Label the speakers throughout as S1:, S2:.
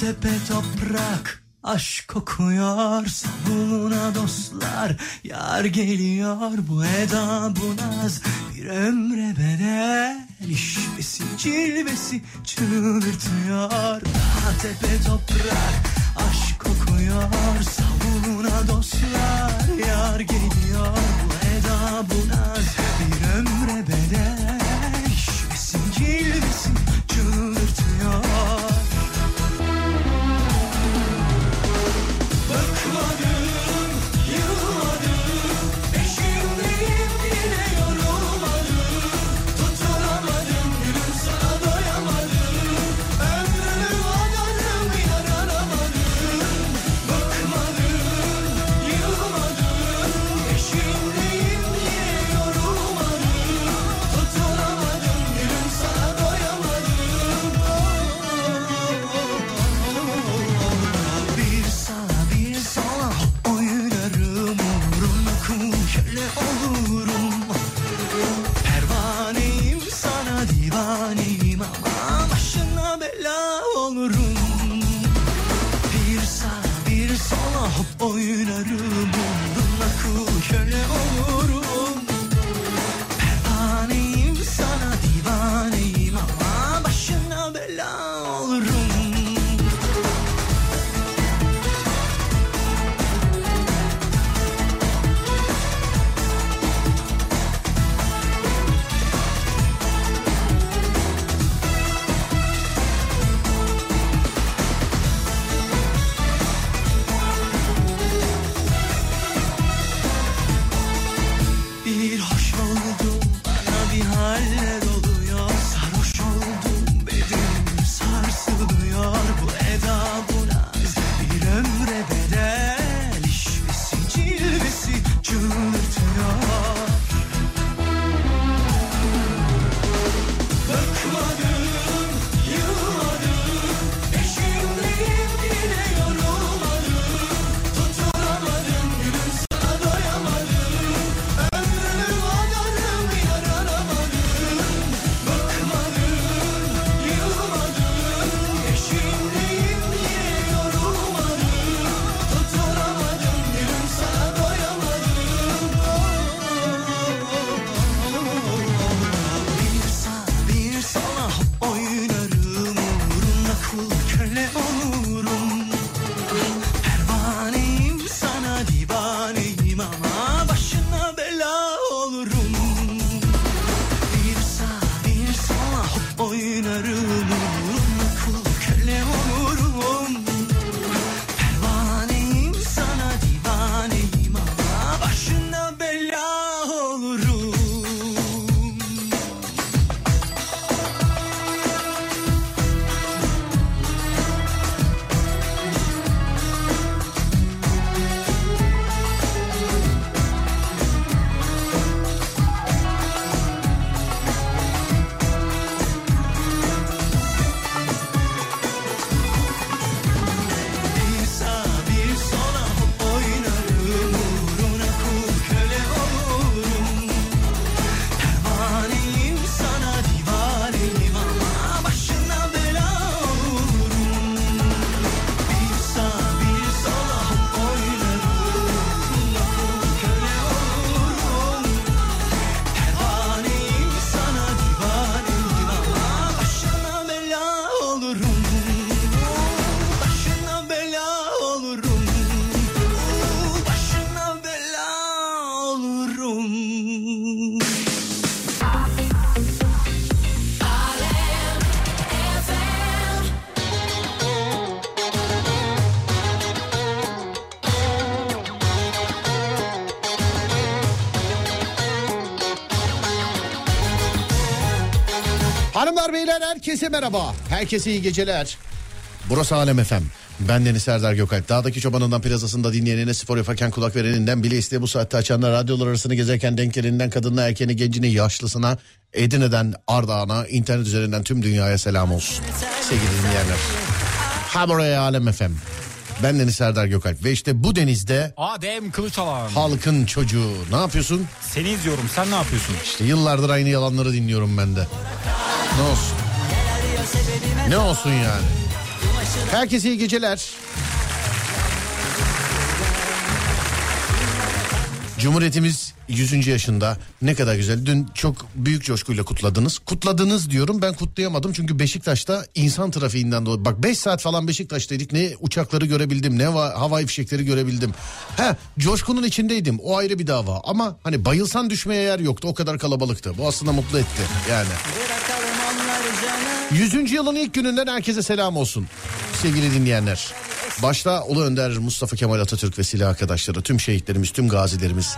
S1: tepe toprak Aşk kokuyor sabununa dostlar Yar geliyor bu eda bu naz Bir ömre bedel işbesi cilvesi çıldırtıyor Dağ tepe toprak aşk kokuyor sabununa dostlar Yar geliyor bu eda bu naz Bir ömre bedel işbesi cilvesi çıldırtıyor Bıkmadım, yılmadım, peşindeyim yine yorulmadım Tutunamadım, gülüm sana doyamadım Ömrümü adadım, yaranamadım Bıkmadım, yılmadım, peşindeyim yine yorulmadım Tutunamadım, gülüm sana doyamadım Bir sağa bir sola oynarım Uğruna kul köle olurum Pervaneyim sana divaneyim Ama başına bela olurum Bir sağa bir sola hop oynarım Uğruna kul köle olurum Pervaneyim sana divaneyim Ama başına bela olurum Bir hoş oldum bana bir halle doluyor Sarhoş oldum bedenim sarsılıyor Bu eda bu naz bir ömre bedel İşvesi cilvesi çıldırtıyor Bıkmadım, yılmadım Peşindeyim yine yorulmadım Tutunamadım gülüm sana doyamadım Ömrümü adadım yaranamadım Bıkmadım, yılmadım Peşindeyim yine yorulmadım Tutunamadım gülüm sana doyamadım Bir sağ bir sola oynarım Uğruna kul köle olurum Pervaneyim sana divaneyim ama başına bela olurum Bir sağ bir sola hop oynarım uğruna kul köle olurum Pervaneyim sana divaneyim ama başına bela olurum Bir sağ bir sola hop oynarım Uğruna kul köle olurum Pervaneyim sana divaneyim Ama başına bela olurum Bir sağ bir sola hop oynarım Uğruna kul köle olurum Pervaneyim sana divaneyim Ama başına bela olurum Başına bela olurum Başına bela olurum
S2: Hanımlar beyler herkese merhaba. Herkese iyi geceler. Burası Alem Efem. Ben Deniz Serdar Gökalp. Dağdaki çobanından plazasında dinleyenine spor yaparken kulak vereninden bile isteye bu saatte açanlar radyolar arasını gezerken denk geleninden kadınla erkeğine gencine yaşlısına Edirne'den Ardahan'a internet üzerinden tüm dünyaya selam olsun. Sevgili dinleyenler. Ha buraya Alem Efem. Ben Deniz Serdar Gökalp ve işte bu denizde
S3: Adem Kılıçalan.
S2: halkın çocuğu. Ne yapıyorsun?
S3: Seni izliyorum. Sen ne yapıyorsun?
S2: İşte yıllardır aynı yalanları dinliyorum ben de. Ne olsun? Ne olsun yani?
S1: Başına
S2: Herkese iyi geceler. Cumhuriyetimiz 100. yaşında ne kadar güzel. Dün çok büyük coşkuyla kutladınız. Kutladınız diyorum ben kutlayamadım çünkü Beşiktaş'ta insan trafiğinden dolayı. Bak 5 saat falan Beşiktaş'taydık ne uçakları görebildim ne va- havai fişekleri görebildim. He coşkunun içindeydim o ayrı bir dava ama hani bayılsan düşmeye yer yoktu o kadar kalabalıktı. Bu aslında mutlu etti yani.
S4: Bırakalım onları canım
S2: 100. yılın ilk gününden herkese selam olsun sevgili dinleyenler. Başta Ulu Önder Mustafa Kemal Atatürk ve silah arkadaşları, tüm şehitlerimiz, tüm gazilerimiz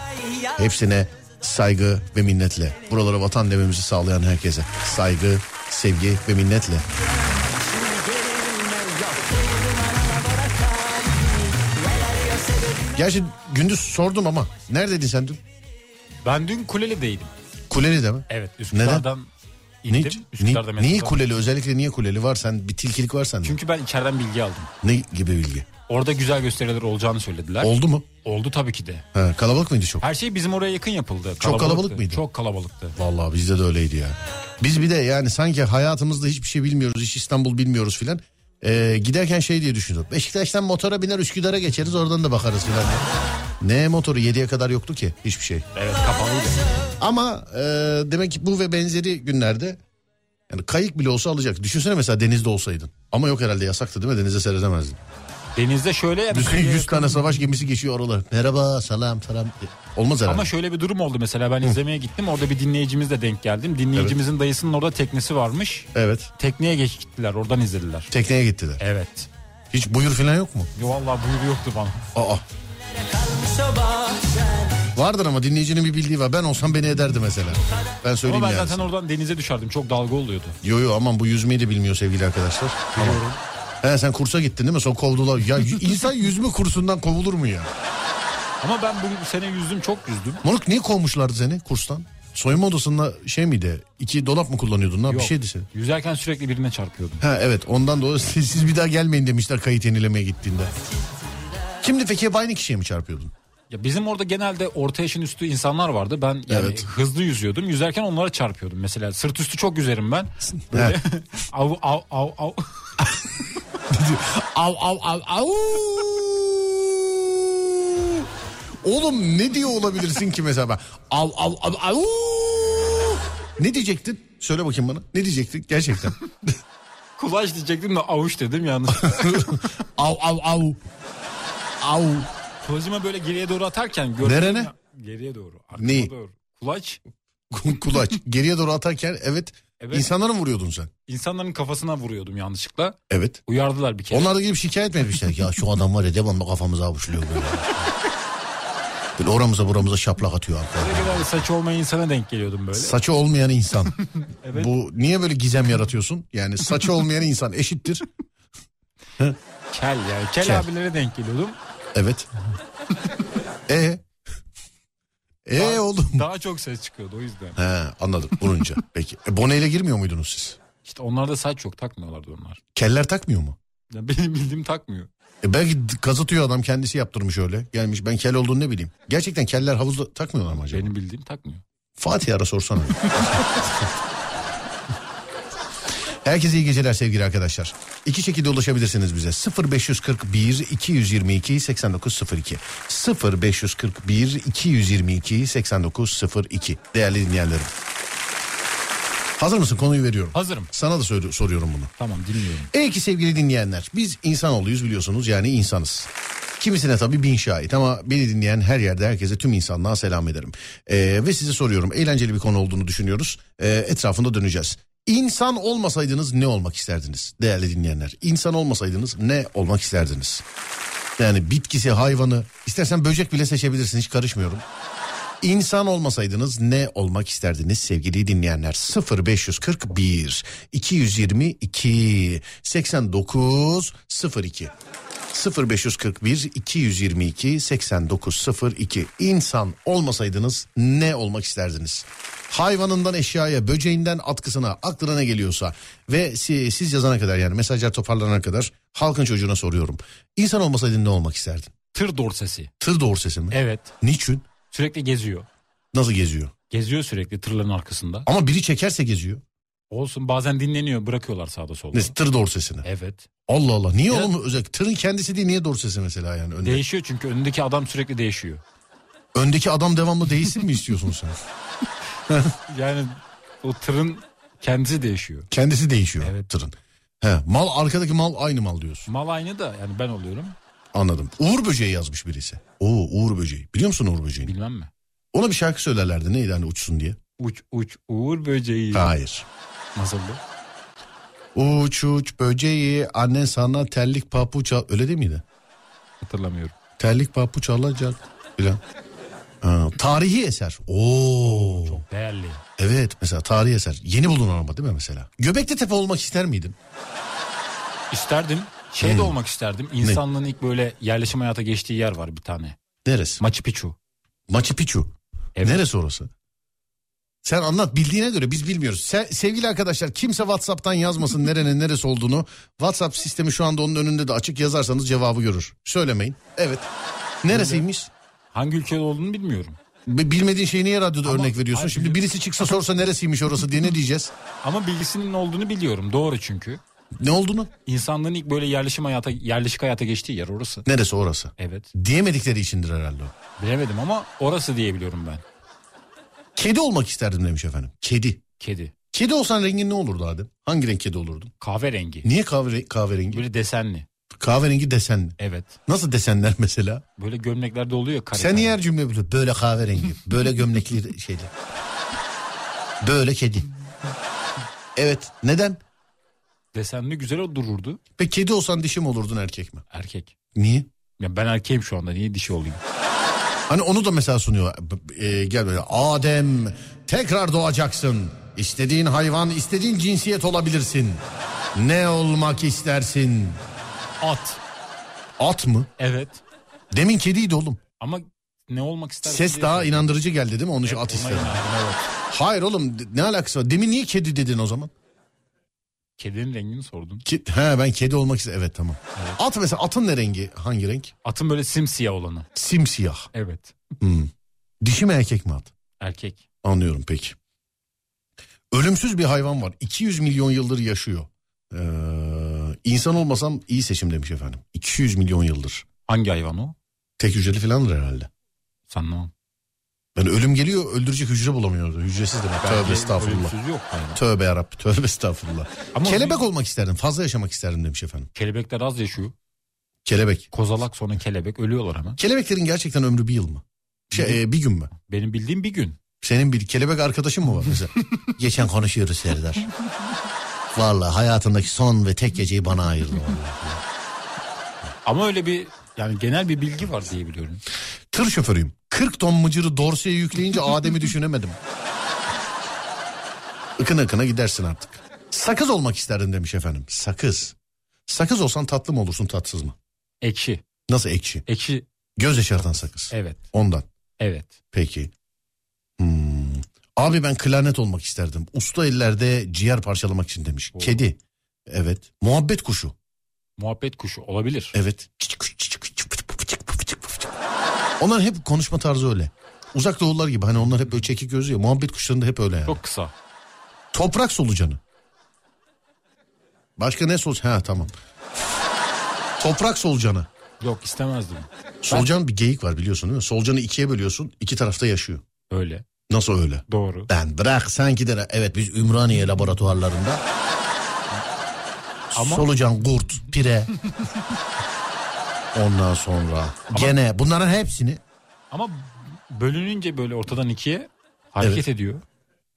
S2: hepsine saygı ve minnetle. Buralara vatan dememizi sağlayan herkese saygı, sevgi ve minnetle. Gerçi gündüz sordum ama neredeydin sen dün?
S3: Ben dün Kuleli'deydim.
S2: Kuleli'de mi?
S3: Evet Üsküdar'dan
S2: Ne,
S3: indim. Üsküdar'da
S2: ne, niye
S3: metro-
S2: kuleli özellikle niye kuleli var sen bir tilkilik var sende.
S3: Çünkü ben içeriden bilgi aldım.
S2: Ne gibi bilgi?
S3: Orada güzel gösteriler olacağını söylediler.
S2: Oldu mu?
S3: Oldu tabii ki de.
S2: Ha, kalabalık mıydı çok?
S3: Her şey bizim oraya yakın yapıldı. Çok
S2: kalabalık mıydı?
S3: Çok kalabalıktı.
S2: Vallahi bizde de öyleydi ya. Biz bir de yani sanki hayatımızda hiçbir şey bilmiyoruz, hiç İstanbul bilmiyoruz filan. Ee, giderken şey diye düşündük. Beşiktaş'tan motora biner Üsküdar'a geçeriz oradan da bakarız filan. diye. Ne motoru 7'ye kadar yoktu ki hiçbir şey.
S3: Evet kapalıydı.
S2: Ama e, demek ki bu ve benzeri günlerde yani kayık bile olsa alacak. Düşünsene mesela denizde olsaydın. Ama yok herhalde yasaktı değil mi? Denize seyredemezdin.
S3: Denizde şöyle yani
S2: Düz-
S3: şöyle
S2: 100
S3: yakın-
S2: tane savaş gemisi geçiyor oralar. Merhaba, selam, selam. Olmaz herhalde.
S3: Ama şöyle bir durum oldu mesela ben izlemeye gittim orada bir dinleyicimizle denk geldim. Dinleyicimizin dayısının orada teknesi varmış.
S2: Evet.
S3: Tekneye geç gittiler oradan izlediler.
S2: Tekneye gittiler.
S3: Evet.
S2: Hiç buyur filan yok mu?
S3: Yo valla buyruğu yoktu bana.
S2: Aa.
S4: sabah
S2: Vardır ama dinleyicinin bir bildiği var. Ben olsam beni ederdi mesela. Ben söyleyeyim
S3: Ama ben
S2: yani.
S3: zaten oradan denize düşerdim çok dalga oluyordu.
S2: Yo yo aman bu yüzmeyi de bilmiyor sevgili arkadaşlar. Tamam. He sen kursa gittin değil mi? Sonra kovdular. Ya y- insan yüzme kursundan kovulur mu ya?
S3: Ama ben bu sene yüzdüm çok yüzdüm.
S2: Moruk niye kovmuşlardı seni kurstan? Soyunma odasında şey miydi? İki dolap mı kullanıyordun lan? Bir şey
S3: Yok.
S2: şeydi senin.
S3: Yüzerken sürekli birine çarpıyordum.
S2: Ha evet ondan dolayı siz, siz bir daha gelmeyin demişler kayıt yenilemeye gittiğinde. Şimdi peki hep aynı kişiye mi çarpıyordun?
S3: Ya bizim orada genelde orta yaşın üstü insanlar vardı. Ben yani
S2: Evet.
S3: hızlı yüzüyordum. Yüzerken onlara çarpıyordum mesela. Sırt üstü çok yüzerim ben. Böyle
S2: Evet.
S3: av av av av.
S2: Av av av av. Oğlum ne diyor olabilirsin ki mesela ben? Av av av av. Ne diyecektin? Söyle bakayım bana. Ne diyecektin gerçekten?
S3: Kulaç diyecektim de avuç dedim yanlış.
S2: av av av. Av.
S3: Kulacımı böyle geriye doğru atarken gördüm.
S2: Nerene?
S3: Geriye doğru. Arkama
S2: Neyi?
S3: doğru. Kulaç
S2: Kulaç. Geriye doğru atarken evet,
S3: Evet.
S2: insanlara mı vuruyordun sen?
S3: insanların kafasına vuruyordum yanlışlıkla.
S2: Evet.
S3: Uyardılar bir kere.
S2: Onlar da gelip şikayet mi etmişler? ya şu adam var ya devamlı kafamıza avuçluyor böyle. böyle oramıza buramıza şaplak atıyor. arkadaşlar.
S3: Ne kadar saç olmayan insana denk geliyordum böyle.
S2: Saçı olmayan insan. Bu niye böyle gizem yaratıyorsun? Yani saçı olmayan insan eşittir.
S3: Kel yani. Kel,
S2: Kel.
S3: abilere denk geliyordum.
S2: Evet. E E oğlum.
S3: Daha çok ses çıkıyordu o yüzden.
S2: He, anladım vurunca. Peki. E, boneyle girmiyor muydunuz siz?
S3: İşte onlarda saç yok takmıyorlardı onlar.
S2: Keller takmıyor mu?
S3: Ya benim bildiğim takmıyor.
S2: E belki d- kazıtıyor adam kendisi yaptırmış öyle. Gelmiş ben kel olduğunu ne bileyim. Gerçekten keller havuzda takmıyorlar mı acaba?
S3: Benim bildiğim takmıyor.
S2: Fatih ara sorsana. Herkese iyi geceler sevgili arkadaşlar. İki şekilde ulaşabilirsiniz bize. 0541 222 8902. 0541 222 8902. Değerli dinleyenlerim. Hazır mısın? Konuyu veriyorum.
S3: Hazırım.
S2: Sana da söyle- soruyorum bunu.
S3: Tamam dinliyorum.
S2: Ey ki sevgili dinleyenler biz insanoğluyuz biliyorsunuz yani insanız. Kimisine tabii bin şahit ama beni dinleyen her yerde herkese tüm insanlığa selam ederim. Ee, ve size soruyorum eğlenceli bir konu olduğunu düşünüyoruz Ee, etrafında döneceğiz. İnsan olmasaydınız ne olmak isterdiniz değerli dinleyenler? İnsan olmasaydınız ne olmak isterdiniz? Yani bitkisi, hayvanı, istersen böcek bile seçebilirsin hiç karışmıyorum. İnsan olmasaydınız ne olmak isterdiniz sevgili dinleyenler? 0541 222 89 02 0541 222 89 02 İnsan olmasaydınız ne olmak isterdiniz? Hayvanından eşyaya, böceğinden atkısına, aklına ne geliyorsa ve siz, siz yazana kadar yani mesajlar toparlanana kadar halkın çocuğuna soruyorum. İnsan olmasaydın ne olmak isterdin?
S3: Tır dorsesi.
S2: Tır doğru sesi mi?
S3: Evet.
S2: Niçin?
S3: Sürekli geziyor.
S2: Nasıl geziyor?
S3: Geziyor sürekli tırların arkasında.
S2: Ama biri çekerse geziyor.
S3: Olsun bazen dinleniyor bırakıyorlar sağda solda.
S2: Ne, tır dorsesini.
S3: Evet.
S2: Allah Allah niye oğlum özellikle tırın kendisi değil niye dorsesi mesela yani önde.
S3: Değişiyor çünkü önündeki adam sürekli değişiyor.
S2: Öndeki adam devamlı değilsin mi istiyorsun sen?
S3: Yani o tırın kendisi değişiyor.
S2: Kendisi değişiyor tırın. He, mal arkadaki mal aynı mal diyorsun.
S3: Mal aynı da yani ben oluyorum.
S2: Anladım. Uğur böceği yazmış birisi. Oo Uğur böceği. Biliyor musun Uğur böceğini?
S3: Bilmem mi?
S2: Ona bir şarkı söylerlerdi neydi hani uçsun diye.
S3: Uç uç uğur böceği.
S2: Hayır.
S3: Nasıldı?
S2: Uç uç böceği annen sana terlik papuç al. Öyle değil miydi?
S3: Hatırlamıyorum.
S2: Terlik papuç alacak filan. Ha, tarihi eser. Oo.
S3: Değerli.
S2: Evet mesela tarihi eser. Yeni bulunan ama değil mi mesela? Göbekli Tepe olmak ister miydin?
S3: İsterdim. Şey de olmak isterdim. İnsanlığın ilk böyle yerleşim hayata geçtiği yer var bir tane.
S2: Neresi?
S3: Machu Picchu.
S2: Machu Picchu.
S3: Evet.
S2: Neresi orası? Sen anlat bildiğine göre biz bilmiyoruz. Sen, sevgili arkadaşlar kimse Whatsapp'tan yazmasın nerenin neresi olduğunu. Whatsapp sistemi şu anda onun önünde de açık yazarsanız cevabı görür. Söylemeyin. Evet. Neresiymiş?
S3: Hangi ülkede olduğunu bilmiyorum.
S2: Bi- Bilmediğin şeyi niye radyoda
S3: Ama-
S2: örnek veriyorsun?
S3: Hayır,
S2: Şimdi
S3: biliyorum.
S2: birisi çıksa sorsa neresiymiş orası diye ne diyeceğiz?
S3: Ama bilgisinin olduğunu biliyorum. Doğru çünkü.
S2: Ne olduğunu?
S3: İnsanlığın ilk böyle yerleşim hayata, yerleşik hayata geçtiği yer orası.
S2: Neresi orası?
S3: Evet.
S2: Diyemedikleri içindir herhalde o.
S3: Bilemedim ama orası diyebiliyorum ben.
S2: Kedi olmak isterdim demiş efendim. Kedi.
S3: Kedi.
S2: Kedi olsan rengin ne olurdu Adem? Hangi renk kedi olurdun?
S3: Kahverengi.
S2: Niye kahvere- kahverengi?
S3: Böyle desenli.
S2: Kahverengi desenli.
S3: Evet.
S2: Nasıl desenler mesela?
S3: Böyle gömleklerde oluyor. Kare
S2: Sen
S3: kare.
S2: niye her cümle böyle, böyle kahverengi, böyle gömlekli şeyler. Böyle kedi. Evet neden?
S3: Desenli güzel o dururdu.
S2: Peki kedi olsan dişi mi olurdun erkek mi?
S3: Erkek.
S2: Niye?
S3: Ya ben erkeğim şu anda. Niye dişi olayım?
S2: Hani onu da mesela sunuyor. B- b- e, gel böyle Adem tekrar doğacaksın. İstediğin hayvan, istediğin cinsiyet olabilirsin. Ne olmak istersin?
S3: At.
S2: At mı?
S3: Evet.
S2: Demin kediydi oğlum.
S3: Ama ne olmak istersin?
S2: Ses
S3: diye
S2: daha
S3: sordum.
S2: inandırıcı geldi değil mi? Onun için
S3: Evet,
S2: at
S3: ona
S2: istedim.
S3: inandım, evet.
S2: Hayır oğlum ne alakası var? Demin niye kedi dedin o zaman?
S3: Kedinin rengini sordun.
S2: Ki, he ben kedi olmak istedim. Evet tamam. At mesela atın ne rengi? Hangi renk?
S3: Atın böyle simsiyah olanı.
S2: Simsiyah.
S3: Evet.
S2: Hmm. Dişi mi erkek mi at?
S3: Erkek.
S2: Anlıyorum peki. Ölümsüz bir hayvan var. 200 milyon yıldır yaşıyor. Ee, insan olmasam iyi seçim demiş efendim. 200 milyon yıldır.
S3: Hangi hayvan o?
S2: Tek hücreli falandır herhalde.
S3: Sanmam.
S2: Ben ölüm geliyor öldürecek hücre bulamıyordu. Hücresiz demek. Tövbe
S3: Belki
S2: estağfurullah.
S3: ölümsüz yok hayvan.
S2: Tövbe yarabbim tövbe estağfurullah.
S3: Ama
S2: Kelebek olmak isterdim fazla yaşamak isterdim demiş efendim.
S3: Kelebekler az yaşıyor.
S2: Kelebek.
S3: Kozalak sonra kelebek ölüyorlar hemen.
S2: Kelebeklerin gerçekten ömrü bir yıl mı? Şey, e, bir gün mü?
S3: Benim bildiğim bir gün.
S2: Senin bir kelebek arkadaşın mı var mesela? Geçen konuşuyoruz Serdar. Vallahi hayatındaki son ve tek geceyi bana ayırdı. vallahi.
S3: Ama öyle bir yani genel bir bilgi var diye biliyorum.
S2: Tır şoförüyüm. 40 ton mıcırı dorseye yükleyince Adem'i düşünemedim. Ikına ıkına gidersin artık. Sakız olmak isterdim demiş efendim. Sakız. Sakız olsan tatlı mı olursun tatsız mı?
S3: Ekşi.
S2: Nasıl ekşi?
S3: Ekşi
S2: Göz yaşartan sakız.
S3: evet.
S2: Ondan.
S3: Evet.
S2: Peki. Hmm. Abi ben klarnet olmak isterdim. Usta ellerde ciğer parçalamak için demiş.
S3: Oo.
S2: Kedi. Evet. Muhabbet kuşu.
S3: Muhabbet kuşu olabilir.
S2: Evet. Onlar hep konuşma tarzı öyle. Uzak doğullar gibi hani onlar hep böyle çekik gözü ya. Muhabbet kuşlarında hep öyle yani.
S3: Çok kısa.
S2: Toprak solucanı. Başka ne solucanı? Ha tamam. Toprak solucanı.
S3: Yok istemezdim.
S2: Solucan bir geyik var biliyorsun değil mi? Solucanı ikiye bölüyorsun. iki tarafta yaşıyor.
S3: Öyle.
S2: Nasıl öyle?
S3: Doğru.
S2: Ben bırak sanki de evet biz Ümraniye laboratuvarlarında
S3: Ama-
S2: solucan, kurt, pire. Ondan sonra gene bunların hepsini
S3: Ama bölününce böyle ortadan ikiye hareket
S2: Evet.
S3: ediyor.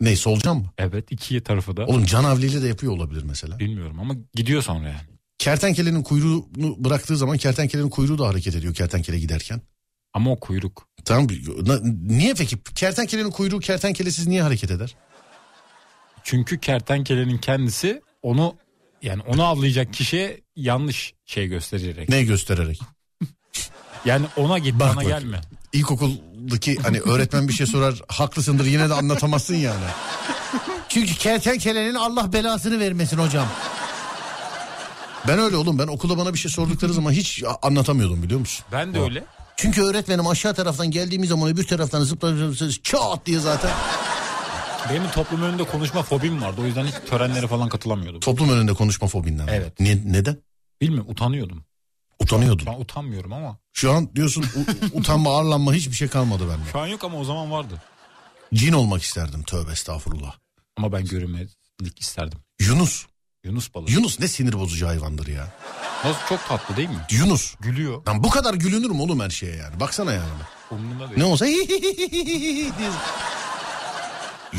S2: ne solucan mı?
S3: Evet ikiye tarafı da.
S2: Oğlum canavliyle de yapıyor olabilir mesela.
S3: Bilmiyorum ama gidiyor sonra yani.
S2: Kertenkelenin kuyruğunu bıraktığı zaman kertenkelenin kuyruğu da hareket ediyor kertenkele giderken.
S3: Ama o kuyruk.
S2: Tamam na- niye peki kertenkelenin kuyruğu kertenkelesiz niye hareket eder?
S3: Çünkü kertenkelenin kendisi onu yani onu avlayacak kişiye yanlış şey göstererek.
S2: Ne göstererek?
S3: Yani ona git
S2: Bak
S3: bana
S2: bak.
S3: gelme.
S2: İlkokuldaki hani öğretmen bir şey sorar haklısındır yine de anlatamazsın yani. Çünkü kertenkelenin Allah belasını vermesin hocam. Ben öyle oğlum ben okulda bana bir şey sordukları zaman hiç a- anlatamıyordum biliyor musun?
S3: Ben de öyle.
S2: Çünkü öğretmenim aşağı taraftan geldiğimiz zaman öbür taraftan zıplarsanız çat diye zaten
S3: Benim toplum önünde konuşma fobim vardı. O yüzden hiç törenlere falan katılamıyordum.
S2: Toplum önünde konuşma fobinden. mi?
S3: Evet.
S2: Ne, neden?
S3: Bilmiyorum utanıyordum.
S2: Utanıyordun.
S3: Ben utanmıyorum ama.
S2: Şu an diyorsun u- utanma ağırlanma hiçbir şey kalmadı bende.
S3: Şu an yok ama o zaman vardı.
S2: Cin olmak isterdim tövbe estağfurullah.
S3: Ama ben görünmezlik isterdim.
S2: Yunus.
S3: Yunus balığı.
S2: Yunus ne sinir bozucu hayvandır ya.
S3: Nasıl çok tatlı değil mi?
S2: Yunus.
S3: Gülüyor.
S2: Lan bu kadar gülünür mü oğlum her şeye yani? Baksana yani.
S3: Umrunda değil.
S2: Ne olsa diye.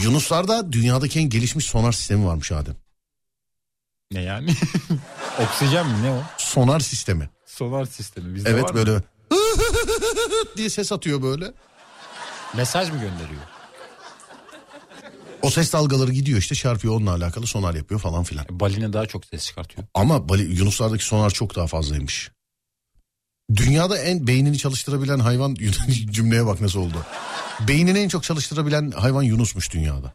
S2: Yunuslarda dünyadaki en gelişmiş sonar sistemi varmış Adem.
S3: Ne yani? Oksijen mi ne o?
S2: Sonar sistemi.
S3: Sonar sistemi bizde var
S2: Evet
S3: mı?
S2: böyle diye ses atıyor böyle.
S3: Mesaj mı gönderiyor?
S2: O ses dalgaları gidiyor işte çarpıyor onunla alakalı sonar yapıyor falan filan.
S3: E, balina daha çok ses çıkartıyor.
S2: Ama Bali, Yunuslardaki sonar çok daha fazlaymış. Dünyada en beynini çalıştırabilen hayvan cümleye bak nasıl oldu. Beynini en çok çalıştırabilen hayvan Yunus'muş dünyada.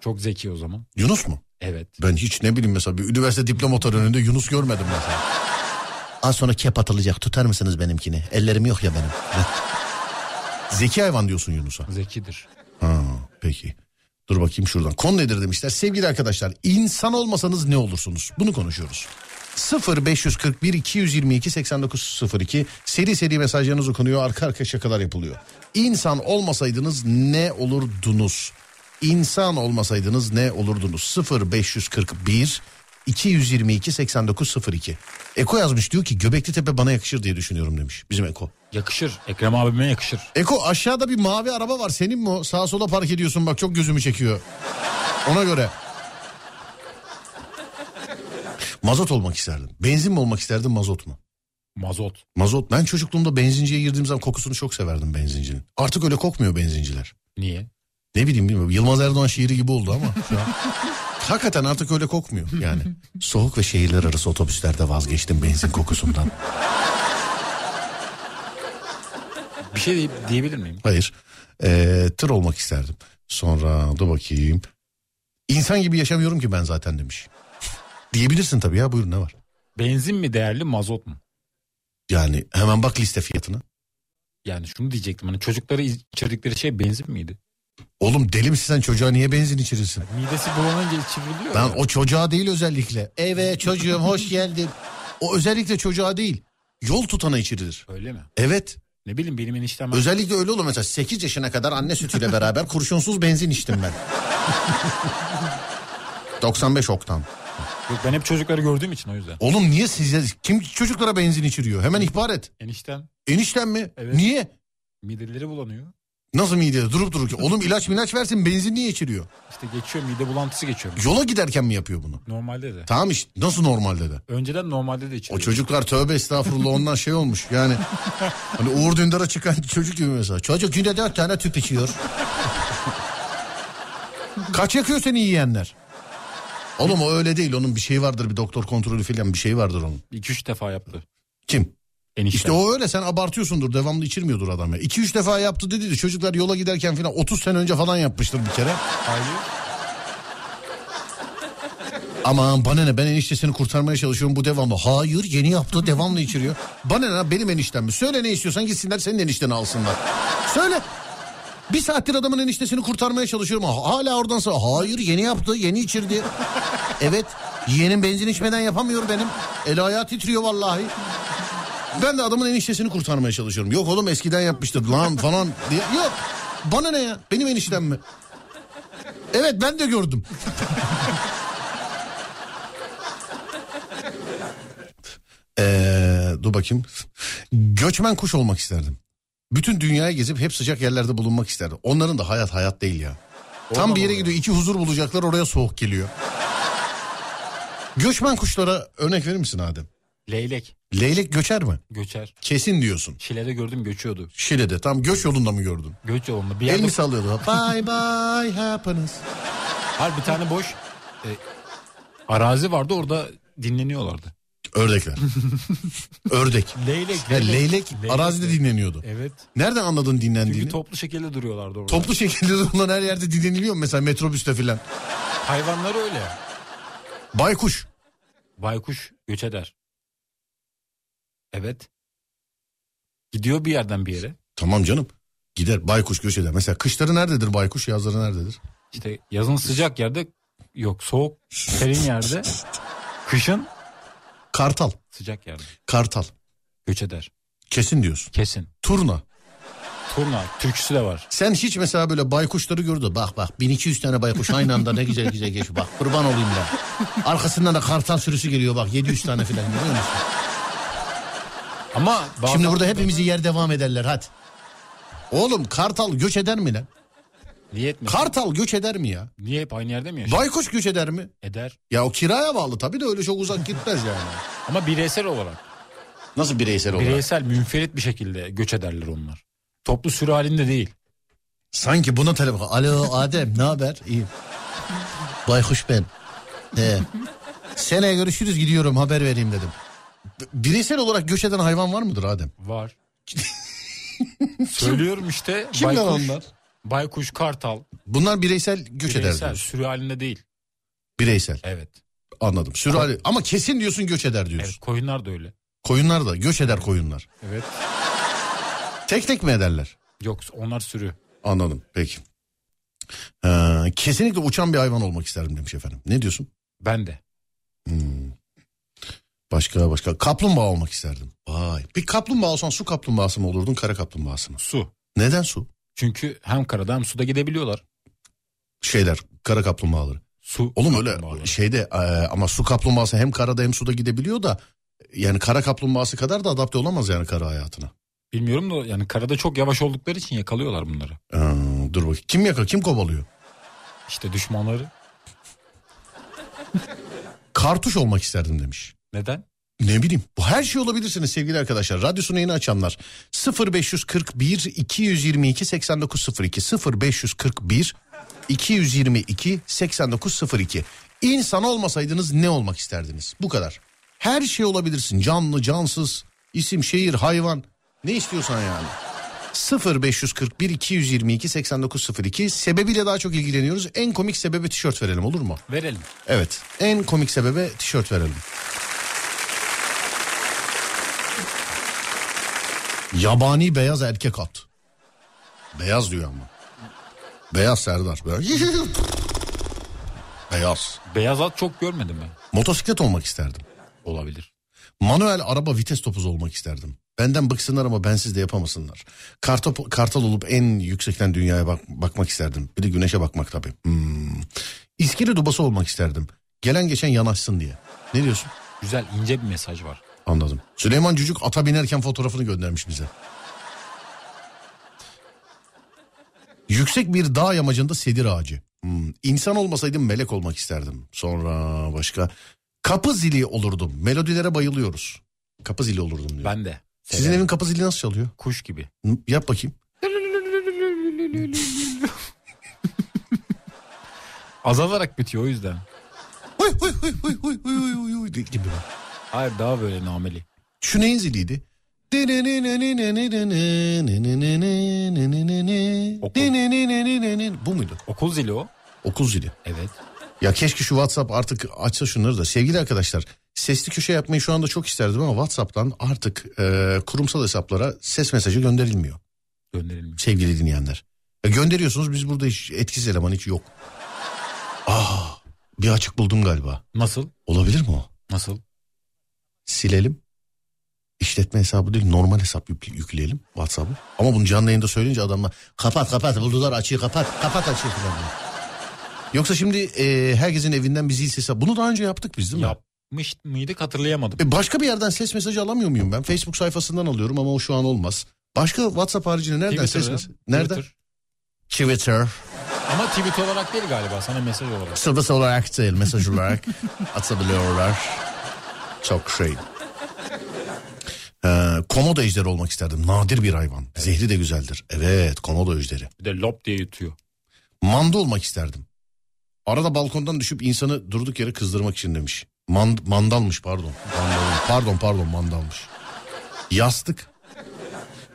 S3: Çok zeki o zaman.
S2: Yunus mu?
S3: Evet.
S2: Ben hiç ne bileyim mesela bir üniversite diploma töreninde Yunus görmedim mesela. Az sonra kep atılacak tutar mısınız benimkini? Ellerim yok ya benim. Zeki hayvan diyorsun Yunus'a.
S3: Zekidir.
S2: Ha, peki. Dur bakayım şuradan. Konu nedir demişler. Sevgili arkadaşlar insan olmasanız ne olursunuz? Bunu konuşuyoruz. 0 541 222 8902 seri seri mesajlarınız okunuyor arka arka şakalar yapılıyor. İnsan olmasaydınız ne olurdunuz? İnsan olmasaydınız ne olurdunuz? 0 541 222 8902 Eko yazmış diyor ki Göbekli Tepe bana yakışır diye düşünüyorum demiş bizim Eko.
S3: Yakışır. Ekrem abime yakışır.
S2: Eko aşağıda bir mavi araba var senin mi o? Sağa sola park ediyorsun bak çok gözümü çekiyor. Ona göre. Mazot olmak isterdim. Benzin mi olmak isterdim mazot mu?
S3: Mazot.
S2: Mazot. Ben çocukluğumda benzinciye girdiğim zaman kokusunu çok severdim benzincinin. Artık öyle kokmuyor benzinciler.
S3: Niye?
S2: Ne bileyim bilmiyorum. Yılmaz Erdoğan şiiri gibi oldu ama şu an. Hakikaten artık öyle kokmuyor yani. Soğuk ve şehirler arası otobüslerde vazgeçtim benzin kokusundan.
S3: Bir şey diye- diyebilir miyim?
S2: Hayır. Ee, tır olmak isterdim. Sonra dur bakayım. İnsan gibi yaşamıyorum ki ben zaten demiş. Diyebilirsin tabii ya buyurun ne var?
S3: Benzin mi değerli mazot mu?
S2: Yani hemen bak liste fiyatına.
S3: Yani şunu diyecektim. Hani çocuklara içirdikleri şey benzin miydi?
S2: Oğlum deli misin sen çocuğa niye benzin içirirsin?
S3: Midesi bulanınca içiriliyor.
S2: Ben o çocuğa değil özellikle. Evet çocuğum hoş geldin. O özellikle çocuğa değil. Yol tutana içirilir.
S3: Öyle mi?
S2: Evet.
S3: Ne bileyim benim eniştem
S2: Özellikle öyle olur mesela 8 yaşına kadar anne sütüyle beraber kurşunsuz benzin içtim ben. 95 oktan.
S3: Yok ben hep çocukları gördüğüm için o yüzden.
S2: Oğlum niye size kim çocuklara benzin içiriyor? Hemen ihbar et.
S3: Eniştem
S2: Enişten mi?
S3: Evet.
S2: Niye?
S3: mideleri bulanıyor.
S2: Nasıl midede durup dururken? Oğlum ilaç milaç versin benzin niye içiriyor?
S3: İşte geçiyor mide bulantısı geçiyor.
S2: Yola giderken mi yapıyor bunu?
S3: Normalde de.
S2: Tamam işte nasıl normalde de?
S3: Önceden normalde de
S2: O
S3: içiyor.
S2: çocuklar tövbe estağfurullah ondan şey olmuş yani. Hani Uğur Dündar'a çıkan çocuk gibi mesela. Çocuk günde dört tane tüp içiyor. Kaç yakıyor seni yiyenler? Oğlum o öyle değil onun bir şeyi vardır bir doktor kontrolü filan bir şeyi vardır onun.
S3: 2-3 defa yaptı.
S2: Kim?
S3: Eniştem.
S2: İşte o öyle sen abartıyorsundur devamlı içirmiyordur adam ya. 2-3 defa yaptı dedi de çocuklar yola giderken falan 30 sene önce falan yapmıştır bir kere.
S3: Hayır.
S2: Aman bana ne ben eniştesini kurtarmaya çalışıyorum bu devamlı. Hayır yeni yaptı devamlı içiriyor. Bana ne lan, benim eniştem mi? Söyle ne istiyorsan gitsinler senin enişteni alsınlar. Söyle. Bir saattir adamın eniştesini kurtarmaya çalışıyorum. Ha- Hala oradan sonra hayır yeni yaptı yeni içirdi. evet yeğenim benzin içmeden yapamıyor benim. El ayağı titriyor vallahi. Ben de adamın eniştesini kurtarmaya çalışıyorum. Yok oğlum eskiden yapmıştır lan falan diye. Yok bana ne ya benim eniştem mi? Evet ben de gördüm. Ee, dur bakayım. Göçmen kuş olmak isterdim. Bütün dünyayı gezip hep sıcak yerlerde bulunmak isterdim. Onların da hayat hayat değil ya. Tam bir yere gidiyor iki huzur bulacaklar oraya soğuk geliyor. Göçmen kuşlara örnek verir misin Adem?
S3: Leylek.
S2: Leylek göçer mi?
S3: Göçer.
S2: Kesin diyorsun.
S3: Şile'de gördüm göçüyordu.
S2: Şile'de tam göç yolunda mı gördün?
S3: Göç yolunda. Bir
S2: El
S3: yerde
S2: mi sallıyordu? bye bye happiness.
S3: Hayır bir tane boş e, arazi vardı orada dinleniyorlardı.
S2: Ördekler. Ördek.
S3: Leylek.
S2: Ya leylek, arazide dinleniyordu.
S3: Evet.
S2: Nereden anladın dinlendiğini?
S3: Çünkü toplu şekilde duruyorlardı orada.
S2: Toplu şekilde olan her yerde dinleniliyor mu mesela metrobüste filan?
S3: Hayvanlar öyle.
S2: Baykuş.
S3: Baykuş göç eder. Evet. Gidiyor bir yerden bir yere.
S2: Tamam canım. Gider baykuş göç eder. Mesela kışları nerededir baykuş yazları nerededir?
S3: İşte yazın sıcak yerde yok soğuk serin yerde kışın
S2: Kartal.
S3: sıcak yerde
S2: Kartal.
S3: göç eder.
S2: Kesin diyorsun.
S3: Kesin.
S2: Turna.
S3: Turna türküsü de var.
S2: Sen hiç mesela böyle baykuşları gördün. Bak bak 1200 tane baykuş aynı anda ne güzel güzel geçiyor. Bak kurban olayım ya. Arkasından da kartal sürüsü geliyor bak 700 tane falan görüyor musun?
S3: Ama bazen
S2: Şimdi burada hepimizi yer devam ederler hadi. Oğlum kartal göç eder mi lan?
S3: niye etmez?
S2: Kartal göç eder mi ya?
S3: niye hep aynı yerde mi yaşıyor?
S2: Baykuş göç eder mi?
S3: Eder.
S2: Ya o kiraya bağlı tabii de öyle çok uzak gitmez yani.
S3: Ama bireysel olarak.
S2: Nasıl bireysel olarak?
S3: Bireysel münferit bir şekilde göç ederler onlar. Toplu sürü halinde değil.
S2: Sanki buna telefon. Alo Adem ne haber? İyiyim. Baykuş ben. He. Seneye görüşürüz gidiyorum haber vereyim dedim. B- Bireysel olarak göç eden hayvan var mıdır Adem?
S3: Var. Söylüyorum işte.
S2: Kim lan
S3: baykuş,
S2: onlar?
S3: Baykuş, kartal.
S2: Bunlar bireysel göç eder
S3: Bireysel
S2: diyorsun.
S3: sürü halinde değil.
S2: Bireysel
S3: Evet.
S2: anladım. Sürali. Ama kesin diyorsun göç eder diyorsun.
S3: Evet koyunlar da öyle.
S2: Koyunlar da göç eder koyunlar.
S3: Evet.
S2: Tek tek mi ederler?
S3: Yok onlar sürü.
S2: Anladım peki. Ee, kesinlikle uçan bir hayvan olmak isterdim demiş efendim. Ne diyorsun?
S3: Ben de.
S2: Hmm. Başka başka. Kaplumbağa olmak isterdim. Vay. Bir kaplumbağa olsan su kaplumbağası mı olurdun kara kaplumbağası mı?
S3: Su.
S2: Neden su?
S3: Çünkü hem karada hem suda gidebiliyorlar.
S2: Şeyler kara kaplumbağaları.
S3: Su.
S2: Oğlum öyle
S3: kaplumbağaları.
S2: şeyde e, ama su kaplumbağası hem karada hem suda gidebiliyor da yani kara kaplumbağası kadar da adapte olamaz yani kara hayatına.
S3: Bilmiyorum da yani karada çok yavaş oldukları için yakalıyorlar bunları.
S2: Ee, dur bakayım. Kim yaka kim kovalıyor?
S3: İşte düşmanları.
S2: Kartuş olmak isterdim demiş.
S3: Neden?
S2: Ne bileyim bu her şey olabilirsiniz sevgili arkadaşlar. Radyosunu yeni açanlar 0541 222 8902 0541 222 8902 İnsan olmasaydınız ne olmak isterdiniz? Bu kadar. Her şey olabilirsin. Canlı, cansız, isim, şehir, hayvan. Ne istiyorsan yani. 0541 222 8902 sebebiyle daha çok ilgileniyoruz. En komik sebebe tişört verelim olur mu?
S3: Verelim.
S2: Evet. En komik sebebe tişört verelim. Yabani beyaz erkek at. Beyaz diyor ama. Beyaz Serdar. Böyle. beyaz.
S3: Beyaz at çok görmedim ben.
S2: Motosiklet olmak isterdim.
S3: Olabilir.
S2: Manuel araba vites topuzu olmak isterdim. Benden bıksınlar ama bensiz de yapamasınlar. Kartop, kartal olup en yüksekten dünyaya bak- bakmak isterdim. Bir de güneşe bakmak tabii. Hmm. İskele dubası olmak isterdim. Gelen geçen yanaşsın diye. Ne diyorsun?
S3: Güzel ince bir mesaj var.
S2: Anladım. Süleyman Cücük ata binerken fotoğrafını göndermiş bize. Yüksek bir dağ yamacında sedir ağacı. Hmm. İnsan olmasaydım melek olmak isterdim. Sonra başka. Kapı zili olurdum. Melodilere bayılıyoruz. Kapı zili olurdum diyor.
S3: Ben de.
S2: Sizin
S3: Severim.
S2: evin kapı zili nasıl çalıyor?
S3: kuş gibi.
S2: Hı, Yap bakayım.
S3: Azalarak bitiyor o yüzden.
S2: Huy huy huy huy huy huy huy huy huy gibi. bak.
S3: Hayır daha böyle nameli.
S2: Şu neyin ziliydi? Bu muydu?
S3: Okul zili o.
S2: Okul zili.
S3: Evet.
S2: Ya keşke şu WhatsApp artık açsa şunları da. Sevgili arkadaşlar sesli köşe yapmayı şu anda çok isterdim ama WhatsApp'tan artık e, kurumsal hesaplara ses mesajı gönderilmiyor
S3: Gönderilmiş.
S2: sevgili dinleyenler. E, gönderiyorsunuz biz burada hiç etkisiz eleman hiç yok. Ah bir açık buldum galiba.
S3: Nasıl?
S2: Olabilir mi o?
S3: Nasıl?
S2: Silelim. İşletme hesabı değil normal hesap yük- yükleyelim WhatsApp'ı. Ama bunu canlı yayında söyleyince adamlar kapat kapat buldular açığı kapat kapat açığı falan. diyor. Yoksa şimdi e, herkesin evinden bir zil sesi. Bunu daha önce yaptık biz değil mi?
S3: Yapmış mıydık hatırlayamadım.
S2: E, başka bir yerden ses mesajı alamıyor muyum ben? Facebook sayfasından alıyorum ama o şu an olmaz. Başka WhatsApp haricinde nereden ses
S3: Twitter'da.
S2: mesajı? Nereden?
S3: Twitter.
S2: Twitter.
S3: Ama tweet olarak değil galiba sana mesaj olarak.
S2: Sırbıs olarak değil mesaj olarak atabiliyorlar. Çok şey. Ee, komodo ejderi olmak isterdim. Nadir bir hayvan. Zehri de güzeldir. Evet komodo ejderi.
S3: Bir de lop diye yutuyor.
S2: Manda olmak isterdim. Arada balkondan düşüp insanı durduk yere kızdırmak için demiş. Man, mandalmış pardon. Mandalmış. Pardon pardon mandalmış. Yastık.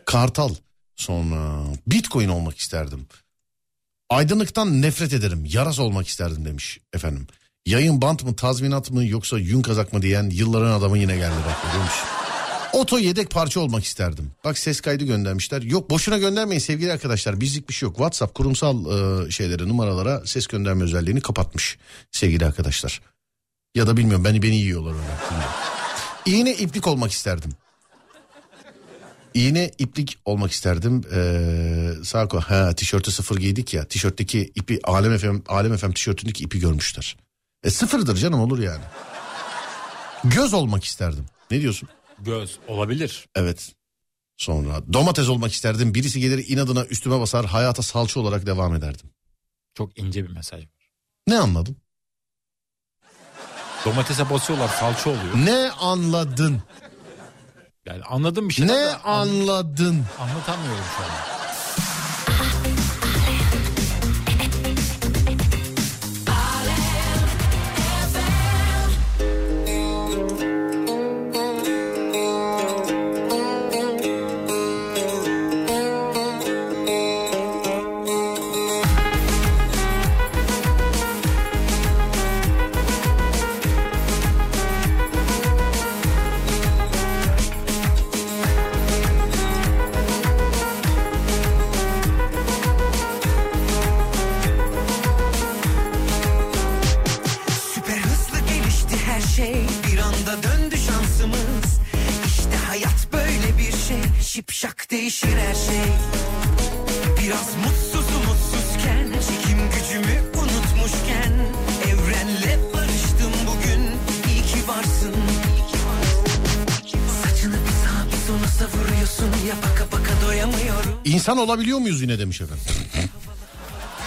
S2: Kartal. Sonra bitcoin olmak isterdim. Aydınlıktan nefret ederim. Yaras olmak isterdim demiş efendim. Yayın bant mı tazminat mı yoksa yün kazak mı diyen yılların adamı yine geldi bak görüyor musun? Oto yedek parça olmak isterdim. Bak ses kaydı göndermişler. Yok boşuna göndermeyin sevgili arkadaşlar. Bizlik bir şey yok. WhatsApp kurumsal e, şeylere numaralara ses gönderme özelliğini kapatmış sevgili arkadaşlar. Ya da bilmiyorum beni beni yiyorlar öyle. Bilmiyorum. İğne iplik olmak isterdim. İğne iplik olmak isterdim. Ee, Sarko ha tişörtü sıfır giydik ya. Tişörtteki ipi Alem FM, Alem FM tişörtündeki ipi görmüşler. E sıfırdır canım olur yani. Göz olmak isterdim. Ne diyorsun?
S3: Göz olabilir.
S2: Evet. Sonra domates olmak isterdim. Birisi gelir inadına üstüme basar hayata salça olarak devam ederdim.
S3: Çok ince bir mesaj.
S2: Ne anladın?
S3: Domatese basıyorlar salça oluyor.
S2: Ne anladın?
S3: Yani anladım bir şey.
S2: Ne
S3: ama an-
S2: anladın?
S3: Anlatamıyorum şu an.
S4: Süper hızlı gelişti her şey Bir anda döndü şansımız İşte hayat böyle bir şey Şipşak değişir her şey Biraz mutsuz umutsuzken Çekim gücümü unutmuşken Evrenle barıştım bugün İyi ki varsın Saçını bir sağa bir sola savuruyorsun Ya baka baka doyamıyorum
S2: İnsan olabiliyor muyuz yine demiş efendim.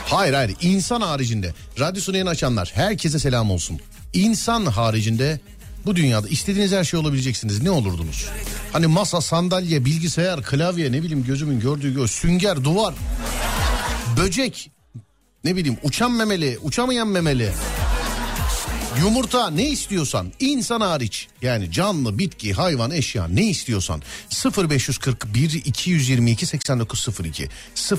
S2: hayır hayır insan haricinde radyosunu yeni açanlar herkese selam olsun. İnsan haricinde bu dünyada istediğiniz her şey olabileceksiniz. Ne olurdunuz? Hani masa, sandalye, bilgisayar, klavye ne bileyim gözümün gördüğü göz, sünger, duvar, böcek, ne bileyim uçan memeli, uçamayan memeli. Yumurta ne istiyorsan insan hariç yani canlı bitki hayvan eşya ne istiyorsan 0541 222 8902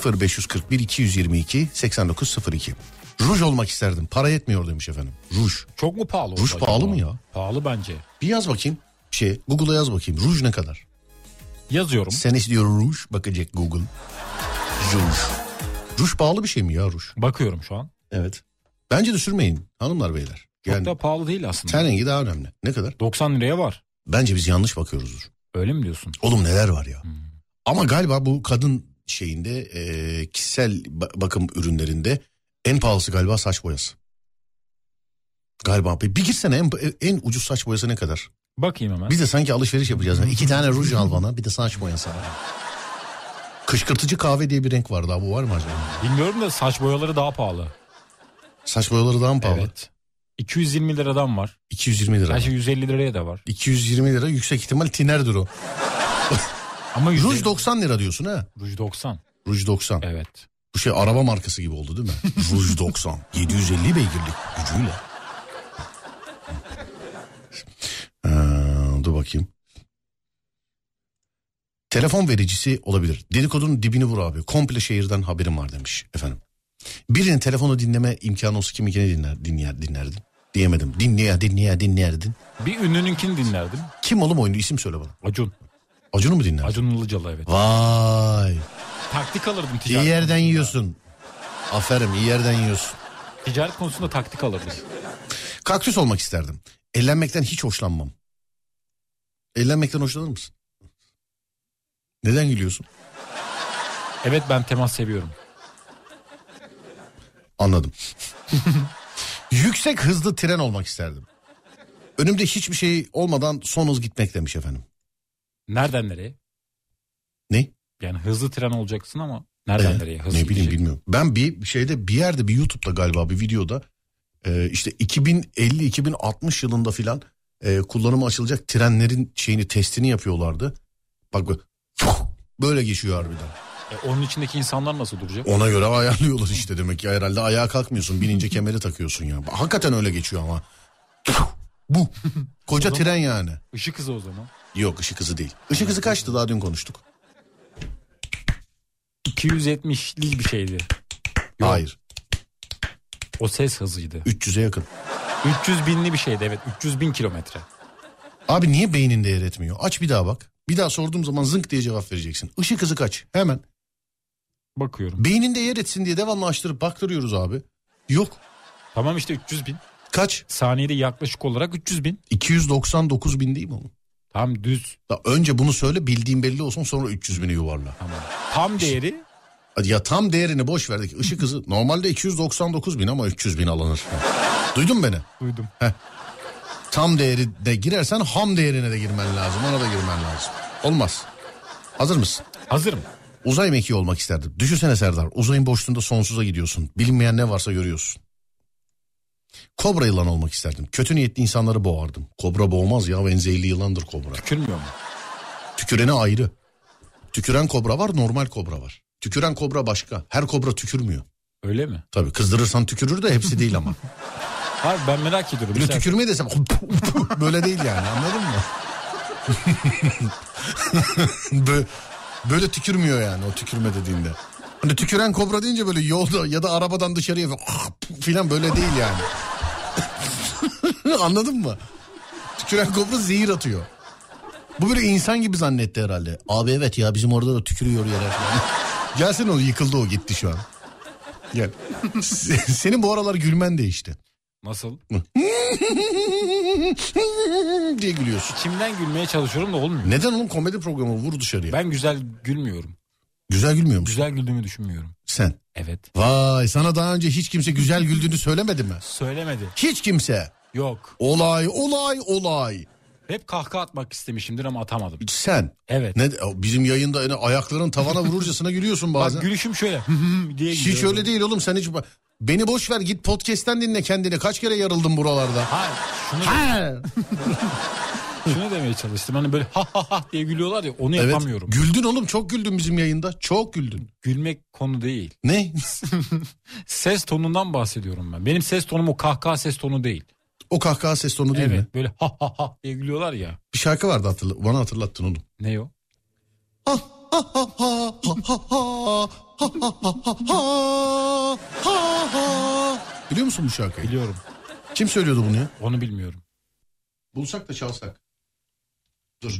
S2: 0541 222 8902 Ruj olmak isterdim para yetmiyor demiş efendim ruj
S3: Çok mu pahalı? oldu
S2: Ruj
S3: acaba?
S2: pahalı mı ya?
S3: Pahalı bence.
S2: bir yaz bakayım şey Google'a yaz bakayım ruj ne kadar
S3: Yazıyorum.
S2: sen istiyor ruj bakacak Google ruj ruj pahalı bir şey mi ya ruj
S3: Bakıyorum şu an.
S2: evet bence de sürmeyin hanımlar beyler
S3: Çok
S2: yani
S3: da pahalı değil aslında.
S2: ten rengi daha önemli ne kadar
S3: 90 liraya var.
S2: bence biz yanlış bakıyoruzdur
S3: Öyle mi diyorsun?
S2: Oğlum neler var ya. Ama galiba bu kadın şeyinde e, kişisel ba- bakım ürünlerinde en pahalısı galiba saç boyası. Galiba bir bir girsene en, en ucuz saç boyası ne kadar?
S3: Bakayım hemen.
S2: Biz de sanki alışveriş yapacağız. Yani İki tane ruj al bana bir de saç boyası al. Kışkırtıcı kahve diye bir renk var daha bu var mı acaba?
S3: Bilmiyorum da saç boyaları daha pahalı.
S2: Saç boyaları daha mı pahalı?
S3: Evet. 220 liradan var.
S2: 220 lira.
S3: Gerçi 150 liraya da var.
S2: 220 lira yüksek ihtimal tinerdir o.
S3: Ama 100
S2: Ruj 90 lira diyorsun ha?
S3: Ruj 90.
S2: Ruj 90.
S3: Evet.
S2: Bu şey araba markası gibi oldu değil mi? Ruj 90. 750 beygirlik gücüyle. Ee, dur bakayım. Telefon vericisi olabilir. Dedikodunun dibini vur abi. Komple şehirden haberim var demiş efendim. Birinin telefonu dinleme imkanı olsa kiminkini dinler, dinler, dinlerdin. Diyemedim. Dinleye dinleye dinlerdin.
S3: Bir ünlününkini dinlerdim.
S2: Kim oğlum oyunu isim söyle bana.
S3: Acun.
S2: Acun'u mu dinlerdin?
S3: Acun Ilıcalı evet.
S2: Vay.
S3: Taktik alırdım ticaret.
S2: İyi yerden
S3: konusunda.
S2: yiyorsun. Aferin iyi yerden yiyorsun.
S3: Ticaret konusunda taktik alırdım.
S2: Kaktüs olmak isterdim. Ellenmekten hiç hoşlanmam. Ellenmekten hoşlanır mısın? Neden gülüyorsun?
S3: Evet ben temas seviyorum.
S2: Anladım. Yüksek hızlı tren olmak isterdim. Önümde hiçbir şey olmadan son hız gitmek demiş efendim.
S3: Nereden nereye?
S2: Ne?
S3: Yani hızlı tren olacaksın ama nereden
S2: Ee,
S3: nereye?
S2: ne
S3: Hızlı
S2: bileyim
S3: gidecek.
S2: bilmiyorum. Ben bir şeyde bir yerde bir YouTube'da galiba bir videoda e, işte 2050-2060 yılında filan e, kullanıma açılacak trenlerin şeyini testini yapıyorlardı. Bak böyle, böyle geçiyor harbiden.
S3: E, onun içindeki insanlar nasıl duracak?
S2: Ona göre ayarlıyorlar işte demek ki herhalde ayağa kalkmıyorsun binince kemeri takıyorsun ya. Hakikaten öyle geçiyor ama. Bu. Koca
S3: O zaman-
S2: tren yani.
S3: Işık hızı o zaman.
S2: Yok ışık hızı değil. Işık hızı kaçtı daha dün konuştuk.
S3: 270'li bir şeydi. Yok.
S2: Hayır.
S3: O ses hızıydı.
S2: 300'e yakın.
S3: 300 binli bir şeydi evet. 300 bin kilometre.
S2: Abi niye beynin değer etmiyor? Aç bir daha bak. Bir daha sorduğum zaman zınk diye cevap vereceksin. Işık hızı kaç? Hemen.
S3: Bakıyorum.
S2: Beyninde yer etsin diye devamlı açtırıp baktırıyoruz abi. Yok.
S3: Tamam işte 300 bin.
S2: Kaç?
S3: Saniyede yaklaşık olarak 300 bin.
S2: 299 bin değil mi oğlum?
S3: Tam düz.
S2: Ya önce bunu söyle bildiğin belli olsun sonra 300 bini yuvarla.
S3: Tamam. Tam değeri
S2: Ya tam değerini boş verdik. Işık hızı normalde 299 bin ama 300 bin alınır. Duydun beni?
S3: duydum.
S2: Tam değeri de girersen ham değerine de girmen lazım. Ona da girmen lazım. Olmaz. Hazır mısın?
S3: Hazırım.
S2: Uzay mekiği olmak isterdim. Düşünsene Serdar. Uzayın boşluğunda sonsuza gidiyorsun. Bilinmeyen ne varsa görüyorsun. Kobra yılan olmak isterdim. Kötü niyetli insanları boğardım. Kobra boğmaz ya en zehirli yılandır kobra.
S3: Tükürmüyor mu?
S2: Tükürene ayrı. Tüküren kobra var normal kobra var. Tüküren kobra başka. Her kobra tükürmüyor.
S3: Öyle mi?
S2: Tabii kızdırırsan tükürür de hepsi değil ama.
S3: Hayır ben merak ediyorum.
S2: Bir de
S3: Mesela
S2: tükürmeyi desem böyle değil yani anladın mı? Bö- böyle tükürmüyor yani o tükürme dediğinde. Hani tüküren kobra deyince böyle yolda ya da arabadan dışarıya filan böyle değil yani. Anladın mı? Tüküren kobra zehir atıyor. Bu böyle insan gibi zannetti herhalde. Abi evet ya bizim orada da tükürüyor yere falan. Gelsin o yıkıldı o gitti şu an. Gel. Senin bu aralar gülmen değişti.
S3: nasıl?
S2: diye gülüyorsun.
S3: Kimden gülmeye çalışıyorum da olmuyor.
S2: Neden oğlum komedi programı vur dışarıya?
S3: Ben güzel gülmüyorum.
S2: Güzel gülmüyor musun
S3: Güzel güldüğümü düşünmüyorum.
S2: sen?
S3: Evet.
S2: Vay sana daha önce hiç kimse güzel güldüğünü söylemedi mi?
S3: Söylemedi.
S2: Hiç kimse.
S3: Yok.
S2: Olay olay olay.
S3: Hep kahkaha atmak istemişimdir ama atamadım.
S2: Sen.
S3: Evet.
S2: Ne, bizim yayında yani ayakların tavana vururcasına gülüyorsun bazen.
S3: Bak gülüşüm şöyle hı hı diye
S2: hiç
S3: gülüyorum.
S2: öyle değil oğlum sen hiç... Beni boş ver git podcast'ten dinle kendini. Kaç kere yarıldım buralarda.
S3: Hayır şunu, şunu demeye çalıştım. Hani böyle ha ha ha diye gülüyorlar ya onu
S2: Evet.
S3: yapamıyorum.
S2: Güldün oğlum çok güldün bizim yayında. Çok güldün.
S3: Gülmek konu değil.
S2: Ne?
S3: Ses tonundan bahsediyorum ben. Benim ses tonum o kahkaha ses tonu değil.
S2: o kahkaha ses tonu değil
S3: evet
S2: mi?
S3: böyle ha ha ha diye gülüyorlar ya.
S2: Bir şarkı vardı hatırla bana hatırlattın oğlum.
S3: Ne o?
S2: Biliyor musun bu şarkıyı?
S3: Biliyorum.
S2: Kim söylüyordu bunu ya?
S3: Onu bilmiyorum.
S2: Bulsak da çalsak.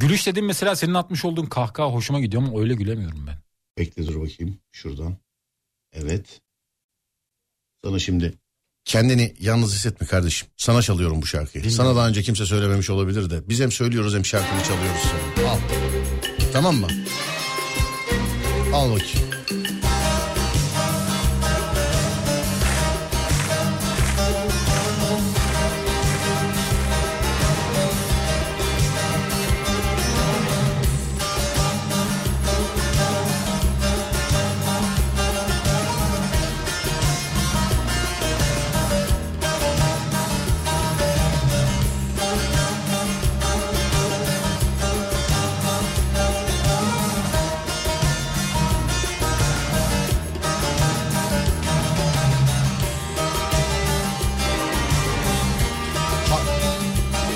S3: Gülüş dediğin mesela senin atmış olduğun kahkaha hoşuma gidiyor ama öyle gülemiyorum ben.
S2: Bekle dur bakayım şuradan. Evet. Sana şimdi kendini yalnız hissetme kardeşim. Sana çalıyorum bu şarkıyı.
S3: Dinliyorum.
S2: Sana daha önce kimse söylememiş olabilir de. Biz hem söylüyoruz hem şarkıyı çalıyoruz sana. Al. Tamam mı? Al bakayım.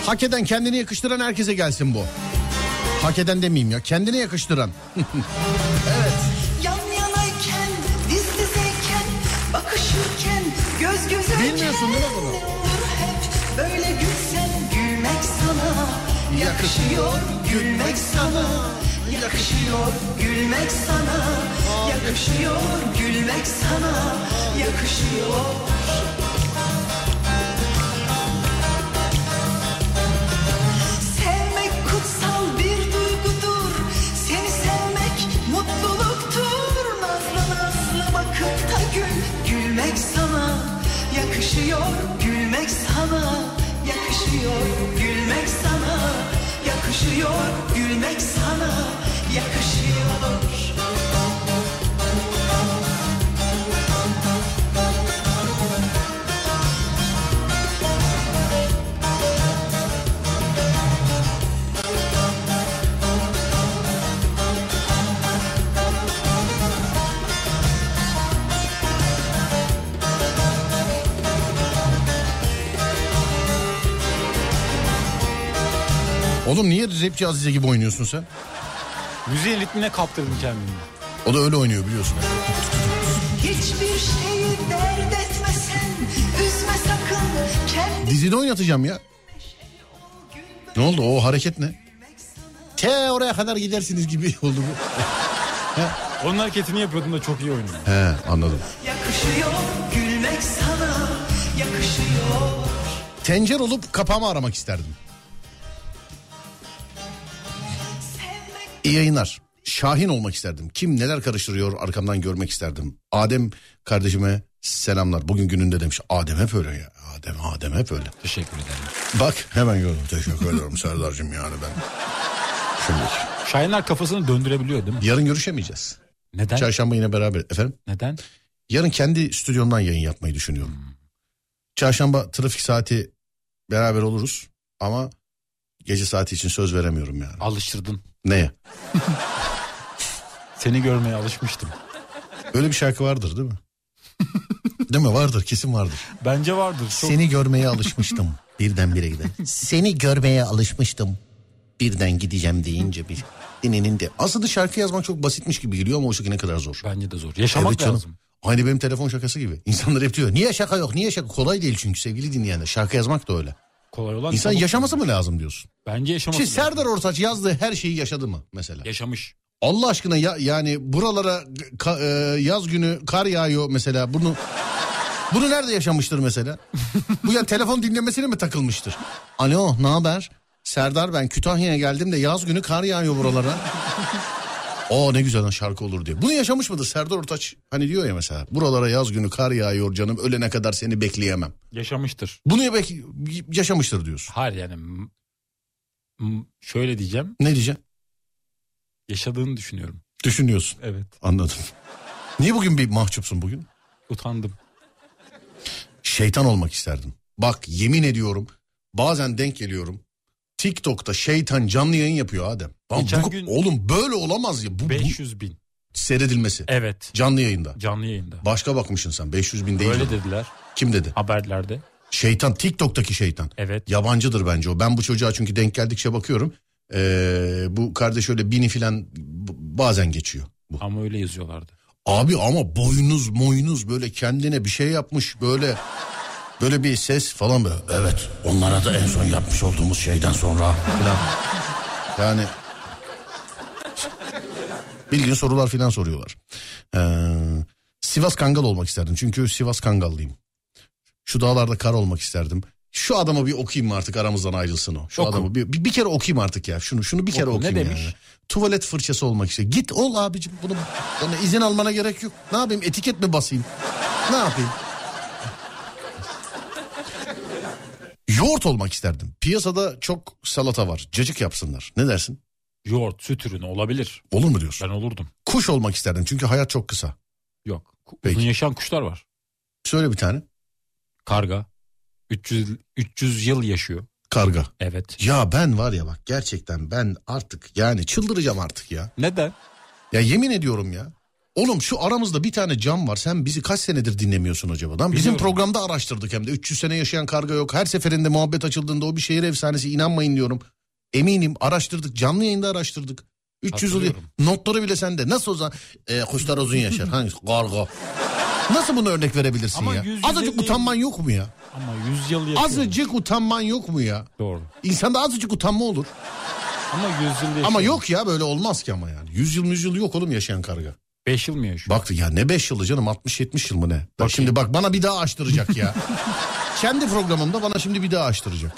S2: Hak eden kendine yakıştıran herkese gelsin bu. Hak eden demeyeyim ya. Kendine yakıştıran.
S5: Yan yanayken, diz dizeyken, bakışırken, göz gözeyken
S2: Bilmiyorsun değil mi bunu?
S5: Hep böyle gülsen gülmek sana Yakışıyor gülmek sana Yakışıyor gülmek sana Yakışıyor gülmek sana Yakışıyor Sevmek kutsal bir duygudur. Seni sevmek mutluluktur. Nazlı nazlı bakıp da gül. Gülmek sana yakışıyor. Gülmek sana yakışıyor. Gülmek sana yakışıyor. Gülmek sana yakışıyor.
S2: Oğlum niye rapçi Azize gibi oynuyorsun sen?
S3: Müziğin ritmine kaptırdım kendimi.
S2: O da öyle oynuyor biliyorsun.
S5: Hiçbir şeyi dert etmesen, üzme sakın kendini.
S2: Dizide oynatacağım ya. Ne oldu o hareket ne? T oraya kadar gidersiniz gibi oldu bu.
S3: Onun hareketini yapıyordum da çok iyi oynuyor.
S2: He anladım.
S5: Yakışıyor gülmek sana yakışıyor
S2: Tencere olup kapağımı aramak isterdim.
S5: sevmek
S2: İyi yayınlar. Şahin olmak isterdim. Kim neler karıştırıyor arkamdan görmek isterdim. Adem kardeşime selamlar. Bugün gününde demiş. Adem hep öyle ya. Adem, Adem hep öyle.
S3: Teşekkür ederim.
S2: Bak hemen gördüm. Teşekkür ederim Serdar'cığım yani ben. Şimdi
S3: Şahinler kafasını döndürebiliyor değil mi?
S2: yarın görüşemeyeceğiz.
S3: Neden?
S2: Çarşamba yine beraber. Efendim?
S3: Neden?
S2: Yarın kendi stüdyomdan yayın yapmayı düşünüyorum.
S3: Hmm.
S2: Çarşamba trafik saati beraber oluruz ama gece saati için söz veremiyorum yani.
S3: Alıştırdın.
S2: Neye?
S3: Seni görmeye alışmıştım.
S2: Öyle bir şarkı vardır değil mi? değil mi? Vardır kesin vardır.
S3: Bence vardır. Çok...
S2: Seni görmeye alışmıştım. Birdenbire gider. Seni görmeye alışmıştım. Birden gideceğim deyince bir dininin de. Aslında şarkı yazmak çok basitmiş gibi geliyor ama oysa ki ne kadar zor.
S3: Bence de zor. Yaşamak
S2: Evet canım.
S3: lazım.
S2: Aynı benim telefon şakası gibi. İnsanlar hep diyor niye şaka yok niye şaka kolay değil çünkü sevgili dinleyenler şarkı yazmak da öyle.
S3: Kolay olan
S2: İnsan
S3: çabuk-
S2: yaşaması mı lazım diyorsun?
S3: Bence yaşaması.
S2: Şimdi
S3: lazım.
S2: Serdar Ortaç yazdığı her şeyi yaşadı mı mesela?
S3: yaşamış.
S2: Allah aşkına ya, yani buralara ka- e, yaz günü kar yağıyor mesela bunu bunu nerede yaşamıştır mesela? Bu ya telefon dinlemesine mi takılmıştır? Alo ne haber? Serdar ben Kütahya'ya geldim de yaz günü kar yağıyor buralara. O ne güzel lan şarkı olur diye. Bunu yaşamış mıdır Serdar Ortaç? Hani diyor ya mesela buralara yaz günü kar yağıyor canım ölene kadar seni bekleyemem.
S3: Yaşamıştır.
S2: Bunu ya bek- yaşamıştır diyorsun.
S3: Hayır yani m- m- şöyle diyeceğim.
S2: Ne diyeceğim?
S3: Yaşadığını düşünüyorum.
S2: Düşünüyorsun.
S3: Evet.
S2: Anladım. Niye bugün bir mahcupsun bugün?
S3: Utandım.
S2: Şeytan olmak isterdim. Bak yemin ediyorum bazen denk geliyorum. TikTok'ta şeytan canlı yayın yapıyor Adem. Lan
S3: Geçen
S2: bu-
S3: gün-
S2: Oğlum böyle olamaz ya. Bu, bu
S3: 500 bin.
S2: seyredilmesi.
S3: Evet.
S2: Canlı yayında.
S3: Canlı yayında.
S2: Başka bakmışsın sen 500 bin değil.
S3: Öyle dediler
S2: Kim dedi?
S3: haberlerde.
S2: Şeytan TikTok'taki şeytan.
S3: Evet.
S2: Yabancıdır bence o. Ben bu çocuğa çünkü denk geldikçe bakıyorum. Ee, bu kardeş öyle bini filan b- bazen geçiyor. Bu.
S3: Ama öyle yazıyorlardı.
S2: Abi ama boynuz moynuz böyle kendine bir şey yapmış böyle böyle bir ses falan böyle. Evet onlara da en son yapmış olduğumuz şeyden sonra falan. Yani bilgin sorular falan soruyorlar. Ee, Sivas Kangal olmak isterdim çünkü Sivas Kangallıyım. Şu dağlarda kar olmak isterdim. Şu adamı bir okuyayım mı artık aramızdan ayrılsın o. Şu
S3: Oku.
S2: adamı bir, bir, bir kere okuyayım artık ya. Şunu şunu bir kere
S3: Oku. Ne
S2: okuyayım
S3: demiş?
S2: yani. Tuvalet fırçası olmak istiyor. Git ol abicim. Bunu yani izin almana gerek yok. Ne yapayım? Etiket mi basayım? Ne yapayım? Yoğurt olmak isterdim. Piyasada çok salata var. Cacık yapsınlar. Ne dersin?
S3: Yoğurt, süt ürünü olabilir.
S2: Olur mu diyorsun?
S3: Ben olurdum.
S2: Kuş olmak isterdim çünkü hayat çok kısa.
S3: Yok. Ku-
S2: Peki.
S3: Uzun yaşayan kuşlar var.
S2: Söyle bir tane.
S3: Karga. 300 300 yıl yaşıyor.
S2: Karga.
S3: Evet.
S2: Ya ben var ya bak gerçekten ben artık yani çıldıracağım artık ya.
S3: Neden?
S2: Ya yemin ediyorum ya. Oğlum şu aramızda bir tane cam var. Sen bizi kaç senedir dinlemiyorsun acaba? Lan bizim
S3: Biliyorum.
S2: programda araştırdık hem de. 300 sene yaşayan karga yok. Her seferinde muhabbet açıldığında o bir şehir efsanesi inanmayın diyorum. Eminim araştırdık. Canlı yayında araştırdık. 300 yıl.
S3: Hatırlıyorum.
S2: Notları bile sende. Nasıl o zaman? Ee, kuşlar uzun yaşar. Hangisi? Karga. Nasıl bunu örnek verebilirsin
S3: Ama
S2: ya?
S3: yüz yüze
S2: Azıcık
S3: değil.
S2: utanman yok mu ya?
S3: Ama 100 yıl yaşıyor.
S2: Azıcık utanman yok mu ya?
S3: Doğru.
S2: İnsanda azıcık utanma olur.
S3: Ama 100 yıl yaşıyor.
S2: Ama yok ya böyle olmaz ki ama yani. 100 yıl 100 yıl yok oğlum yaşayan karga.
S3: 5 yıl mı yaşıyor?
S2: Baktı ya ne 5 yılı canım 60-70 yıl mı ne? Bak şimdi bak bana bir daha açtıracak ya. Kendi programımda bana şimdi bir daha açtıracak.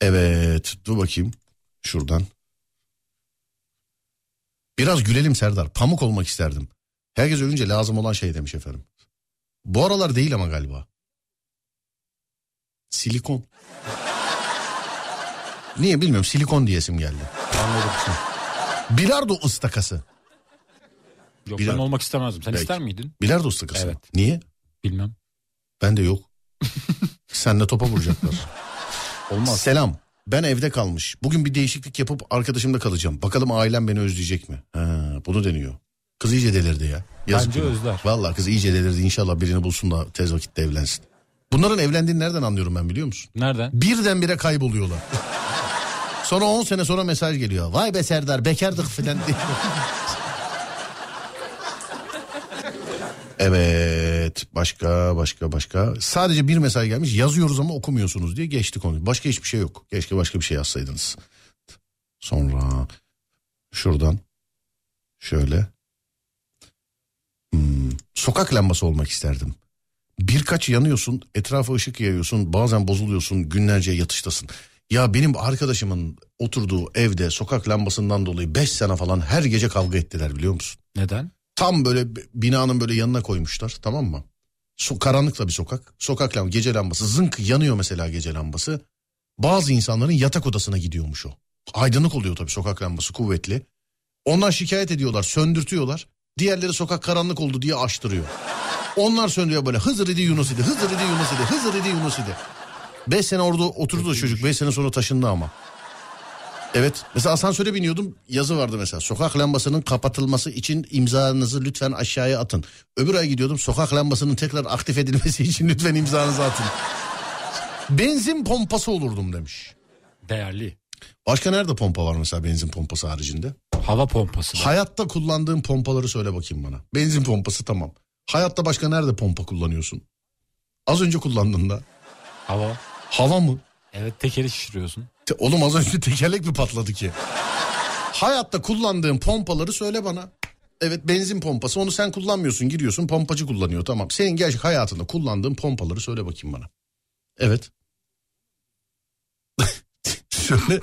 S2: Evet dur bakayım şuradan. Biraz gülelim Serdar. Pamuk olmak isterdim. Herkes ölünce lazım olan şey demiş efendim. Bu aralar değil ama galiba. Silikon. Niye bilmiyorum silikon diyesim geldi.
S3: Anladım.
S2: Bilardo ıstakası.
S3: Yok
S2: Bir
S3: ben
S2: dakika.
S3: olmak istemezdim. Sen
S2: Peki.
S3: ister miydin?
S2: Bilardo ıstakası.
S3: Evet.
S2: Niye?
S3: Bilmem.
S2: Ben de yok. Senle topa vuracaklar.
S3: Olmaz.
S2: Selam. Ben evde kalmış. Bugün bir değişiklik yapıp arkadaşımda kalacağım. Bakalım ailem beni özleyecek mi? Ha, bunu deniyor. Kız iyice delirdi ya.
S3: Bence
S2: günah.
S3: özler.
S2: Vallahi kız iyice delirdi. İnşallah birini bulsun da tez vakitte evlensin. Bunların evlendiğini nereden anlıyorum ben biliyor musun?
S3: Nereden?
S2: Birdenbire kayboluyorlar. sonra 10 sene sonra mesaj geliyor. Vay be Serdar bekardık filan diye. evet başka başka başka. Sadece bir mesaj gelmiş yazıyoruz ama okumuyorsunuz diye geçti konu. Başka hiçbir şey yok. Keşke başka bir şey yazsaydınız. Sonra şuradan şöyle. Hmm, sokak lambası olmak isterdim. Birkaç yanıyorsun, etrafa ışık yayıyorsun, bazen bozuluyorsun, günlerce yatıştasın. Ya benim arkadaşımın oturduğu evde sokak lambasından dolayı 5 sene falan her gece kavga ettiler biliyor musun?
S3: Neden?
S2: Tam böyle b- binanın böyle yanına koymuşlar tamam mı? So karanlıkla bir sokak. Sokak lambası, gece lambası zınk yanıyor mesela gece lambası. Bazı insanların yatak odasına gidiyormuş o. Aydınlık oluyor tabii sokak lambası kuvvetli. Onlar şikayet ediyorlar, söndürtüyorlar. Diğerleri sokak karanlık oldu diye açtırıyor. Onlar söndürüyor böyle Hızır idi Yunus idi, Hızır idi Yunus idi, Hızır idi Yunus idi. Beş sene orada oturdu da çocuk, beş sene sonra taşındı ama. Evet. Mesela asansöre biniyordum. Yazı vardı mesela. Sokak lambasının kapatılması için imzanızı lütfen aşağıya atın. Öbür ay gidiyordum. Sokak lambasının tekrar aktif edilmesi için lütfen imzanızı atın. Benzin pompası olurdum demiş.
S3: Değerli.
S2: Başka nerede pompa var mesela benzin pompası haricinde?
S3: Hava pompası. var.
S2: Hayatta kullandığın pompaları söyle bakayım bana. Benzin pompası tamam. Hayatta başka nerede pompa kullanıyorsun? Az önce kullandın da.
S3: Hava.
S2: Hava mı?
S3: Evet tekeri şişiriyorsun.
S2: Te- Oğlum az önce tekerlek mi patladı ki? Hayatta kullandığın pompaları söyle bana. Evet benzin pompası onu sen kullanmıyorsun giriyorsun pompacı kullanıyor tamam. Senin gerçek hayatında kullandığın pompaları söyle bakayım bana. Evet. söyle.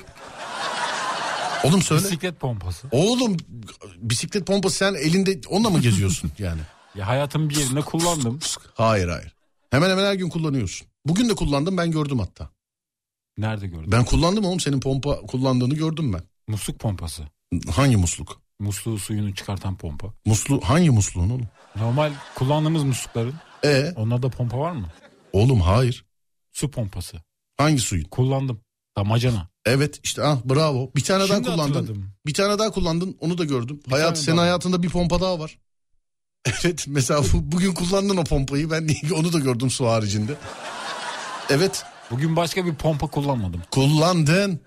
S2: Oğlum söyle.
S3: Bisiklet pompası.
S2: Oğlum bisiklet pompası sen elinde onunla mı geziyorsun yani?
S3: Ya hayatımın bir yerinde kullandım.
S2: Hayır hayır. Hemen hemen her gün kullanıyorsun. Bugün de kullandım ben gördüm hatta.
S3: Nerede gördün?
S2: Ben kullandım oğlum senin pompa kullandığını gördüm ben.
S3: Musluk pompası.
S2: Hangi musluk?
S3: Musluğu suyunu çıkartan pompa.
S2: Muslu hangi musluğun oğlum?
S3: Normal kullandığımız muslukların
S2: E
S3: onlarda pompa var mı?
S2: oğlum hayır.
S3: Su pompası.
S2: Hangi suyun?
S3: Kullandım. Damacana.
S2: Evet işte ah bravo. Bir tane daha
S3: Şimdi
S2: kullandın.
S3: hatırladım.
S2: Bir tane daha kullandın onu da gördüm.
S3: Bir
S2: Hayat
S3: tane
S2: senin
S3: daha.
S2: hayatında bir pompa daha var. Evet mesela bu- bugün kullandın o pompayı ben onu da gördüm su haricinde. Evet
S3: Bugün başka bir pompa kullanmadım.
S2: kullandın.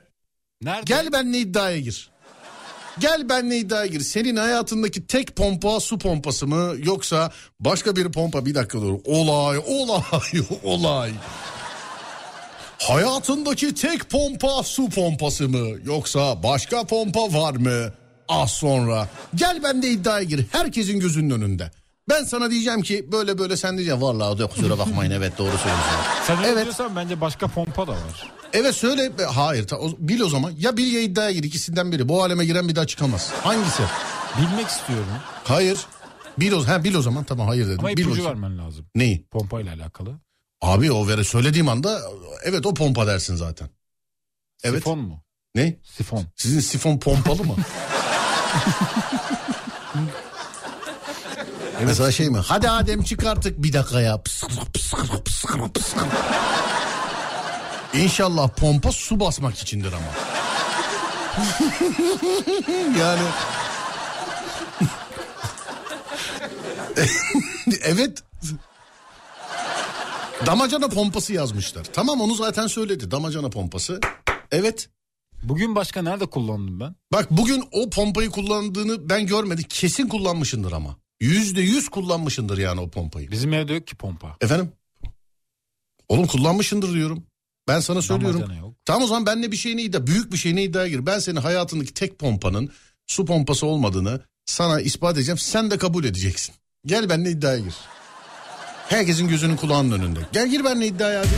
S3: Nerede?
S2: Gel benle iddiaya gir. Gel benle iddiaya gir. Senin hayatındaki tek pompa su pompası mı yoksa başka bir pompa bir dakika dur. Olay olay olay. Hayatındaki tek pompa su pompası mı yoksa başka pompa var mı? Az sonra gel ben de iddiaya gir herkesin gözünün önünde. Ben sana diyeceğim ki böyle böyle sen diyeceksin vallahi yok kusura bakmayın evet doğru söylüyorsun.
S3: Sen öyle
S2: Evet.
S3: diyorsan bence başka pompa da var.
S2: Evet söyle. Be- Hayır. ta- o- Bil o zaman. Ya bil ya iddiaya gir. ikisinden biri. Bu aleme giren bir daha çıkamaz. Hangisi?
S3: Bilmek istiyorum.
S2: Hayır. Bil o, ha, bil o zaman. Tamam hayır dedim.
S3: Ama
S2: bil
S3: ipucu
S2: bakayım.
S3: vermen lazım.
S2: Neyi?
S3: Pompa ile alakalı.
S2: Abi o vere söylediğim anda evet o pompa dersin zaten. Evet.
S3: Sifon mu?
S2: Ne?
S3: Sifon.
S2: Sizin sifon pompalı mı? Mesela şey mi? Hadi Adem çıkarttık bir dakika ya. Pıskırık, pıskırık, pıskırık, pıskırık. İnşallah pompa su basmak içindir ama. yani evet damacana pompası yazmışlar. Tamam onu zaten söyledi. Damacana pompası. Evet.
S3: Bugün başka nerede kullandım ben?
S2: Bak bugün o pompayı kullandığını ben görmedim. Kesin kullanmışındır ama. Yüzde yüz kullanmışındır yani o pompayı.
S3: Bizim evde yok ki pompa.
S2: Efendim? Oğlum kullanmışındır diyorum. Ben sana söylüyorum.
S3: Damacana yok.
S2: Tamam o zaman benle bir şeyini iddia, büyük bir şeyini iddia gir. Ben senin hayatındaki tek pompanın su pompası olmadığını sana ispat edeceğim. Sen de kabul edeceksin. Gel benimle iddiaya gir. Herkesin gözünün kulağının önünde. Gel gir benimle iddiaya hadi.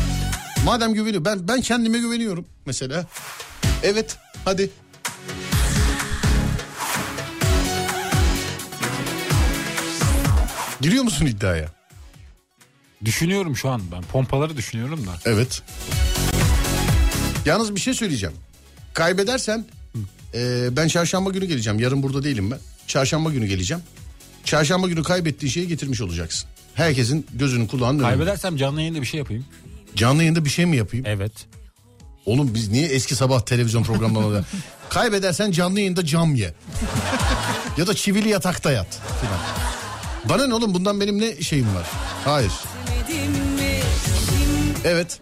S2: Madem güveniyor ben ben kendime güveniyorum mesela. Evet hadi. Giriyor musun iddiaya?
S3: Düşünüyorum şu an ben. Pompaları düşünüyorum da.
S2: Evet. Yalnız bir şey söyleyeceğim. Kaybedersen eee, ben çarşamba günü geleceğim. Yarın burada değilim ben. Çarşamba günü geleceğim. Çarşamba günü kaybettiğin şeyi getirmiş olacaksın. Herkesin gözünün kulağının önünde.
S3: Kaybedersem canlı yayında bir şey yapayım.
S2: Canlı yayında bir şey mi yapayım?
S3: Evet.
S2: Oğlum biz niye eski sabah televizyon programlarına da- Kaybedersen canlı yayında cam ye. ya da çivili yatakta yat. filan. Bana ne oğlum bundan benim ne şeyim var? Hayır. Evet.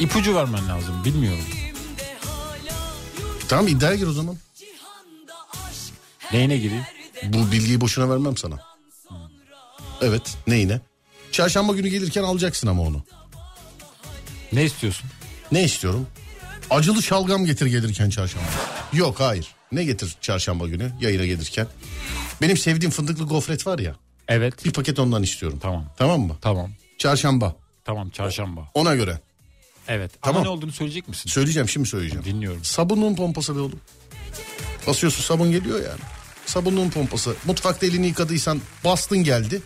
S3: İpucu vermen lazım. Bilmiyorum.
S2: Tamam iddiaya gir o zaman.
S3: Neyine gireyim?
S2: Bu bilgiyi boşuna vermem sana. Evet neyine? Çarşamba günü gelirken alacaksın ama onu.
S3: Ne istiyorsun?
S2: Ne istiyorum? Acılı şalgam getir gelirken çarşamba. Yok hayır. Ne getir çarşamba günü yayına gelirken? Benim sevdiğim fındıklı gofret var ya.
S3: Evet.
S2: Bir paket ondan istiyorum.
S3: Tamam.
S2: Tamam mı?
S3: Tamam.
S2: Çarşamba.
S3: Tamam çarşamba.
S2: Ona göre.
S3: Evet.
S2: Tamam.
S3: Ama ne olduğunu söyleyecek misin?
S2: Söyleyeceğim şimdi söyleyeceğim.
S3: Dinliyorum.
S2: Sabunluğun pompası be oğlum. Basıyorsun sabun geliyor yani. Sabunluğun pompası. Mutfakta elini yıkadıysan bastın geldi.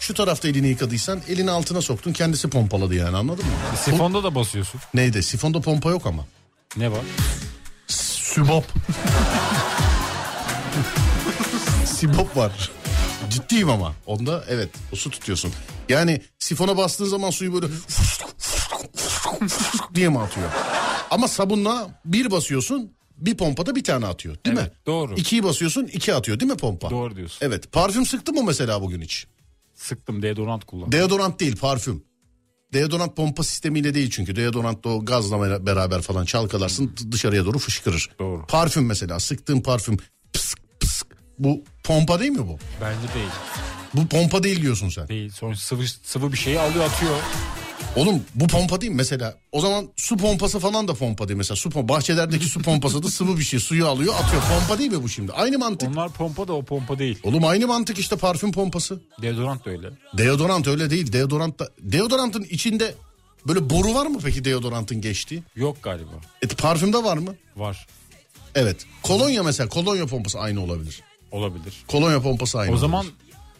S2: Şu tarafta elini yıkadıysan elini altına soktun kendisi pompaladı yani anladın mı?
S3: Sifonda da basıyorsun.
S2: Neydi? Sifonda pompa yok ama.
S3: Ne var?
S2: Sübop. Sibop var. Ciddiyim ama. Onda evet o su tutuyorsun. Yani sifona bastığın zaman suyu böyle diye mi atıyor? Ama sabunla bir basıyorsun bir pompada bir tane atıyor değil mi?
S3: Evet, doğru.
S2: İkiyi basıyorsun iki atıyor değil mi pompa?
S3: Doğru diyorsun.
S2: Evet parfüm sıktın mı mesela bugün hiç?
S3: Sıktım deodorant kullan.
S2: Deodorant değil parfüm. Deodorant pompa sistemiyle değil çünkü. Deodorant da o gazla beraber falan çalkalarsın d- dışarıya doğru fışkırır.
S3: Doğru.
S2: Parfüm mesela sıktığın parfüm pısk pısk. Bu pompa değil mi bu?
S3: Bence değil.
S2: Bu pompa değil diyorsun sen.
S3: Değil. Sonra sıvı, sıvı bir şeyi alıyor atıyor.
S2: Oğlum bu pompa değil mi mesela? O zaman su pompası falan da pompa değil mesela. Su pom- bahçelerdeki su pompası da sıvı bir şey. Suyu alıyor atıyor. Pompa değil mi bu şimdi? Aynı mantık.
S3: Onlar pompa da o pompa değil.
S2: Oğlum aynı mantık işte parfüm pompası.
S3: Deodorant da öyle.
S2: Deodorant öyle değil. Deodorant da... Deodorantın içinde böyle boru var mı peki deodorantın geçtiği?
S3: Yok galiba.
S2: E, parfümde var mı?
S3: Var.
S2: Evet. Kolonya mesela kolonya pompası aynı olabilir.
S3: Olabilir.
S2: Kolonya pompası aynı.
S3: O zaman
S2: olabilir.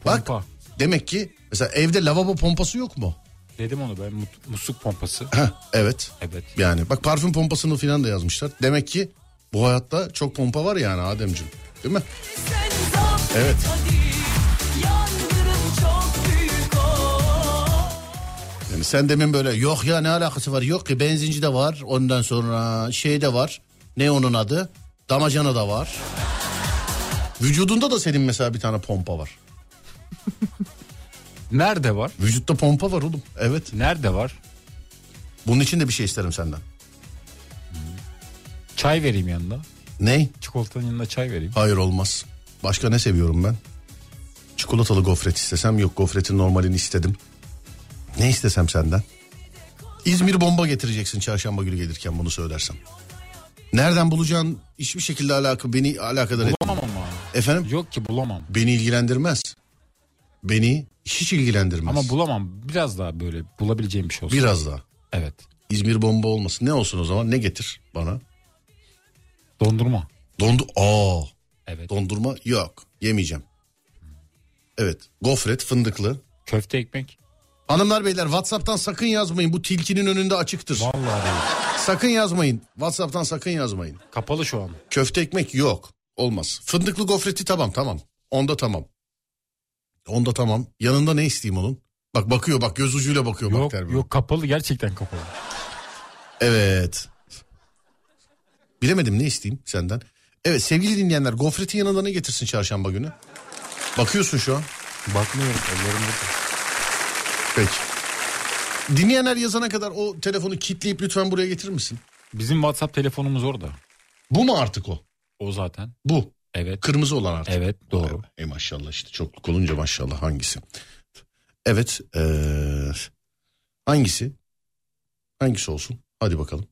S2: bak
S3: pompa.
S2: demek ki mesela evde lavabo pompası yok mu?
S3: Dedim onu ben mut- musluk pompası.
S2: Heh, evet.
S3: Evet.
S2: Yani bak parfüm pompasını filan da yazmışlar. Demek ki bu hayatta çok pompa var yani Ademciğim. Değil mi?
S5: Sen zapt
S2: Evet.
S5: et hadi. Yangının çok büyük o.
S2: Yani sen demin böyle yok ya ne alakası var yok ki benzinci de var ondan sonra şey de var ne onun adı damacana da var. Vücudunda da senin mesela bir tane pompa var.
S3: Nerede var?
S2: Vücutta pompa var oğlum. Evet.
S3: Nerede var?
S2: Bunun için de bir şey isterim senden.
S3: Çay vereyim yanında.
S2: Ney?
S3: Çikolatanın yanında çay vereyim.
S2: Hayır olmaz. Başka ne seviyorum ben? Çikolatalı gofret istesem yok gofretin normalini istedim. Ne istesem senden? İzmir bomba getireceksin çarşamba günü gelirken bunu söylersem. Nereden bulacağın hiçbir şekilde alaka beni alakadar et.
S3: Bulamam ama.
S2: Efendim
S3: Yok ki bulamam.
S2: beni ilgilendirmez. Beni hiç ilgilendirmez.
S3: Ama bulamam. Biraz daha böyle bulabileceğim bir şey olsun.
S2: Biraz daha.
S3: Evet.
S2: İzmir bomba olmasın. Ne olsun o zaman? Ne getir bana?
S3: Dondurma.
S2: Dondu. Aa.
S3: Evet.
S2: Dondurma yok. Yemeyeceğim. Evet. Gofret fındıklı.
S3: Köfte ekmek.
S2: Hanımlar beyler WhatsApp'tan sakın yazmayın. Bu tilkinin önünde açıktır.
S3: Vallahi değil.
S2: Sakın yazmayın. WhatsApp'tan sakın yazmayın.
S3: Kapalı şu an.
S2: Köfte ekmek yok. Olmaz. Fındıklı gofreti tamam tamam. Onda tamam. Onda tamam. Yanında ne isteyeyim onun? Bak bakıyor bak göz ucuyla bakıyor bak
S3: Yok
S2: terbiye.
S3: yok kapalı gerçekten kapalı.
S2: Evet. Bilemedim ne isteyeyim senden. Evet sevgili dinleyenler gofretin yanında ne getirsin çarşamba günü? Bakıyorsun şu an.
S3: Bakmıyorum ellerim burada.
S2: Peki. Dinleyenler yazana kadar o telefonu kitleyip lütfen buraya getirir misin?
S3: Bizim WhatsApp telefonumuz orada.
S2: Bu mu artık o?
S3: O zaten.
S2: Bu.
S3: Evet.
S2: Kırmızı olan artık.
S3: Evet doğru.
S2: E maşallah işte çokluk olunca maşallah hangisi? Evet. eee, hangisi? Hangisi olsun? Hadi bakalım.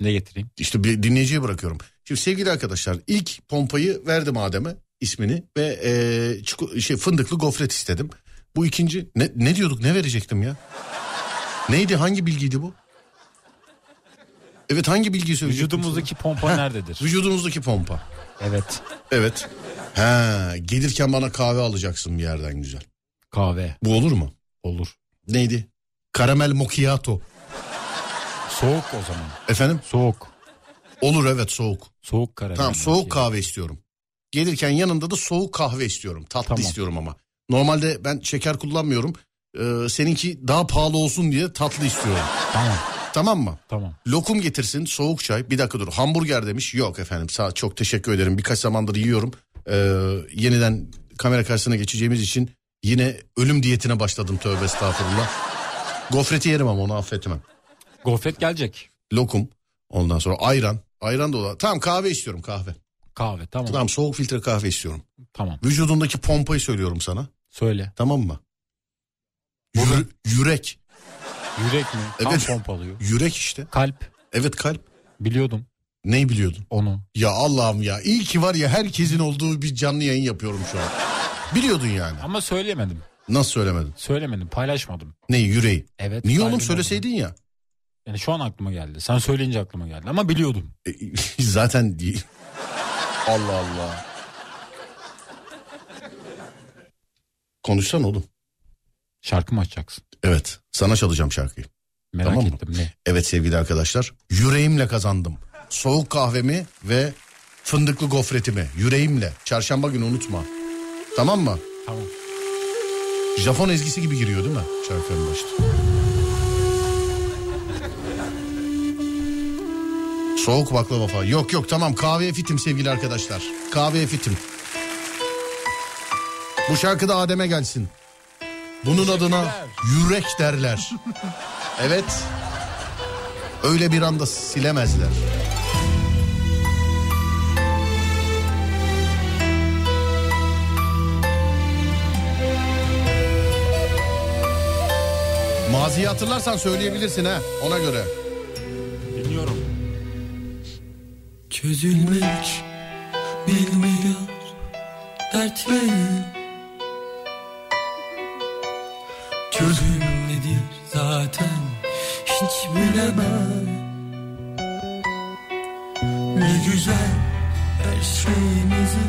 S3: Ne getireyim?
S2: İşte bir dinleyiciye bırakıyorum. Şimdi sevgili arkadaşlar ilk pompayı verdim Adem'e ismini ve eee, çiko- şey fındıklı gofret istedim. Bu ikinci ne, ne diyorduk ne verecektim ya? Neydi hangi bilgiydi bu? Evet hangi bilgiyi söyleyecektim?
S3: Vücudumuzdaki pompa
S2: sana?
S3: nerededir?
S2: Vücudumuzdaki pompa.
S3: Evet.
S2: Evet. He, gelirken bana kahve alacaksın bir yerden güzel.
S3: Kahve.
S2: Bu olur mu?
S3: Olur.
S2: Neydi? Karamel macchiato.
S3: Soğuk o zaman.
S2: Efendim?
S3: Soğuk.
S2: Olur evet soğuk.
S3: Soğuk karamel.
S2: Tamam soğuk
S3: kahve.
S2: kahve istiyorum. Gelirken yanında da soğuk kahve istiyorum. Tatlı
S3: Tamam.
S2: istiyorum ama. Normalde ben şeker kullanmıyorum. Ee, seninki daha pahalı olsun diye tatlı istiyorum.
S3: Tamam.
S2: tamam mı?
S3: Tamam.
S2: Lokum getirsin soğuk çay. Bir dakika dur hamburger demiş. Yok efendim sağ çok teşekkür ederim. Birkaç zamandır yiyorum. Ee, yeniden kamera karşısına geçeceğimiz için yine ölüm diyetine başladım tövbe estağfurullah. Gofreti yerim ama onu affetmem.
S3: Gofret gelecek.
S2: Lokum ondan sonra ayran. Ayran da olan. Tamam kahve istiyorum kahve.
S3: Kahve tamam. Tamam.
S2: Tamam soğuk filtre kahve istiyorum. Vücudundaki pompayı söylüyorum sana.
S3: Söyle.
S2: Tamam mı? Yürü- yürek.
S3: Yürek mi? Kan
S2: Evet.
S3: pompalıyor.
S2: Yürek işte.
S3: Kalp.
S2: Evet kalp.
S3: Biliyordum
S2: Neyi biliyordun?
S3: onu.
S2: Ya Allah'ım ya iyi ki var ya herkesin olduğu bir canlı yayın yapıyorum şu an. Biliyordun yani.
S3: Ama söylemedim.
S2: Nasıl söylemedin?
S3: Söylemedim. Paylaşmadım.
S2: Neyi yüreği?
S3: Evet.
S2: Niye
S3: saygı
S2: oğlum
S3: duydum.
S2: söyleseydin ya?
S3: Yani şu an aklıma geldi. Sen söyleyince aklıma geldi. Ama biliyordum.
S2: E, zaten değil. Allah Allah. Konuşsan oğlum.
S3: Şarkı mı açacaksın?
S2: Evet sana çalacağım şarkıyı.
S3: Merak
S2: Tamam mı?
S3: ettim. Ne?
S2: Evet sevgili arkadaşlar yüreğimle kazandım. Soğuk kahvemi ve fındıklı gofretimi yüreğimle. Çarşamba günü unutma. Tamam mı?
S3: Tamam.
S2: Japon ezgisi gibi giriyor değil mi şarkının başta? Soğuk baklava falan. Yok yok tamam kahveye fitim sevgili arkadaşlar. Kahveye fitim. Bu şarkı da Adem'e gelsin. Bunun adına yürek derler. evet. Öyle bir anda silemezler. Maziyi hatırlarsan söyleyebilirsin ha ona göre.
S3: Dinliyorum.
S1: Çözülmek bilmiyor dertlerim Çözüm nedir zaten hiç bilemem Ne güzel her şeyimizi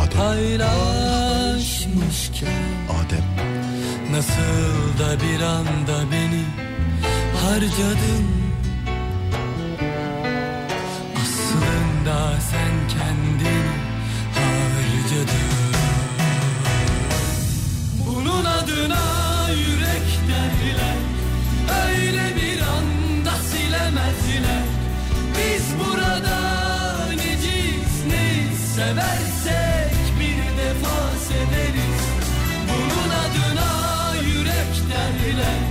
S2: Adem,
S1: paylaşmışken
S2: Adem.
S1: Nasıl da bir anda beni harcadın Aslında sen kendini harcadın Bunun adına yürek derler Öyle bir anda silemezler Biz burada neciz neyiz Seversek bir defa severiz bunun adına yürek derler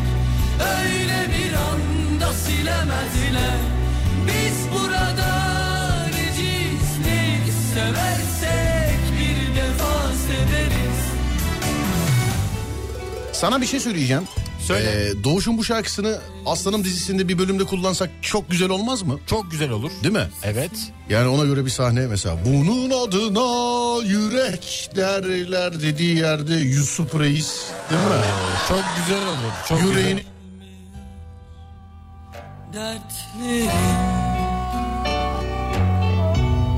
S1: Öyle bir anda silemezler Biz burada neciz neyiz Seversek bir defa severiz
S2: Sana bir şey söyleyeceğim.
S3: Söyle.
S2: Ee, Doğuş'un bu şarkısını Aslanım dizisinde bir bölümde kullansak çok güzel olmaz mı?
S3: Çok güzel olur.
S2: Değil mi?
S3: Evet.
S2: Yani ona göre bir sahne mesela. Bunun adına yürek derler dediği yerde Yusuf Reis değil mi?
S3: Çok güzel olur. Çok
S2: Yüreğin
S3: güzel.
S1: Dertlerin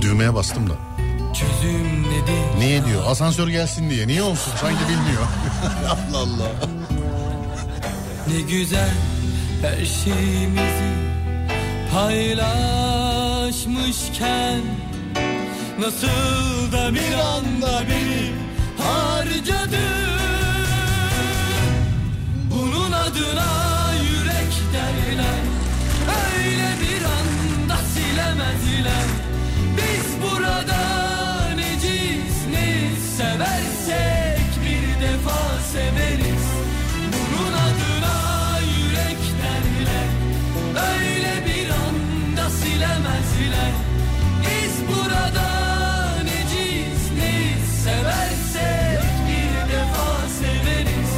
S2: düğmeye bastım da.
S1: çözüm nedir
S2: Niye diyor? Asansör gelsin diye. Niye olsun? Sanki bilmiyor. Allah Allah.
S1: Ne güzel her şeyimizi paylaşmışken Nasıl da bir anda beni harcadın Bunun adına yürek derler Öyle bir anda silemezler Biz burada neciz neyiz Seversek bir defa severiz Bunun adına yürek derler Öyle bir anda silemezler Biz burada neciz neyiz Seversek bir defa severiz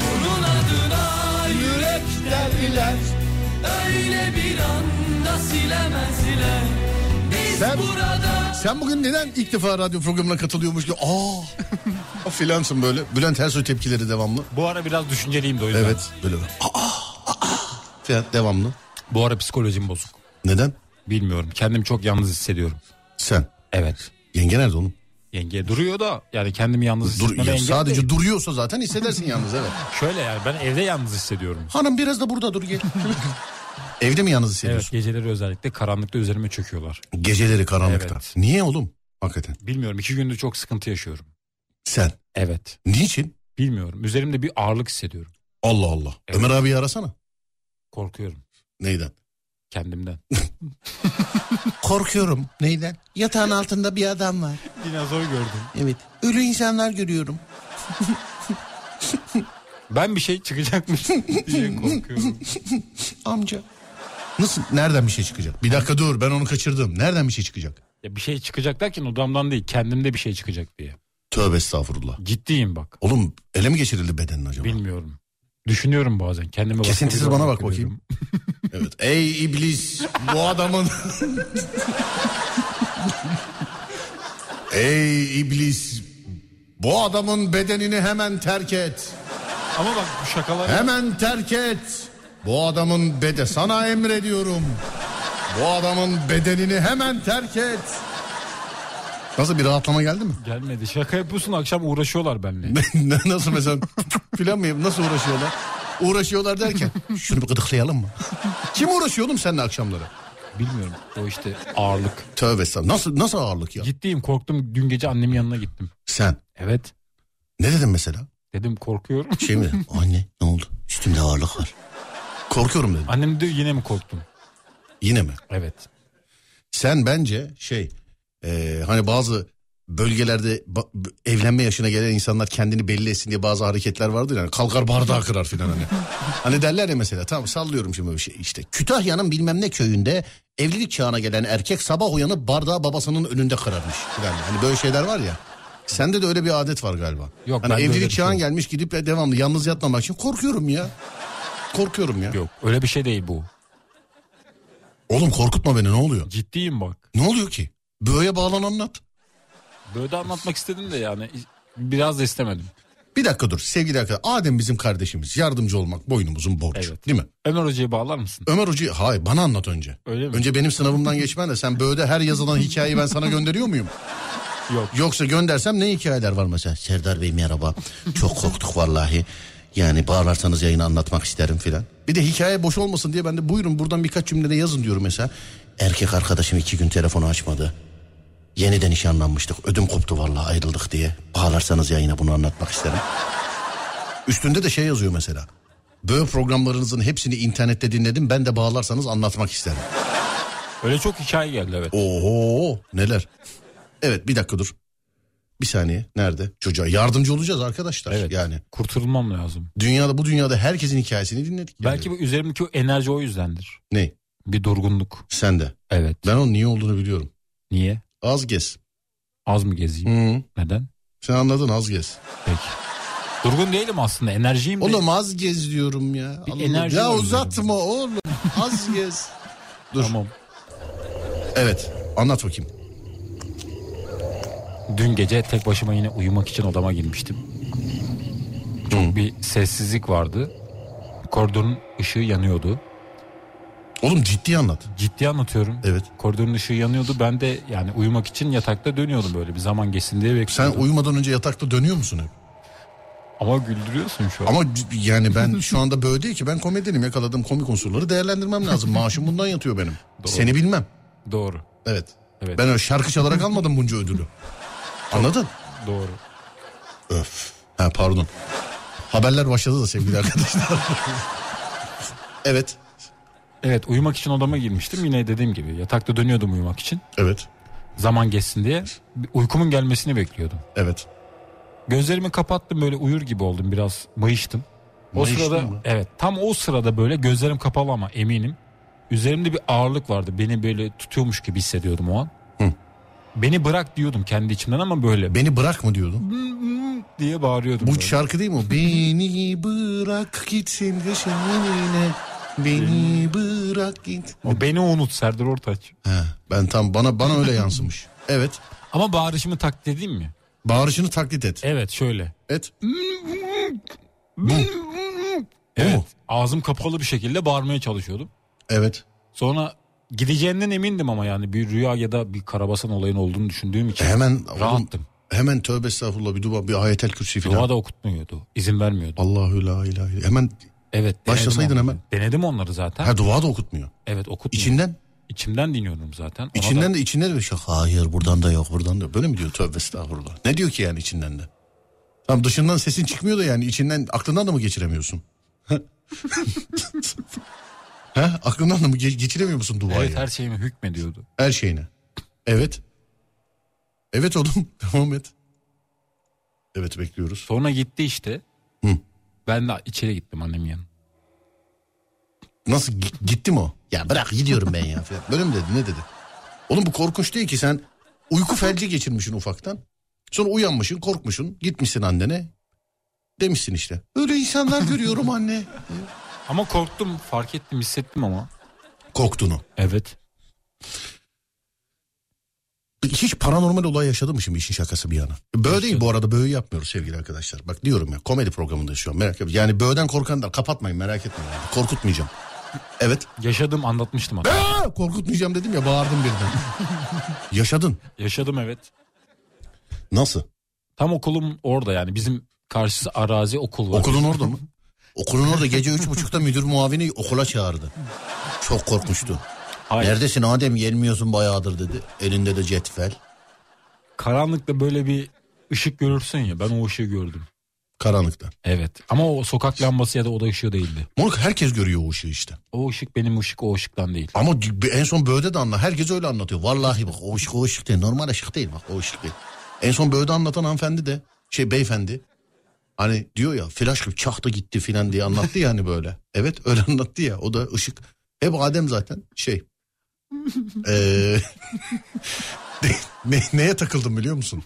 S1: Bunun adına yürek derler Öyle bir anda silemezler Biz
S2: Sen-
S1: burada
S2: Sen bugün neden ilk defa radyo programına katılıyormuş ki? Aa! filansın böyle. Bülent Ersoy tepkileri devamlı.
S3: Bu ara biraz düşünceliyim de o yüzden.
S2: Evet. Böyle. Aa! Aa! Filan devamlı.
S3: Bu ara psikolojim bozuk.
S2: Neden?
S3: Bilmiyorum. Kendimi çok yalnız hissediyorum.
S2: Sen.
S3: Evet.
S2: Yenge nerede oğlum?
S3: Yenge duruyor da yani kendimi yalnız
S2: Dur,
S3: hissetmeme
S2: ya,
S3: engel
S2: sadece
S3: değil.
S2: duruyorsa zaten hissedersin yalnız evet.
S3: Şöyle yani ben evde yalnız hissediyorum.
S2: Hanım biraz da burada dur gel. Evde mi yalnız
S3: Evet
S2: hissediyorsun?
S3: geceleri özellikle karanlıkta üzerime çöküyorlar.
S2: Geceleri karanlıkta.
S3: Evet.
S2: Niye oğlum? Hakikaten.
S3: Bilmiyorum iki gündür çok sıkıntı yaşıyorum.
S2: Sen.
S3: Evet.
S2: Niçin?
S3: Bilmiyorum. Üzerimde bir ağırlık hissediyorum.
S2: Allah Allah.
S3: Evet.
S2: Ömer abi arasana.
S3: Korkuyorum
S2: Neyden?
S3: kendimden.
S2: Korkuyorum. Neyden? Yatağın altında bir adam var.
S3: Dinozor gördüm.
S2: Evet. Ölü insanlar görüyorum.
S3: Ben bir şey çıkacakmış diye korkuyorum.
S2: Amca. Nasıl? Nereden bir şey çıkacak? Bir dakika dur ben onu kaçırdım. Nereden bir şey çıkacak?
S3: Ya bir şey çıkacak derken odamdan değil kendimde bir şey çıkacak diye.
S2: Tövbe estağfurullah.
S3: Ciddiyim bak.
S2: Oğlum ele mi geçirildi bedenin acaba?
S3: Bilmiyorum. Düşünüyorum bazen. Kendime bakmak
S2: Kesintisiz
S3: zorunda
S2: bana bak
S3: hissediyorum.
S2: Evet. Ey iblis bu adamın... Ey iblis bu adamın bedenini hemen terk et.
S3: Ama bak bu şakalar
S2: Hemen terk et. Bu adamın bede sana emrediyorum. Bu adamın bedenini hemen terk et. Nasıl bir rahatlama geldi mi?
S3: gelmedi. Şaka yapıyorsun akşam uğraşıyorlar benimle.
S2: Nasıl mesela filan mı? Nasıl uğraşıyorlar? Uğraşıyorlar derken şunu bir gıdıklayalım mı? Kim uğraşıyor oğlum seninle akşamları?
S3: Bilmiyorum. O işte ağırlık.
S2: Tövbe estağfurullah. Nasıl, nasıl ağırlık ya?
S3: Ciddiyim korktum. Dün gece annemin yanına gittim.
S2: Sen.
S3: Evet.
S2: Ne dedin mesela?
S3: Dedim korkuyorum.
S2: Şey mi? Anne ne oldu? Üstümde ağırlık var. Korkuyorum dedim.
S3: Annem diyor yine mi korktun?
S2: Yine mi?
S3: Evet.
S2: Sen bence şey e, hani bazı bölgelerde ba- b- evlenme yaşına gelen insanlar kendini belli etsin diye bazı hareketler vardır yani kalkar bardağı kırar filan hani. hani derler ya mesela tamam sallıyorum şimdi böyle bir şey işte Kütahya'nın bilmem ne köyünde evlilik çağına gelen erkek sabah uyanıp bardağı babasının önünde kırarmış filan hani böyle şeyler var ya. Sende de öyle bir adet var galiba.
S3: Yok,
S2: hani
S3: bende öyle
S2: evlilik
S3: bir şey
S2: çağın
S3: yok.
S2: gelmiş gidip de devamlı yalnız yatmamak için korkuyorum ya. Korkuyorum ya.
S3: Yok öyle bir şey değil bu.
S2: Oğlum korkutma beni ne oluyor?
S3: Ciddiyim bak.
S2: Ne oluyor ki? Böyle bağlan anlat.
S3: Böyle de anlatmak istedim de yani biraz da istemedim.
S2: Bir dakika dur sevgili arkadaşlar. Adem bizim kardeşimiz. Yardımcı olmak boynumuzun borcu.
S3: Evet.
S2: Değil mi?
S3: Ömer Hoca'yı bağlar mısın?
S2: Ömer Hoca hayır bana anlat önce.
S3: Öyle mi?
S2: Önce benim sınavımdan geçmen de sen böyle her yazılan hikayeyi ben sana gönderiyor muyum?
S3: Yok.
S2: Yoksa göndersem ne hikayeler var mesela? Serdar Bey merhaba. Çok korktuk vallahi. Yani bağlarsanız yayını anlatmak isterim filan. Bir de hikaye boş olmasın diye ben de buyurun buradan birkaç cümlede yazın diyorum mesela. Erkek arkadaşım iki gün telefonu açmadı. Yeniden nişanlanmıştık. Ödüm koptu vallahi ayrıldık diye. Bağlarsanız yayına bunu anlatmak isterim. Üstünde de şey yazıyor mesela. Böyle programlarınızın hepsini internette dinledim. Ben de bağlarsanız anlatmak isterim.
S3: Öyle çok hikaye geldi evet.
S2: Oho neler. Evet bir dakika dur. Bir saniye nerede? Çocuğa yardımcı olacağız arkadaşlar.
S3: Evet.
S2: Yani
S3: Kurtulmam lazım.
S2: dünyada bu dünyada herkesin hikayesini dinledik. yani.
S3: Belki bu üzerimdeki o enerji o yüzdendir.
S2: Ne?
S3: Bir durgunluk.
S2: Sen de.
S3: Evet.
S2: Ben onun niye olduğunu biliyorum.
S3: Niye?
S2: Az gez.
S3: Az mı gezeyim?
S2: Hı.
S3: Neden?
S2: Sen anladın az gez.
S3: Peki. Durgun değilim aslında. Enerjiyim. de.
S2: Oğlum az gez diyorum ya.
S3: Bir
S2: Allah-
S3: enerji
S2: ya
S3: var
S2: uzatma oğlum. Az gez. Dur.
S3: Tamam.
S2: Evet. Anlat bakayım.
S3: Dün gece tek başıma yine uyumak için odama girmiştim. Çok bir sessizlik vardı. Koridorun ışığı yanıyordu.
S2: Oğlum ciddi anlat.
S3: Ciddi anlatıyorum.
S2: Evet.
S3: Koridorun ışığı yanıyordu. Ben de yani uyumak için yatakta dönüyordum böyle bir zaman geçsin diye
S2: Sen
S3: bekliyordum.
S2: uyumadan önce yatakta dönüyor musun hep?
S3: Ama güldürüyorsun şu an.
S2: Ama c- yani ben şu anda böyle değil ki ben komedyenim yakaladığım komik unsurları değerlendirmem lazım. Maaşım bundan yatıyor benim.
S3: Doğru.
S2: Seni bilmem.
S3: Doğru.
S2: Evet.
S3: Evet.
S2: Ben öyle şarkı çalarak almadım bunca ödülü. Anladın?
S3: Doğru.
S2: Öf. Ha pardon. Haberler başladı da sevgili arkadaşlar. evet.
S3: Evet uyumak için odama girmiştim. Yine dediğim gibi yatakta dönüyordum uyumak için.
S2: Evet.
S3: Zaman geçsin diye bir uykumun gelmesini bekliyordum.
S2: Evet.
S3: Gözlerimi kapattım böyle uyur gibi oldum biraz mayıştım. O
S2: Mayıştın
S3: sırada
S2: mı?
S3: evet tam o sırada böyle gözlerim kapalı ama eminim. Üzerimde bir ağırlık vardı. Beni böyle tutuyormuş gibi hissediyordum o an.
S2: Hı.
S3: Beni bırak diyordum kendi içimden ama böyle
S2: Beni bırak mı diyordun?
S3: diye bağırıyordum.
S2: Bu
S3: böyle.
S2: şarkı değil mi? o? Beni bırak gitsin düşününe. Beni bırak git.
S3: O beni unut Serdar Ortaç.
S2: He, ben tam bana bana öyle yansımış. Evet.
S3: Ama bağırışımı taklit edeyim mi?
S2: Bağırışını taklit et.
S3: Evet şöyle.
S2: Et.
S3: Evet.
S2: mu?
S3: Ağzım kapalı bir şekilde bağırmaya çalışıyordum.
S2: Evet.
S3: Sonra gideceğinden emindim ama yani bir rüya ya da bir karabasan olayın olduğunu düşündüğüm için.
S2: E, Hemen oğlum,
S3: Rahattım.
S2: hemen tövbe estağfurullah bir dua bir ayetel kürsi filan.
S3: Dua da okutmuyordu. izin vermiyordu.
S2: Allahü la ilahe illa- Hemen
S3: Evet. denedim
S2: Başlasaydın
S3: onları.
S2: hemen.
S3: Denedim onları zaten.
S2: ha dua da okutmuyor.
S3: Evet okutmuyor.
S2: İçinden
S3: İçimden dinliyordum zaten. Ona
S2: içinden
S3: da
S2: de içinden de bir şey. Hayır buradan da yok buradan da yok. Böyle mi diyor tövbe estağfurullah. Ne diyor ki yani içinden de? Tam dışından sesin çıkmıyor da yani içinden aklından da mı geçiremiyorsun? ha? Aklından da mı ge- geçiremiyor musun duayı?
S3: Evet her şeyimi hükmediyordu.
S2: Her şeyine. Evet. Evet oğlum devam et. Evet bekliyoruz.
S3: Sonra gitti işte.
S2: Hı.
S3: Ben de içeri gittim annemin yanına.
S2: Nasıl gi- gitti mi o? Ya bırak gidiyorum ben ya. falan. Böyle mi dedi ne dedi? Oğlum bu korkunç değil ki sen uyku felci geçirmişsin ufaktan. Sonra uyanmışsın korkmuşsun gitmişsin annene. demişsin işte. Öyle insanlar görüyorum anne.
S3: Ama korktum fark ettim hissettim ama.
S2: Korktunu.
S3: Evet.
S2: Hiç paranormal olay yaşadın mı şimdi işin şakası bir yana? Böğ değil bu arada böğü yapmıyoruz sevgili arkadaşlar. Bak diyorum ya komedi programında şu an merak etme. Yani böğden korkanlar kapatmayın merak etmeyin. yani. Korkutmayacağım. Evet.
S3: Yaşadım anlatmıştım hatta.
S2: Aa, korkutmayacağım dedim ya bağırdım birden. Yaşadın.
S3: Yaşadım evet.
S2: Nasıl?
S3: Tam okulum orada yani bizim karşısı arazi okul var.
S2: Okulun orada mı? Okulun orada gece üç buçukta müdür muavini okula çağırdı. Çok korkmuştu.
S3: Hayır.
S2: Neredesin Adem gelmiyorsun bayağıdır dedi. Elinde de cetvel.
S3: Karanlıkta böyle bir ışık görürsün ya ben o ışığı gördüm.
S2: Karanlıkta.
S3: Evet ama o sokak lambası ya da oda ışığı değildi.
S2: Moruk herkes görüyor o ışığı işte.
S3: O ışık benim ışık o ışıktan değil.
S2: Ama di- en son Böğde de anla. Herkes öyle anlatıyor. Vallahi bak o ışık o ışık değil. Normal ışık değil bak o ışık değil. En son Böğde anlatan hanımefendi de şey beyefendi. Hani diyor ya flash gibi çaktı gitti filan diye anlattı ya hani böyle. Evet öyle anlattı ya o da ışık. Hep Adem zaten şey. Eee, ne, neye takıldım biliyor musun?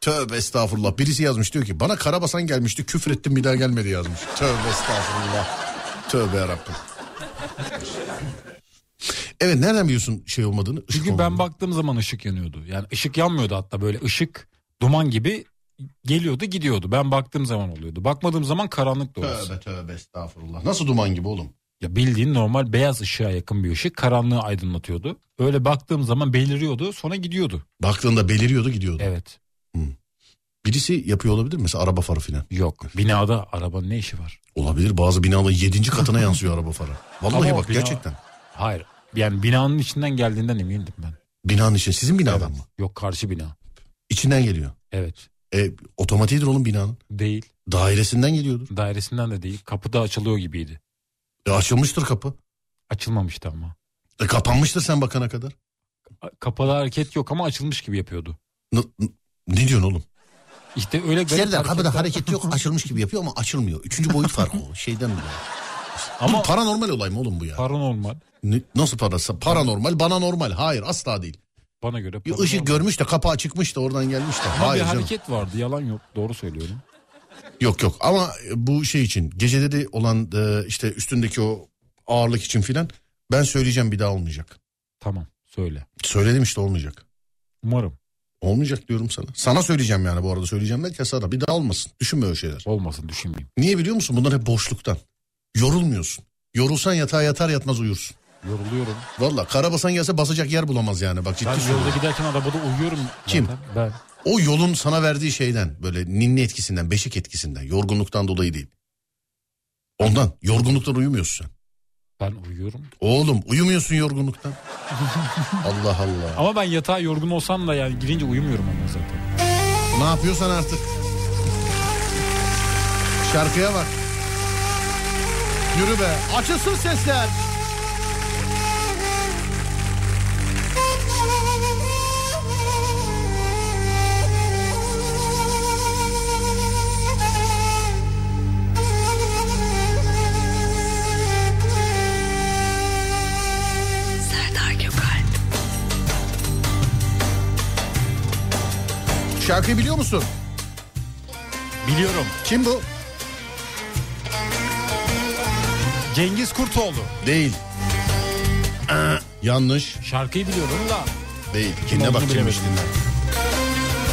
S2: Tövbe estağfurullah. Birisi yazmış diyor ki bana Karabasan gelmişti küfür ettim bir daha gelmedi yazmış. Tövbe estağfurullah. Tövbe yarabbim. Evet nereden biliyorsun şey olmadığını? ışık
S3: Çünkü ben
S2: olmadığını?
S3: baktığım zaman ışık yanıyordu. Yani ışık yanmıyordu hatta böyle ışık duman gibi geliyordu gidiyordu. Ben baktığım zaman oluyordu. Bakmadığım zaman karanlık orası.
S2: Tövbe tövbe estağfurullah. Nasıl duman gibi oğlum?
S3: Ya bildiğin normal beyaz ışığa yakın bir ışık karanlığı aydınlatıyordu. Öyle baktığım zaman beliriyordu sonra gidiyordu.
S2: Baktığında beliriyordu gidiyordu.
S3: Evet.
S2: Birisi yapıyor olabilir mi? Mesela araba farı filan.
S3: Yok. Binada arabanın ne işi var?
S2: Olabilir bazı binaların 7. katına yansıyor araba farı. Vallahi
S3: Ama o
S2: bak
S3: bina-
S2: gerçekten.
S3: Hayır. Yani binanın içinden geldiğinden emindim ben.
S2: Binanın için sizin binadan mı?
S3: Yok karşı bina.
S2: İçinden geliyor.
S3: Evet.
S2: E, otomatiğidir oğlum binanın.
S3: Değil.
S2: Dairesinden geliyordur.
S3: Dairesinden de değil. Kapıda açılıyor gibiydi.
S2: E, açılmıştır kapı.
S3: Açılmamıştı ama.
S2: E, kapanmıştır sen bakana kadar.
S3: A- Kapalı hareket yok ama açılmış gibi yapıyordu.
S2: N- n- ne diyorsun oğlum?
S3: İşte öyle garip
S2: Serdar
S3: hareketler-
S2: kapıda hareket yok açılmış gibi yapıyor ama açılmıyor. Üçüncü boyut farkı o şeyden mi? Ama
S3: Ama-
S2: paranormal olay mı oğlum bu ya?
S3: Paranormal.
S2: Ne- Nasıl parası? Paranormal bana normal. Hayır asla değil.
S3: Bana göre
S2: Bir
S3: paranormal.
S2: ışık görmüş de kapağı çıkmış da oradan gelmiş de.
S3: Ama
S2: Hayır
S3: bir
S2: canım.
S3: hareket vardı yalan yok doğru söylüyorum.
S2: Yok yok ama bu şey için gecede de olan e, işte üstündeki o ağırlık için filan ben söyleyeceğim bir daha olmayacak.
S3: Tamam söyle.
S2: Söyledim işte olmayacak.
S3: Umarım
S2: Olmayacak diyorum sana. Sana söyleyeceğim yani bu arada söyleyeceğim belki sana bir daha olmasın. Düşünme öyle şeyler.
S3: olmasın düşünmeyeyim.
S2: Niye biliyor musun? Bunlar hep boşluktan. Yorulmuyorsun. Yorulsan yatağa yatar yatmaz uyursun.
S3: Yoruluyorum.
S2: Valla karabasan gelse basacak yer bulamaz yani bak ciddi
S3: Ben
S2: söylüyorum.
S3: yolda giderken arabada uyuyorum. zaten.
S2: Kim?
S3: Ben.
S2: O yolun sana verdiği şeyden böyle ninni etkisinden beşik etkisinden yorgunluktan dolayı değil. Ondan yorgunluktan uyumuyorsun sen.
S3: Ben uyuyorum.
S2: Oğlum uyumuyorsun yorgunluktan. Allah Allah.
S3: Ama ben yatağa yorgun olsam da yani girince uyumuyorum ama zaten.
S2: Ne yapıyorsan artık. Şarkıya bak. Yürü be. Açılsın sesler.
S5: Serdar Gökalp
S2: Şarkıyı biliyor musun?
S3: Biliyorum.
S2: Kim bu?
S3: Cengiz Kurtoğlu.
S2: Değil. Aa, yanlış.
S3: Şarkıyı biliyorum da.
S2: Değil.
S3: Kim
S2: Dinle bak
S3: olduğunu
S2: kimmiş
S3: bilemedim.
S2: dinle.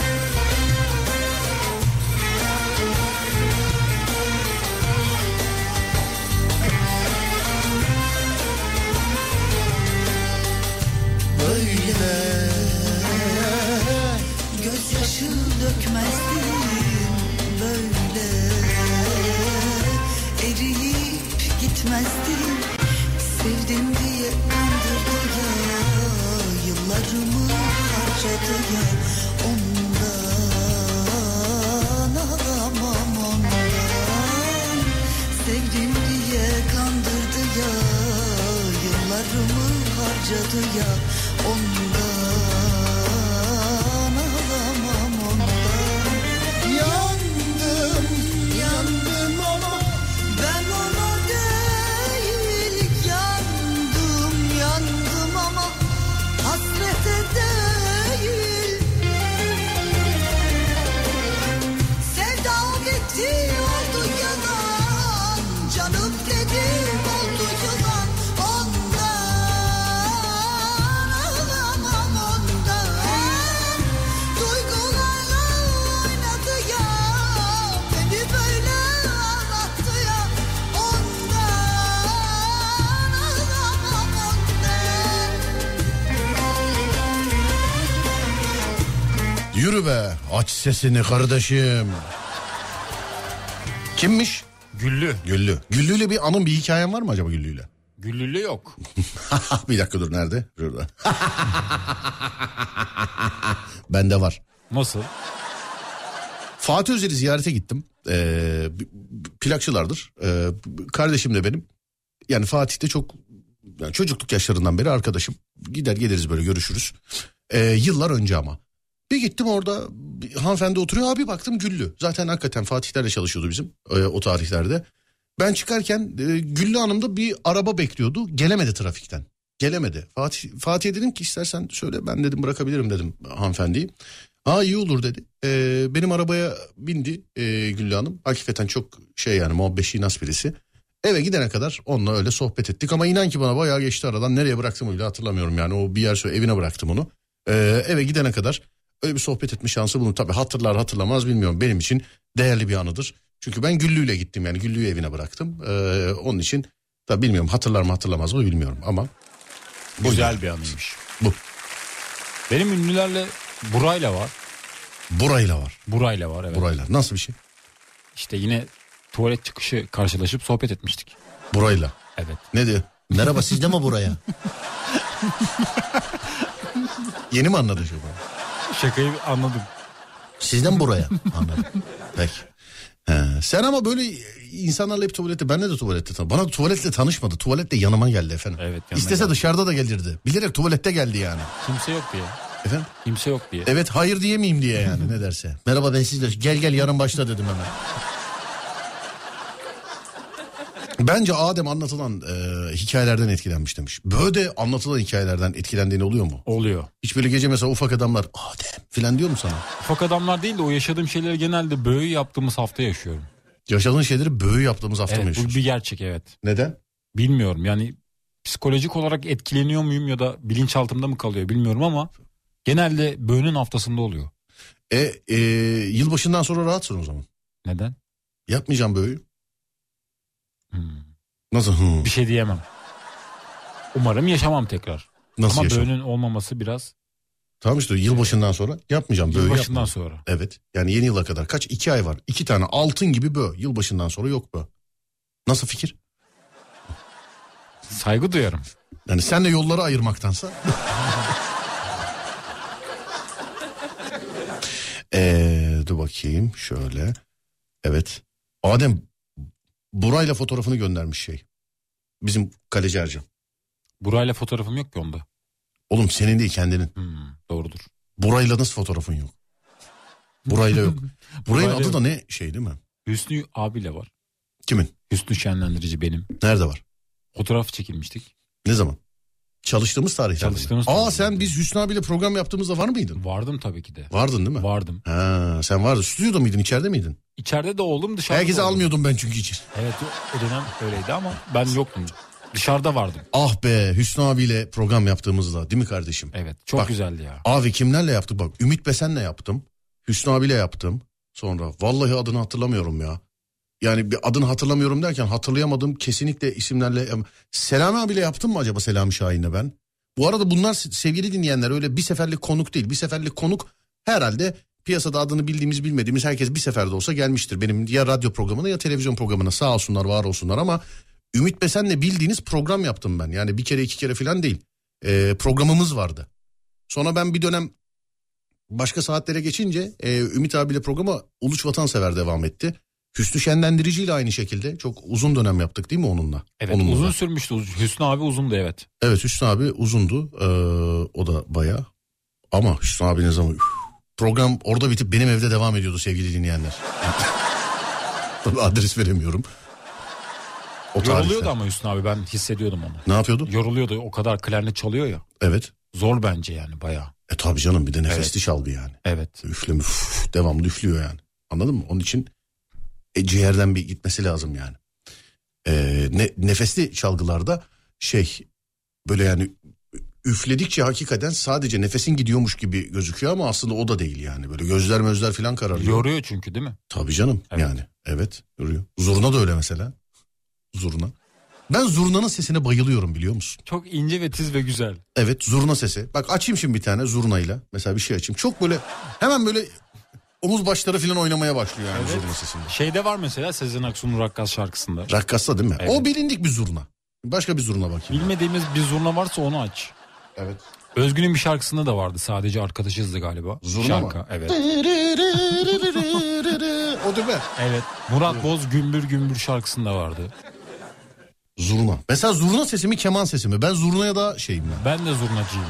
S1: Böyle Gözyaşı dökmezdim Böyle Eriyip gitmezdim Sevdim diye kandırdı ya Yıllarımı harcadı ya Ondan alamam ondan Sevdim diye kandırdı ya Yıllarımı harcadı ya Ondan alamam ondan Yandım, yandım ama Ben ona değil Yandım, yandım ama Hasrete değil Sevda gitti oldu
S2: Yürü be aç sesini kardeşim. Kimmiş?
S3: Güllü.
S2: Güllü. Güllü'yle bir anın bir hikayen var mı acaba Güllü'yle?
S3: Güllülü yok.
S2: bir dakika dur nerede? Şurada. Bende var.
S3: Nasıl?
S2: Fatih Özel'i ziyarete gittim. Ee, b- b- plakçılardır. Ee, b- kardeşim de benim. Yani Fatih de çok yani çocukluk yaşlarından beri arkadaşım. Gider geliriz böyle görüşürüz. Ee, yıllar önce ama. Bir gittim orada bir hanımefendi oturuyor abi baktım Güllü. Zaten hakikaten Fatihlerle çalışıyordu bizim e, o tarihlerde. Ben çıkarken e, Güllü Hanım da bir araba bekliyordu. Gelemedi trafikten. Gelemedi. Fatih Fatih'e dedim ki istersen söyle ben dedim bırakabilirim dedim hanımefendiyi. Aa iyi olur dedi. Ee, benim arabaya bindi e, Güllü Hanım. Hakikaten çok şey yani muhabbeşi nas birisi. Eve gidene kadar onunla öyle sohbet ettik ama inan ki bana bayağı geçti aradan. Nereye bıraktım bile hatırlamıyorum yani o bir yer söyle evine bıraktım onu. Ee, eve gidene kadar öyle bir sohbet etme şansı bulundum. Tabii hatırlar hatırlamaz bilmiyorum benim için değerli bir anıdır. Çünkü ben Güllü'yle gittim yani Güllü'yü evine bıraktım. Ee, onun için da bilmiyorum hatırlar mı hatırlamaz mı bilmiyorum ama
S3: Güzel bir anıymış.
S2: bu
S3: Benim ünlülerle Burayla var.
S2: burayla var.
S3: Burayla var evet.
S2: Burayla nasıl bir şey?
S3: İşte yine tuvalet çıkışı karşılaşıp sohbet etmiştik.
S2: Burayla.
S3: Evet.
S2: Ne diyor? Merhaba siz de mi buraya? Yeni mi anladın şu bunu?
S3: Şakayı anladım.
S2: Sizden buraya anladım. Peki. He, sen ama böyle insanlarla hep tuvalette benle de tuvalette tan- bana tuvaletle tanışmadı tuvalette yanıma geldi efendim.
S3: Evet, yanına
S2: İstese
S3: geldi.
S2: dışarıda da gelirdi bilerek tuvalette geldi yani.
S3: Kimse yok diye.
S2: Efendim
S3: Kimse yok diye.
S2: evet hayır diyemeyeyim diye yani ne derse. Merhaba ben sizle gel gel yarın başla dedim hemen. Bence Adem anlatılan e, hikayelerden etkilenmiş demiş. Böyle anlatılan hikayelerden etkilendiğini oluyor mu?
S3: Oluyor.
S2: Hiç böyle gece mesela ufak adamlar Adem filan diyor mu sana?
S3: Ufak adamlar değil de o yaşadığım şeyleri genelde böyle yaptığımız hafta yaşıyorum.
S2: Yaşadığın şeyleri böğü yaptığımız hafta mı
S3: Evet bu
S2: yaşıyorsun?
S3: bir gerçek evet.
S2: Neden?
S3: Bilmiyorum yani psikolojik olarak etkileniyor muyum ya da bilinçaltımda mı kalıyor bilmiyorum ama genelde böğünün haftasında oluyor.
S2: E, e, yılbaşından sonra rahatsın o zaman.
S3: Neden?
S2: Yapmayacağım böğü.
S3: Hmm.
S2: Nasıl? Hı.
S3: Bir şey diyemem. Umarım yaşamam tekrar.
S2: Nasıl
S3: ama
S2: yaşam?
S3: böğünün olmaması biraz
S2: Tamam işte yılbaşından sonra yapmayacağım böğü.
S3: yılbaşından
S2: yapma.
S3: sonra.
S2: Evet. Yani yeni yıla kadar kaç? iki ay var. İki tane altın gibi böğ. Yılbaşından sonra yok böğ. Nasıl fikir?
S3: Saygı duyarım.
S2: Yani senle yolları ayırmaktansa. Ee, dur bakayım şöyle. Evet. Adem Buray'la fotoğrafını göndermiş şey. Bizim kaleci Ercan.
S3: Burayla fotoğrafım yok ki onda.
S2: Oğlum senin değil kendinin.
S3: Hmm, doğrudur.
S2: Burayla nasıl fotoğrafın yok? Burayla yok. Burayın
S3: Burayla
S2: adı
S3: yok.
S2: da ne şey değil mi?
S3: Hüsnü abiyle var.
S2: Kimin?
S3: Hüsnü şenlendirici benim.
S2: Nerede var?
S3: Fotoğraf çekilmiştik.
S2: Ne zaman? Çalıştığımız tarihlerde. mi?
S3: Çalıştığımız
S2: Aa
S3: tarihlerde.
S2: sen biz Hüsnü abiyle program yaptığımızda var mıydın?
S3: Vardım tabii ki de.
S2: Vardın değil mi?
S3: Vardım.
S2: Ha, sen vardın. Stüdyoda mıydın? içeride miydin?
S3: İçeride de oldum dışarıda
S2: Herkese
S3: da oldum.
S2: almıyordum ben çünkü içeri.
S3: Evet o dönem öyleydi ama ben yoktum. Dışarıda vardım.
S2: Ah be Hüsnü abiyle program yaptığımızda değil mi kardeşim?
S3: Evet çok
S2: Bak.
S3: güzeldi ya.
S2: Abi kimlerle yaptık bak Ümit Besen'le yaptım. Hüsnü abiyle yaptım. Sonra vallahi adını hatırlamıyorum ya. Yani bir adını hatırlamıyorum derken hatırlayamadığım kesinlikle isimlerle. Selami abiyle yaptım mı acaba Selami Şahin'le ben? Bu arada bunlar sevgili dinleyenler öyle bir seferlik konuk değil. Bir seferlik konuk herhalde piyasada adını bildiğimiz bilmediğimiz herkes bir seferde olsa gelmiştir. Benim ya radyo programına ya televizyon programına sağ olsunlar var olsunlar ama Ümit Besen'le bildiğiniz program yaptım ben. Yani bir kere iki kere falan değil. Ee, programımız vardı. Sonra ben bir dönem başka saatlere geçince e, Ümit abiyle programa Uluç Vatansever devam etti. Hüsnü Şenlendirici ile aynı şekilde çok uzun dönem yaptık değil mi onunla?
S3: Evet
S2: Onunla
S3: uzun
S2: da.
S3: sürmüştü. Uz- Hüsnü abi uzundu evet.
S2: Evet Hüsnü abi uzundu. Ee, o da bayağı. Ama Hüsnü abiniz ama üf. program orada bitip benim evde devam ediyordu sevgili dinleyenler. Tabii adres veremiyorum. O
S3: Yoruluyordu
S2: tarihte.
S3: ama Hüsnü abi ben hissediyordum onu.
S2: Ne yapıyordu?
S3: Yoruluyordu o kadar klarnet çalıyor ya.
S2: Evet.
S3: Zor bence yani bayağı.
S2: E tabii canım bir de nefesli
S3: Evet.
S2: çalgı yani.
S3: Evet.
S2: Üfleme üf, devamlı üflüyor yani. Anladın mı? Onun için e, ciğerden bir gitmesi lazım yani. Ee, ne- nefesli çalgılarda şey böyle yani üfledikçe hakikaten sadece nefesin gidiyormuş gibi gözüküyor ama aslında o da değil yani. Böyle gözler mözler falan kararıyor.
S3: Yoruyor çünkü değil mi?
S2: Tabii canım
S3: Evet.
S2: yani. Evet. Yoruyor. Zurna da öyle mesela. Zurna. Ben zurnanın sesine bayılıyorum biliyor musun?
S3: Çok ince ve tiz ve güzel.
S2: Evet zurna sesi. Bak açayım şimdi bir tane zurnayla. Mesela bir şey açayım. Çok böyle hemen böyle omuz başları falan oynamaya başlıyor yani zurna sesinde.
S3: Şeyde var mesela Sezen Aksu'nun Rakkas şarkısında.
S2: Rakkasta değil mi?
S3: Evet.
S2: O bilindik bir zurna. Başka bir zurna bakayım.
S3: Bilmediğimiz bir zurna varsa onu aç.
S2: Evet.
S3: Özgün'ün bir şarkısında da vardı. Sadece arkadaşızdı galiba.
S2: Zurna
S3: Şarkı,
S2: mı?
S3: Evet.
S2: o değil mi?
S3: Evet. Murat Boz Gümbür Gümbür şarkısında vardı.
S2: Zurna. Mesela zurna sesi mi keman sesi mi? Ben zurnaya da şeyim ben.
S3: Ben de zurnacıyım.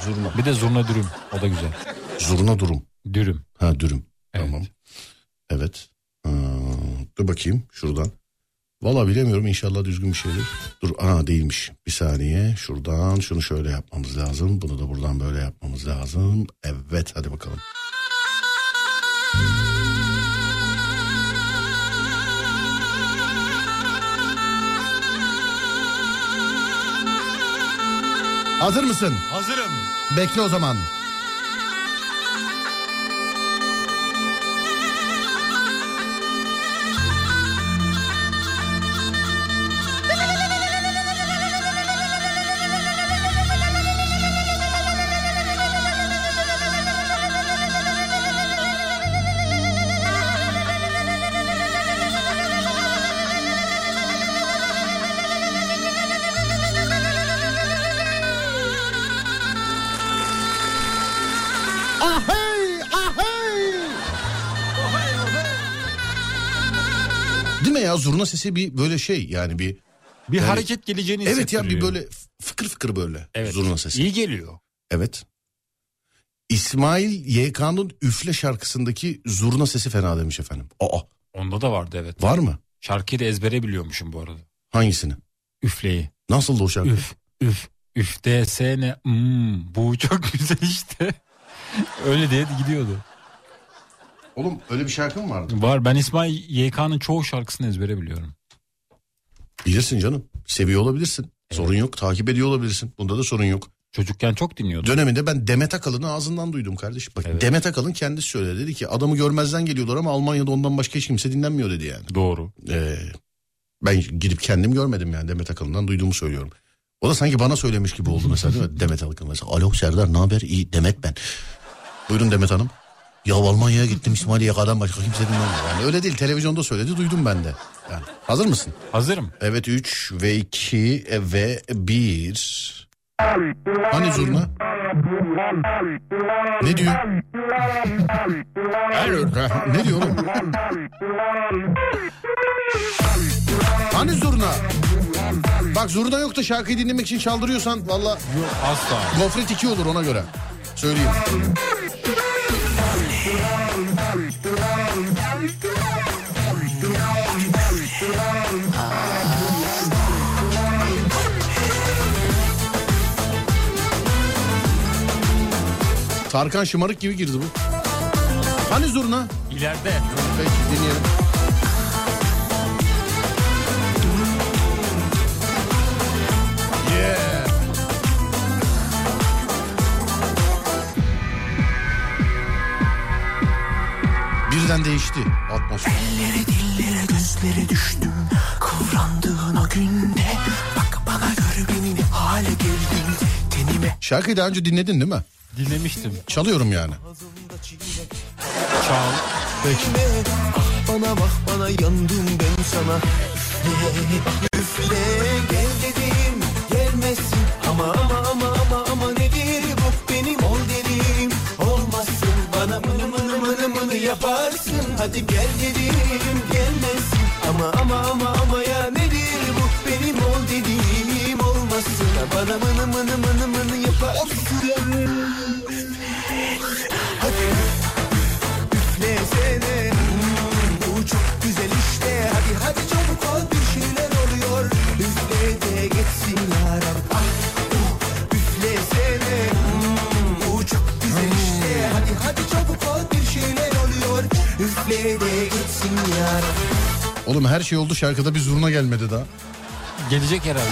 S2: Zurna.
S3: Bir de zurna dürüm. O da güzel.
S2: Zurna durum.
S3: Dürüm.
S2: Ha dürüm.
S3: Evet.
S2: Tamam. Evet. Ha, dur bakayım şuradan. Valla bilemiyorum inşallah düzgün bir şeydir. Dur aa değilmiş. Bir saniye şuradan şunu şöyle yapmamız lazım. Bunu da buradan böyle yapmamız lazım. Evet hadi bakalım. Hazır mısın?
S3: Hazırım.
S2: Bekle o zaman. Ahey! Ahey! Değil mi ya zurna sesi bir böyle şey yani bir
S3: Bir
S2: Evet.
S3: hareket geleceğini
S2: Evet ya bir
S3: hissettiriyor.
S2: böyle f- fıkır fıkır böyle
S3: Evet.
S2: zurna sesi.
S3: İyi geliyor.
S2: Evet. İsmail YK'nın Üfle şarkısındaki zurna sesi fena demiş efendim. Aa
S3: Onda da vardı evet.
S2: var mı?
S3: Şarkıyı da ezbere biliyormuşum bu arada.
S2: Hangisini?
S3: Üfleyi.
S2: Nasıl o şarkı?
S3: Üf üf üf desene. Hmm, bu çok güzel işte. Öyle diye gidiyordu.
S2: Oğlum öyle bir şarkı mı vardı?
S3: Var ben İsmail YK'nın çoğu şarkısını ezbere biliyorum.
S2: Bilirsin canım. Seviyor olabilirsin. Sorun yok. Takip ediyor olabilirsin. Bunda da sorun yok.
S3: Çocukken çok dinliyordum.
S2: Döneminde ben Demet Akalın'ı ağzından duydum kardeşim. Bak
S3: Evet.
S2: Demet Akalın kendisi söyledi. Dedi ki adamı görmezden geliyorlar ama Almanya'da ondan başka hiç kimse dinlenmiyor dedi yani.
S3: Doğru.
S2: Ee, ben gidip kendim görmedim yani Demet Akalın'dan duyduğumu söylüyorum. O da sanki bana söylemiş gibi oldu mesela değil mi? Demet Akalın mesela. Alo Serdar ne haber? İyi Demet ben. Buyurun Demet Hanım. Ya Almanya'ya gittim İsmail Yaka'dan başka kimse dinlemiyor. Yani öyle değil televizyonda söyledi duydum ben de. Yani, hazır mısın?
S3: Hazırım.
S2: Evet 3 ve 2 ve 1. Hani zurna? Ne diyor? ne diyor oğlum? Hani zurna? Bak zurna yok da şarkıyı dinlemek için çaldırıyorsan valla
S3: Yok asla.
S2: gofret 2 olur ona göre. Söyleyeyim. Tarkan şımarık gibi girdi bu. Hani zurna?
S3: İleride.
S2: Peki dinleyelim. Yeah. Birden değişti atmosfer.
S4: Elleri dillere düzlere düştüm Kıvrandığın o günde Bak bana gör beni ne hale geldim Tenime
S2: Şarkıyı daha önce dinledin değil mi?
S3: Dinlemiştim.
S2: Çalıyorum yani.
S3: Çal.
S4: çekme Ah bana bak bana yandım ben sana Üfle üfle Gel dedim gelmezsin Ama ama ama ama ama nedir bu benim ol dedim Olmazsın bana mını mını mını mını yaparsın Hadi gel dedim gelmezsin Ama ama ama ama ya nedir bu benim ol dediğim Olmazsın bana mını mını mını mını yaparsın Üflesene Hmm, Bu çok güzel işte Hadi hadi çabuk ol bir şeyler oluyor Üfle de geçsin yaram Ah uh, üflesene Hmm, Bu çok güzel işte Hadi hadi çabuk ol bir şeyler oluyor Üfle de geçsin yaram
S2: Oğlum her şey oldu şarkıda bir zurna gelmedi daha.
S3: Gelecek herhalde.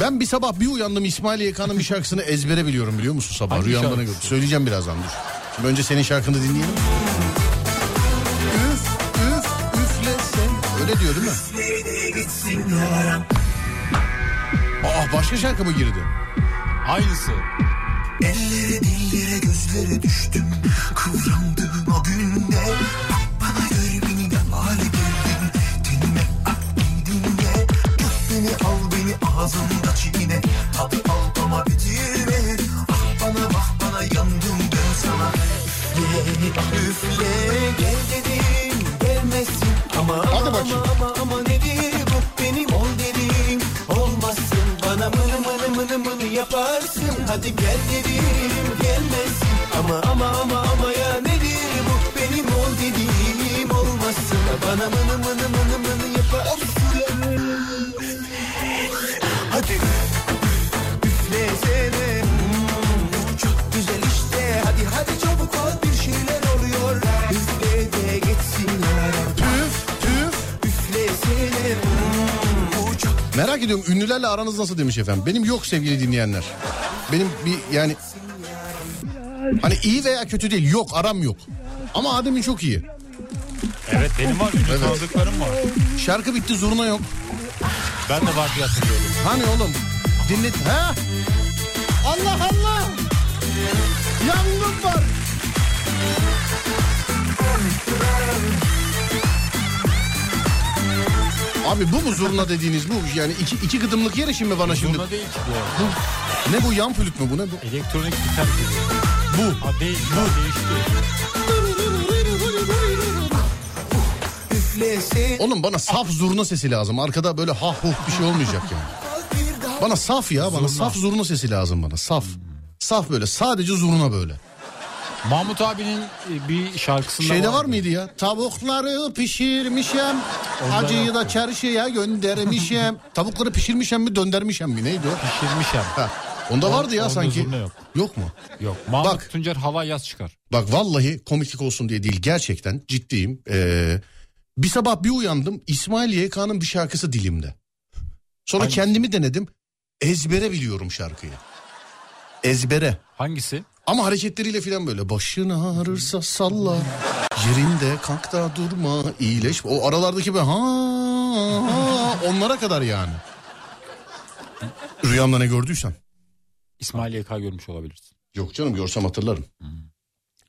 S2: Ben bir sabah bir uyandım İsmail YK'nın bir şarkısını ezbere biliyorum biliyor musun sabah
S3: Hangi
S2: rüyamda ne
S3: şarkısı?
S2: gördüm. Söyleyeceğim birazdan dur. Şimdi önce senin şarkını dinleyelim. Üf üf üflesen. Öyle diyor değil mi?
S4: bitsin yaram
S2: Aa başka şarkı mı girdi?
S3: Aynısı.
S4: Ellere dillere gözlere düştüm Kıvrandığım o günde Bana gör beni cemal girdin Tenime ak giydin de Göğsünü al beni ağzımda çiğne Tadı al ama bitirme Ah bana bak bana yandım ben sana Üfle ah üfle Gel dedim gelmesin Ama ama
S2: Hadi
S4: ama,
S2: bakayım.
S4: ama ama nedir bu benim ol dedim Olmazsın bana mını mını mını mını yaparsın Hadi gel dedim gelmesin Ama ama ama ama ya nedir bu benim ol dediğim Olmazsın bana mını mını mını mını yaparsın Hadi üflesene Hmm, Çok güzel işte Hadi hadi çabuk ol bir şeyler oluyor Üfle de geçsin yaram
S2: Tüf tüf.
S4: Üflesene hmm, bu çok
S2: Merak ediyorum ünlülerle aranız nasıl demiş efendim. Benim yok sevgili dinleyenler. Benim bir yani... Hani iyi veya kötü değil yok aram yok. Ama Adem'in çok iyi.
S6: Evet benim var. Ünlü
S2: Evet.
S6: tanıdıklarım var.
S2: Şarkı bitti zurna yok.
S6: Ben de var diye hatırlıyorum.
S2: Hani oğlum dinlet... Ha? Allah Allah! Yangın var! Abi bu mu zurna dediğiniz bu? Yani iki, iki gıdımlık yer işi mi bana şimdi?
S6: Bunda değil ki bu arada.
S2: Bu, ne bu yan flüt mü bu ne bu?
S6: Elektronik gitar gibi.
S2: Bu.
S6: Ha değil. Bu. Değişti.
S4: üflesene
S2: Oğlum bana saf zurna sesi lazım. Arkada böyle ha huh bir şey olmayacak yani.
S4: bir daha
S2: Bana saf ya bana saf zurna sesi lazım bana saf. Saf böyle sadece zurna böyle.
S3: Mahmut abinin e, bir şarkısında
S2: Şeyde var
S3: vardı.
S2: mıydı ya? Tavukları pişirmişem. Acıyı da çarşıya göndermişem. Tavukları pişirmişem mi döndermişem mi neydi o?
S3: Pişirmiş hem.
S2: Ha. Onda vardı ya
S6: onda
S2: sanki.
S6: zurna yok.
S2: Yok mu?
S3: Yok. Mahmut
S2: Bak.
S3: Tuncer hava yaz çıkar.
S2: Bak vallahi komiklik olsun diye değil gerçekten ciddiyim. Ee, bir sabah bir uyandım İsmail YK'nın bir şarkısı dilimde. Sonra kendimi denedim ezbere biliyorum şarkıyı. Ezbere.
S3: Hangisi?
S2: Ama hareketleriyle filan böyle başın ağrırsa salla. Yerinde kalk da durma iyileş. O aralardaki böyle ha, ha onlara kadar yani. Rüyamda ne gördüysem.
S3: İsmail YK görmüş olabilirsin.
S2: Yok canım görsem hatırlarım.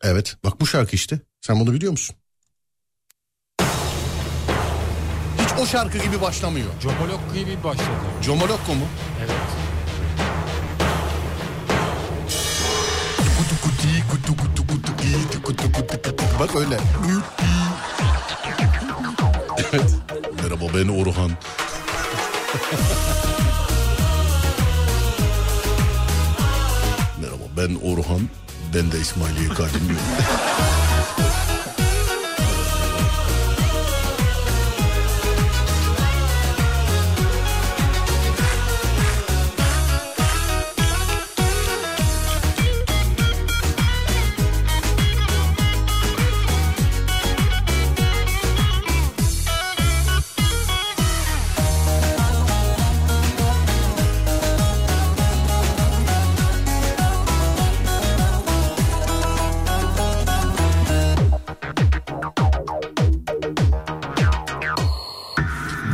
S2: Evet bak bu şarkı işte. Sen bunu biliyor musun? Hiç o şarkı gibi başlamıyor.
S3: Jomolok gibi başladı.
S2: Comolokko mu?
S3: Evet.
S2: Bak öyle. Evet. Merhaba ben Orhan. Merhaba ben Orhan. Ben de İsmail YK dinliyorum.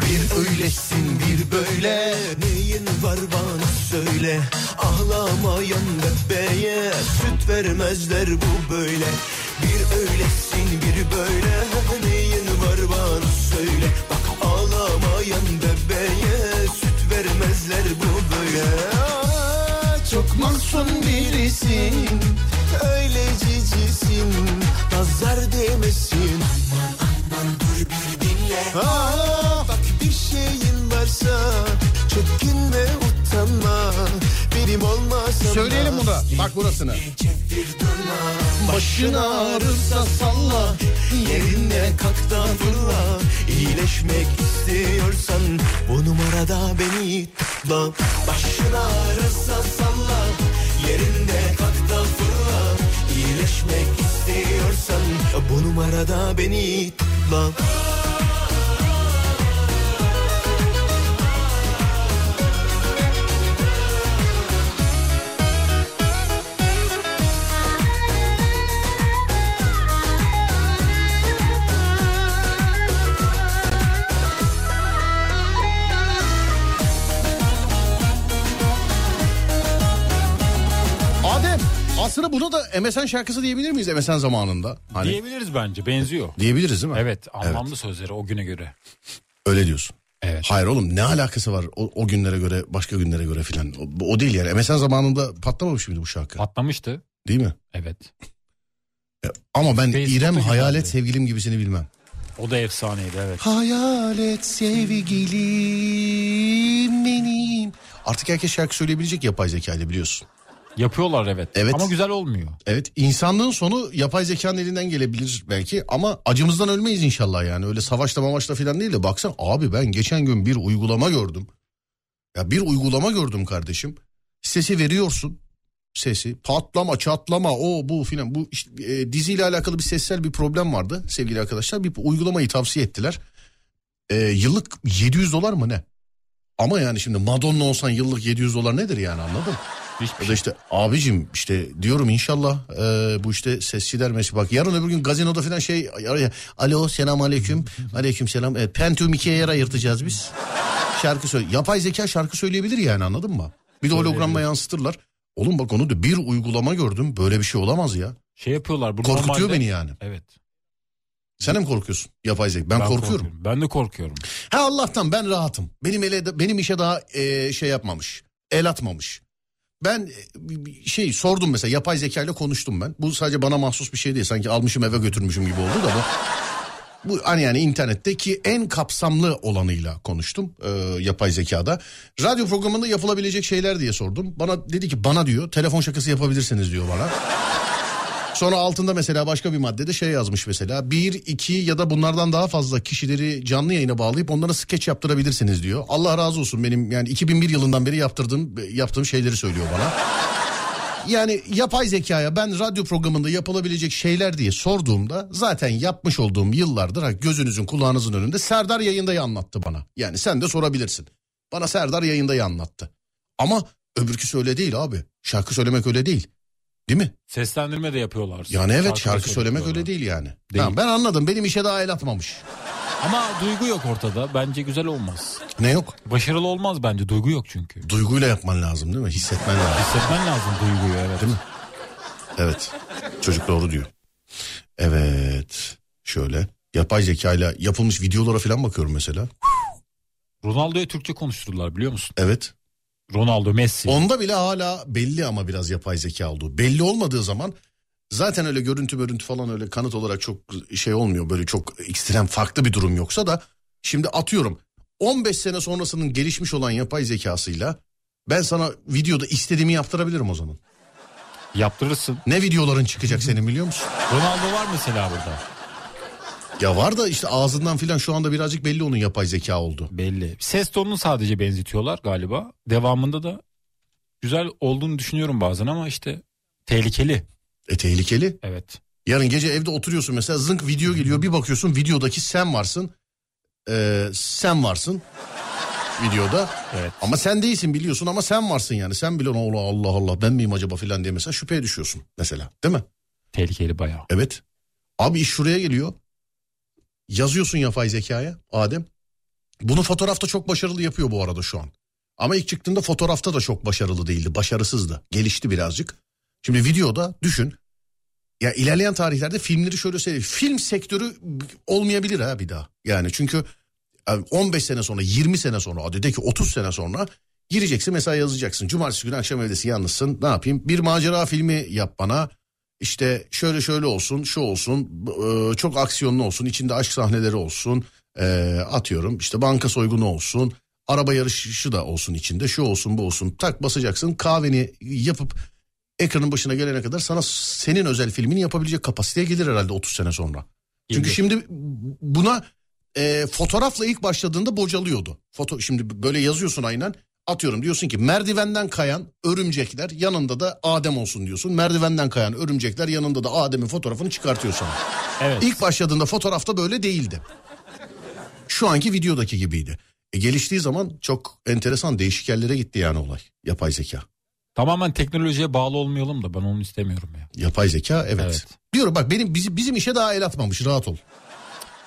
S4: Bir öylesin bir böyle Neyin var bana söyle Ağlamayan bebeğe Süt vermezler bu böyle Bir öylesin bir böyle Neyin var bana söyle Bak ağlamayan bebeğe Süt vermezler bu böyle Aa, Çok masum birisin Öyle cicisin Nazar değmesin Aa, bak bir şeyin varsa çekinme utanma benim olmasa
S2: Söyleyelim bunu. Bak burasını.
S4: başın ağrırsa salla yerinde kalk da fırla iyileşmek istiyorsan bu numarada beni tutla başın ağrırsa salla yerinde kalk da fırla iyileşmek istiyorsan bu numarada beni tutla
S2: buna da MSN şarkısı diyebilir miyiz MSN zamanında? Hani
S3: Diyebiliriz bence benziyor.
S2: diyebiliriz değil mi?
S3: Evet anlamlı sözleri o güne göre.
S2: Öyle diyorsun.
S3: Evet.
S2: Hayır oğlum ne alakası var o, o günlere göre başka günlere göre filan. O, o değil yani. MSN zamanında patlamamış mıydı bu şarkı?
S3: Patlamıştı.
S2: değil mi?
S3: Evet.
S2: Ama ben
S3: Facebook'ta
S2: İrem
S3: güzeldi.
S2: hayalet sevgilim gibisini bilmem.
S3: O da efsaneydi evet.
S2: Hayalet sevgilim benim. Artık herkes şarkı söyleyebilecek yapay zekayla biliyorsun.
S3: Yapıyorlar evet.
S2: Evet.
S3: Ama güzel olmuyor.
S2: Evet insanlığın sonu yapay zekanın elinden gelebilir belki ama acımızdan ölmeyiz inşallah yani. Öyle savaşla mamaşla falan değil de baksan abi ben geçen gün bir uygulama gördüm. Ya bir uygulama gördüm kardeşim. Sesi veriyorsun sesi patlama çatlama o bu filan bu işte, e, diziyle alakalı bir sessel bir problem vardı sevgili arkadaşlar bir uygulamayı tavsiye ettiler E, yıllık 700 dolar mı ne ama yani şimdi Madonna olsan yıllık 700 dolar nedir yani anladın
S3: Hiçbir
S2: o da işte abicim işte diyorum inşallah e, bu işte sesçi dermesi bak yarın öbür gün gazinoda falan şey araya, alo selam aleyküm aleyküm selam e, Pentium ikiye yer ayırtacağız biz şarkı söyle yapay zeka şarkı söyleyebilir yani anladın mı bir de hologramla yansıtırlar oğlum bak onu da bir uygulama gördüm böyle bir şey olamaz ya
S3: Şey yapıyorlar. Bu
S2: korkutuyor
S3: normalde-
S2: beni yani
S3: Evet.
S2: sen de mi korkuyorsun yapay zeka ben, korkuyorum
S3: Ben de korkuyorum.
S2: Ha Allah'tan ben rahatım. Benim ele benim işe daha e, şey yapmamış. El atmamış. Ben e, şey sordum mesela yapay zeka ile konuştum ben. Bu sadece bana mahsus bir şey değil. Sanki almışım eve götürmüşüm gibi oldu da bu. Bu hani yani internetteki en kapsamlı olanıyla konuştum e, yapay zekada. Radyo programında yapılabilecek şeyler diye sordum. Bana dedi ki bana diyor telefon şakası yapabilirsiniz diyor bana. Sonra altında mesela başka bir maddede şey yazmış mesela. Bir, iki ya da bunlardan daha fazla kişileri canlı yayına bağlayıp onlara skeç yaptırabilirsiniz diyor. Allah razı olsun benim yani 2001 yılından beri yaptırdığım yaptığım şeyleri söylüyor bana. Yani yapay zekaya ben radyo programında yapılabilecek şeyler diye sorduğumda zaten yapmış olduğum yıllardır ha, gözünüzün kulağınızın önünde Serdar yayındayı anlattı bana. Yani sen de sorabilirsin. Bana Serdar yayındayı anlattı. Ama öbürküsü öyle değil abi. Şarkı söylemek öyle değil. Değil mi?
S3: Seslendirme de yapıyorlar.
S2: Yani evet şarkı,
S3: Şarkıları
S2: söylemek
S3: söylüyorlar.
S2: öyle değil yani.
S3: Değil.
S2: Tamam, ben anladım benim işe daha el atmamış.
S3: Ama duygu yok ortada. Bence güzel olmaz.
S2: Ne yok?
S3: Başarılı olmaz bence. Duygu yok çünkü.
S2: Duyguyla yapman lazım değil mi? Hissetmen lazım.
S3: Hissetmen lazım duyguyu evet.
S2: Değil mi? Evet çocuk doğru diyor. Evet şöyle yapay zekayla yapılmış videolara falan bakıyorum mesela.
S3: Ronaldo'ya Türkçe konuşturdular biliyor musun?
S2: Evet
S3: Ronaldo, Messi.
S2: onda bile hala belli ama biraz yapay zeka olduğu. Belli olmadığı zaman zaten öyle görüntü görüntü falan öyle kanıt olarak çok şey olmuyor. Böyle çok ekstrem farklı bir durum yoksa da şimdi atıyorum 15 sene sonrasının gelişmiş olan yapay zekasıyla ben sana videoda istediğimi yaptırabilirim o zaman.
S3: Yaptırırsın.
S2: Ne videoların çıkacak senin biliyor musun?
S3: Ronaldo var mesela burada.
S2: Ya var da işte ağzından filan şu anda birazcık belli onun yapay zeka oldu.
S3: Belli. Ses tonunu sadece benzetiyorlar galiba. Devamında da güzel olduğunu düşünüyorum bazen ama işte tehlikeli.
S2: E tehlikeli.
S3: Evet.
S2: Yarın gece evde oturuyorsun mesela zınk video geliyor bir bakıyorsun videodaki sen varsın. Ee, sen varsın videoda.
S3: Evet.
S2: Ama sen değilsin biliyorsun ama sen varsın yani. Sen bile Allah Allah Allah ben miyim acaba filan diye mesela şüpheye düşüyorsun mesela değil mi?
S3: Tehlikeli bayağı.
S2: Evet. Abi iş şuraya geliyor. Yazıyorsun yapay zekaya Adem. Bunu fotoğrafta çok başarılı yapıyor bu arada şu an. Ama ilk çıktığında fotoğrafta da çok başarılı değildi. Başarısızdı. Gelişti birazcık. Şimdi videoda düşün. Ya ilerleyen tarihlerde filmleri şöyle söyleyeyim. Film sektörü olmayabilir ha bir daha. Yani çünkü e, 15 sene sonra 20 sene sonra hadi de ki 30 sene sonra gireceksin mesela yazacaksın. Cumartesi günü akşam evdesin yalnızsın ne yapayım bir macera filmi yap bana. İşte şöyle şöyle olsun şu olsun bu- e, çok aksiyonlu olsun içinde aşk sahneleri olsun e, atıyorum işte banka soygunu olsun araba yarışı da olsun içinde şu olsun bu olsun tak basacaksın kahveni yapıp ekranın başına gelene kadar sana senin özel filmini yapabilecek kapasiteye gelir herhalde 30 sene sonra. Çünkü
S3: Gelir.
S2: şimdi buna e, fotoğrafla ilk başladığında bocalıyordu. Foto şimdi böyle yazıyorsun aynen. Atıyorum diyorsun ki merdivenden kayan örümcekler yanında da Adem olsun diyorsun. Merdivenden kayan örümcekler yanında da Adem'in fotoğrafını çıkartıyorsun.
S3: Evet.
S2: İlk başladığında fotoğrafta böyle değildi. Şu anki videodaki gibiydi. E, geliştiği zaman çok enteresan değişik yerlere gitti yani olay. Yapay zeka.
S3: Tamamen teknolojiye bağlı olmayalım da ben onu istemiyorum ya.
S2: Yapay zeka evet.
S3: Evet.
S2: Diyorum bak benim bizi- bizim işe daha el atmamış rahat ol.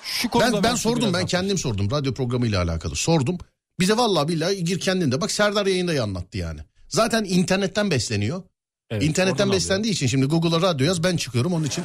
S3: Şu
S2: Ben,
S3: konuda
S2: ben, sordum ben kendim sordum radyo programıyla alakalı sordum. Bize vallahi billahi gir kendin de bak Serdar yayında anlattı yani. Zaten internetten besleniyor.
S3: Evet,
S2: İnternetten
S3: oradan
S2: beslendiği için şimdi Google'a radyo yaz ben çıkıyorum onun için.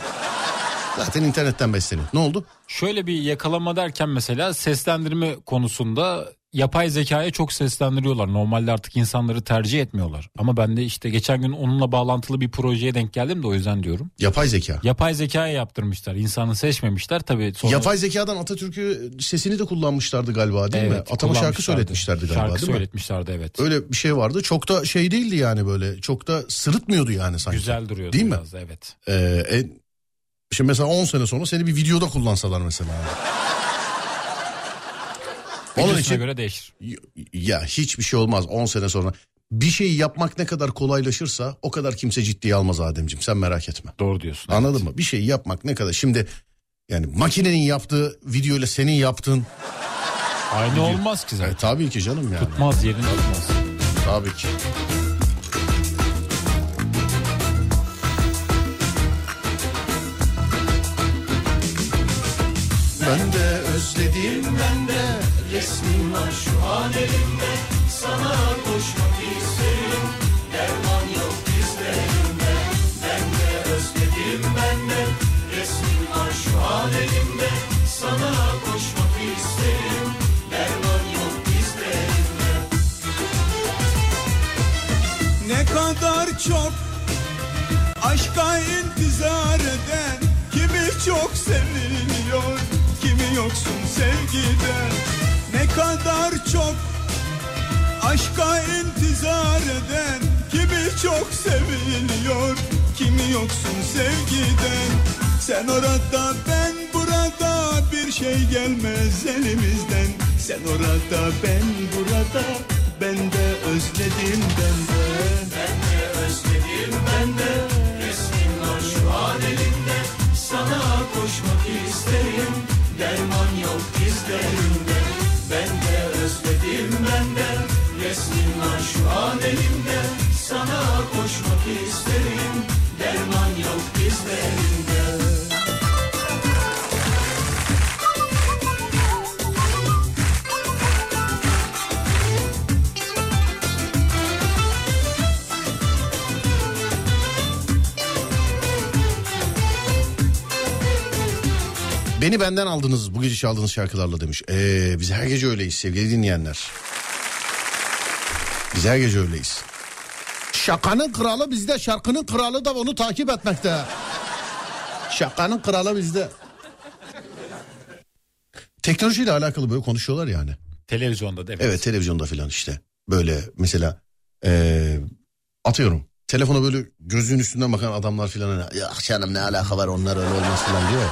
S2: Zaten internetten besleniyor. Ne oldu?
S3: Şöyle bir yakalama derken mesela seslendirme konusunda yapay zekaya çok seslendiriyorlar. Normalde artık insanları tercih etmiyorlar. Ama ben de işte geçen gün onunla bağlantılı bir projeye denk geldim de o yüzden diyorum.
S2: Yapay zeka.
S3: Yapay zekaya yaptırmışlar. İnsanı seçmemişler tabii. Sonra
S2: Yapay zekadan Atatürk'ü sesini de kullanmışlardı galiba değil mi?
S3: Evet,
S2: Atama şarkı
S3: kullanmışlardı.
S2: söyletmişlerdi galiba
S3: Şarkı
S2: değil mi?
S3: söyletmişlerdi evet.
S2: Öyle bir şey vardı. Çok da şey değildi yani böyle. Çok da sırıtmıyordu yani sanki.
S3: Güzel duruyordu
S2: Değil mi?
S3: biraz da, evet.
S2: Ee, en- şimdi mesela 10 sene sonra seni bir videoda kullansalar mesela. Onun
S3: Videosuna
S2: için
S3: göre değişir.
S2: ya hiçbir şey olmaz 10 sene sonra. Bir şeyi yapmak ne kadar kolaylaşırsa o kadar kimse ciddiye almaz Ademciğim sen merak etme.
S3: Doğru diyorsun.
S2: Anladın mı? Bir şeyi yapmak ne kadar şimdi yani makinenin yaptığı video ile senin yaptığın
S3: Aynı olmaz ki
S2: e,
S3: zaten.
S2: tabii ki canım yani
S3: Tutmaz yerini tutmaz.
S2: tabii ki. Ben de özlediğim
S1: Ne kadar çok aşka intizar eden Kimi çok seviliyor, kimi yoksun sevgiden Ne kadar çok aşka intizar eden Kimi çok seviliyor, kimi yoksun sevgiden Sen orada ben burada bir şey gelmez elimizden Sen orada ben burada ben de özledim ben de
S2: Beni benden aldınız bu gece çaldığınız şarkılarla demiş. Ee, biz her gece öyleyiz sevgili dinleyenler. Biz her gece öyleyiz. Şakanın kralı bizde şarkının kralı da onu takip etmekte. Şakanın kralı bizde. Teknolojiyle alakalı böyle konuşuyorlar yani.
S3: Televizyonda değil mi?
S2: Evet televizyonda filan işte. Böyle mesela eee, atıyorum. Telefona böyle gözünün üstünden bakan adamlar filan. Hani, ya canım ne alaka var onlar öyle olmaz filan diyor ya.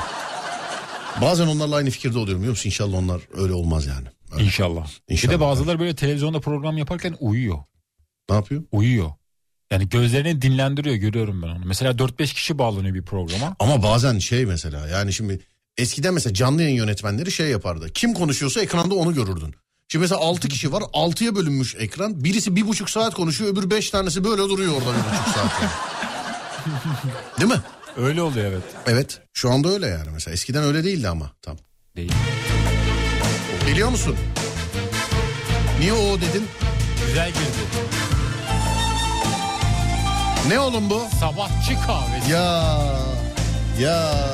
S2: Bazen onlarla aynı fikirde oluyorum biliyor musun? İnşallah onlar öyle olmaz yani. Evet.
S3: İnşallah.
S2: İnşallah.
S3: Bir de bazıları böyle televizyonda program yaparken uyuyor.
S2: Ne yapıyor?
S3: Uyuyor. Yani gözlerini dinlendiriyor görüyorum ben onu. Mesela 4-5 kişi bağlanıyor bir programa.
S2: Ama bazen şey mesela yani şimdi eskiden mesela canlı yayın yönetmenleri şey yapardı. Kim konuşuyorsa ekranda onu görürdün. Şimdi mesela 6 kişi var 6'ya bölünmüş ekran. Birisi bir buçuk saat konuşuyor öbür 5 tanesi böyle duruyor orada bir buçuk saat. yani. Değil mi?
S3: Öyle oluyor evet.
S2: Evet şu anda öyle yani mesela eskiden öyle değildi ama tam.
S3: Değil.
S2: Biliyor musun? Niye o dedin?
S3: Güzel girdi.
S2: Ne oğlum bu?
S3: Sabahçı kahvesi.
S2: Ya ya.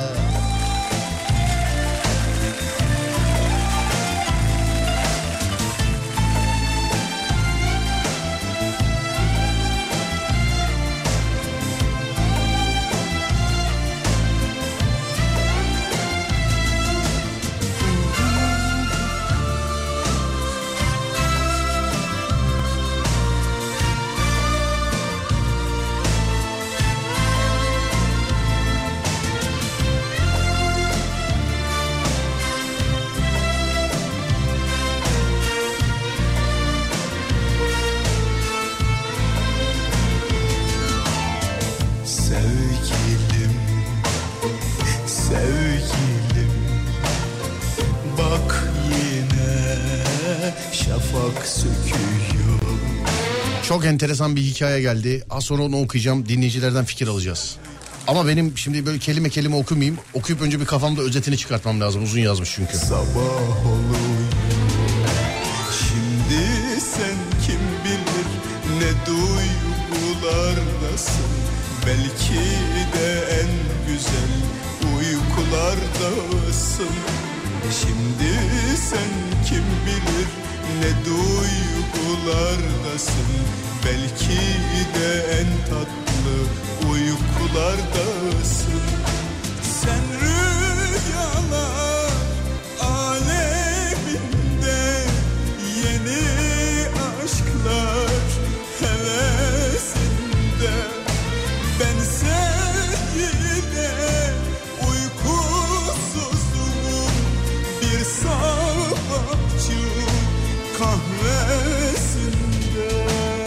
S1: Sevgilim, sevgilim Bak yine şafak söküyor
S2: Çok enteresan bir hikaye geldi. Az sonra onu okuyacağım. Dinleyicilerden fikir alacağız. Ama benim şimdi böyle kelime kelime okumayayım. Okuyup önce bir kafamda özetini çıkartmam lazım. Uzun yazmış çünkü.
S1: Sabah oluyor Şimdi sen kim bilir ne duygulardasın
S7: Belki de en güzel uykulardasın Şimdi sen kim bilir ne duygulardasın Belki de en tatlı uykulardasın Sen rüyalar aleminde yeni aşklar hevesinde ben sevgide uykusuzluğum bir sabahçı kahvesinde.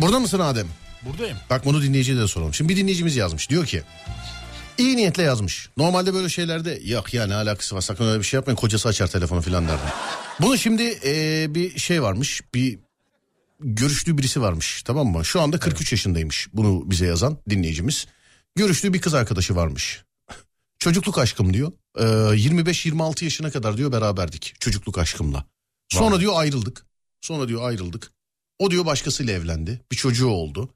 S2: Burada mısın Adem?
S3: Buradayım.
S2: Bak bunu dinleyiciye de soralım. Şimdi bir dinleyicimiz yazmış. Diyor ki iyi niyetle yazmış. Normalde böyle şeylerde yok ya ne alakası var sakın öyle bir şey yapmayın. Kocası açar telefonu filan derdi. Bunu şimdi eee, bir şey varmış. Bir görüştüğü birisi varmış tamam mı? Şu anda 43 yaşındaymış bunu bize yazan dinleyicimiz. Görüştüğü bir kız arkadaşı varmış. Çocukluk aşkım diyor. E, Eee, 25-26 yaşına kadar diyor beraberdik çocukluk aşkımla. Sonra diyor ayrıldık. Sonra diyor ayrıldık. O diyor başkasıyla evlendi. Bir çocuğu oldu.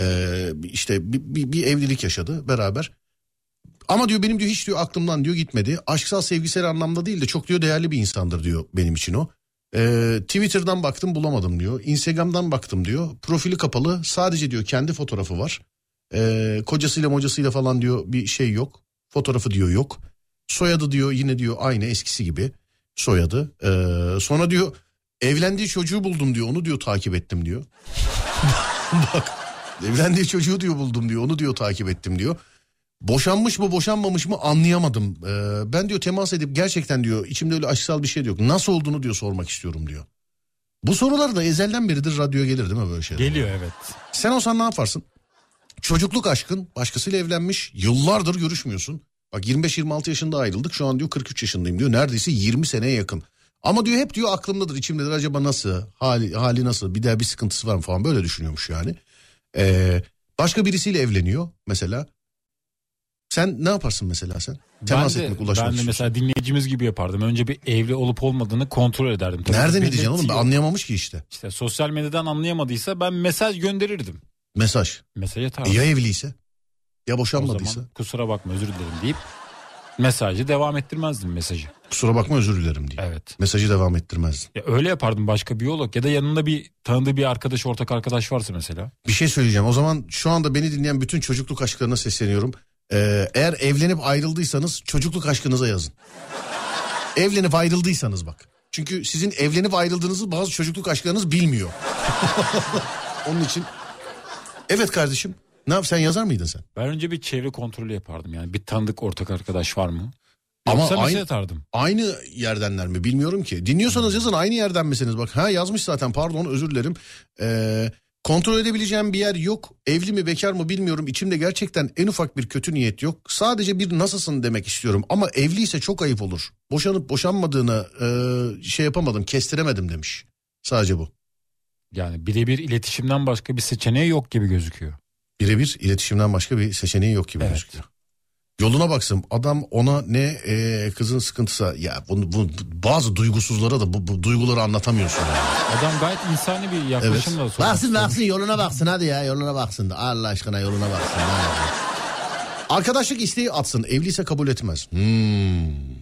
S2: Ee, işte bir, bir, bir evlilik yaşadı beraber. Ama diyor benim diyor hiç diyor aklımdan diyor gitmedi. Aşksal sevgisel anlamda değil de çok diyor değerli bir insandır diyor benim için o. Ee, Twitter'dan baktım bulamadım diyor. Instagram'dan baktım diyor. Profili kapalı sadece diyor kendi fotoğrafı var. Ee, kocasıyla mocasıyla falan diyor bir şey yok. Fotoğrafı diyor yok. Soyadı diyor yine diyor aynı eskisi gibi soyadı. Ee, sonra diyor evlendiği çocuğu buldum diyor onu diyor takip ettim diyor. Evlendiği çocuğu diyor buldum diyor. Onu diyor takip ettim diyor. Boşanmış mı boşanmamış mı anlayamadım. Ee, ben diyor temas edip gerçekten diyor içimde öyle aşksal bir şey de yok. Nasıl olduğunu diyor sormak istiyorum diyor. Bu sorular da ezelden beridir radyoya gelir değil mi böyle şeyler?
S6: Geliyor evet.
S2: Sen olsan ne yaparsın? Çocukluk aşkın başkasıyla evlenmiş yıllardır görüşmüyorsun. Bak 25-26 yaşında ayrıldık şu an diyor 43 yaşındayım diyor neredeyse 20 seneye yakın. Ama diyor hep diyor aklımdadır içimdedir acaba nasıl hali, hali nasıl bir daha bir sıkıntısı var mı falan böyle düşünüyormuş yani. Ee, başka birisiyle evleniyor mesela. Sen ne yaparsın mesela sen? Temas
S3: ben de,
S2: etmek ulaşmak
S3: Ben de
S2: istiyorsun.
S3: mesela dinleyicimiz gibi yapardım. Önce bir evli olup olmadığını kontrol ederdim. Tabii
S2: Nereden
S3: belirti
S2: edeceksin oğlum
S3: yok.
S2: anlayamamış ki işte.
S3: İşte sosyal medyadan anlayamadıysa ben mesaj gönderirdim.
S2: Mesaj.
S3: Mesaj
S2: E
S3: atardım.
S2: ya evliyse? Ya
S3: o
S2: boşanmadıysa?
S3: zaman kusura bakma özür dilerim deyip mesajı devam ettirmezdim mesajı.
S2: Kusura bakma özür dilerim diye.
S3: Evet.
S2: Mesajı devam ettirmezdin.
S3: Ya öyle yapardım başka biyolog ya da yanında bir tanıdığı bir arkadaş ortak arkadaş varsa mesela.
S2: Bir şey söyleyeceğim. O zaman şu anda beni dinleyen bütün çocukluk aşklarına sesleniyorum. Ee, eğer evlenip ayrıldıysanız çocukluk aşkınıza yazın. evlenip ayrıldıysanız bak. Çünkü sizin evlenip ayrıldığınızı bazı çocukluk aşklarınız bilmiyor. Onun için. Evet kardeşim. Ne yap sen yazar mıydın sen?
S3: Ben önce bir çevre kontrolü yapardım yani bir tanıdık ortak arkadaş var mı?
S2: Ama
S3: Ama Yoksa mesaj
S2: aynı-
S3: atardım.
S2: Aynı yerdenler mi bilmiyorum ki. Dinliyorsanız yazın aynı yerden misiniz? Bak ha yazmış zaten pardon özür dilerim. Ee, kontrol edebileceğim bir yer yok. Evli mi bekar mı bilmiyorum. İçimde gerçekten en ufak bir kötü niyet yok. Sadece bir nasılsın demek istiyorum. Ama evliyse çok ayıp olur. Boşanıp boşanmadığını e, şey yapamadım kestiremedim demiş. Sadece bu.
S3: Yani birebir iletişimden başka bir seçeneği yok gibi gözüküyor.
S2: Birebir iletişimden başka bir seçeneği yok gibi
S3: Evet.
S2: gözüküyor. Yoluna baksın adam ona ne e, kızın sıkıntısa ya bunu, bu, bazı duygusuzlara da bu, bu duyguları anlatamıyorsun. yani.
S3: Adam gayet insani bir yaklaşımla
S2: Evet.
S3: sormuş.
S2: Baksın baksın yoluna baksın hadi ya yoluna baksın. Allah aşkına yoluna baksın. hadi. Arkadaşlık isteği atsın. Evliyse kabul etmez. Hmm.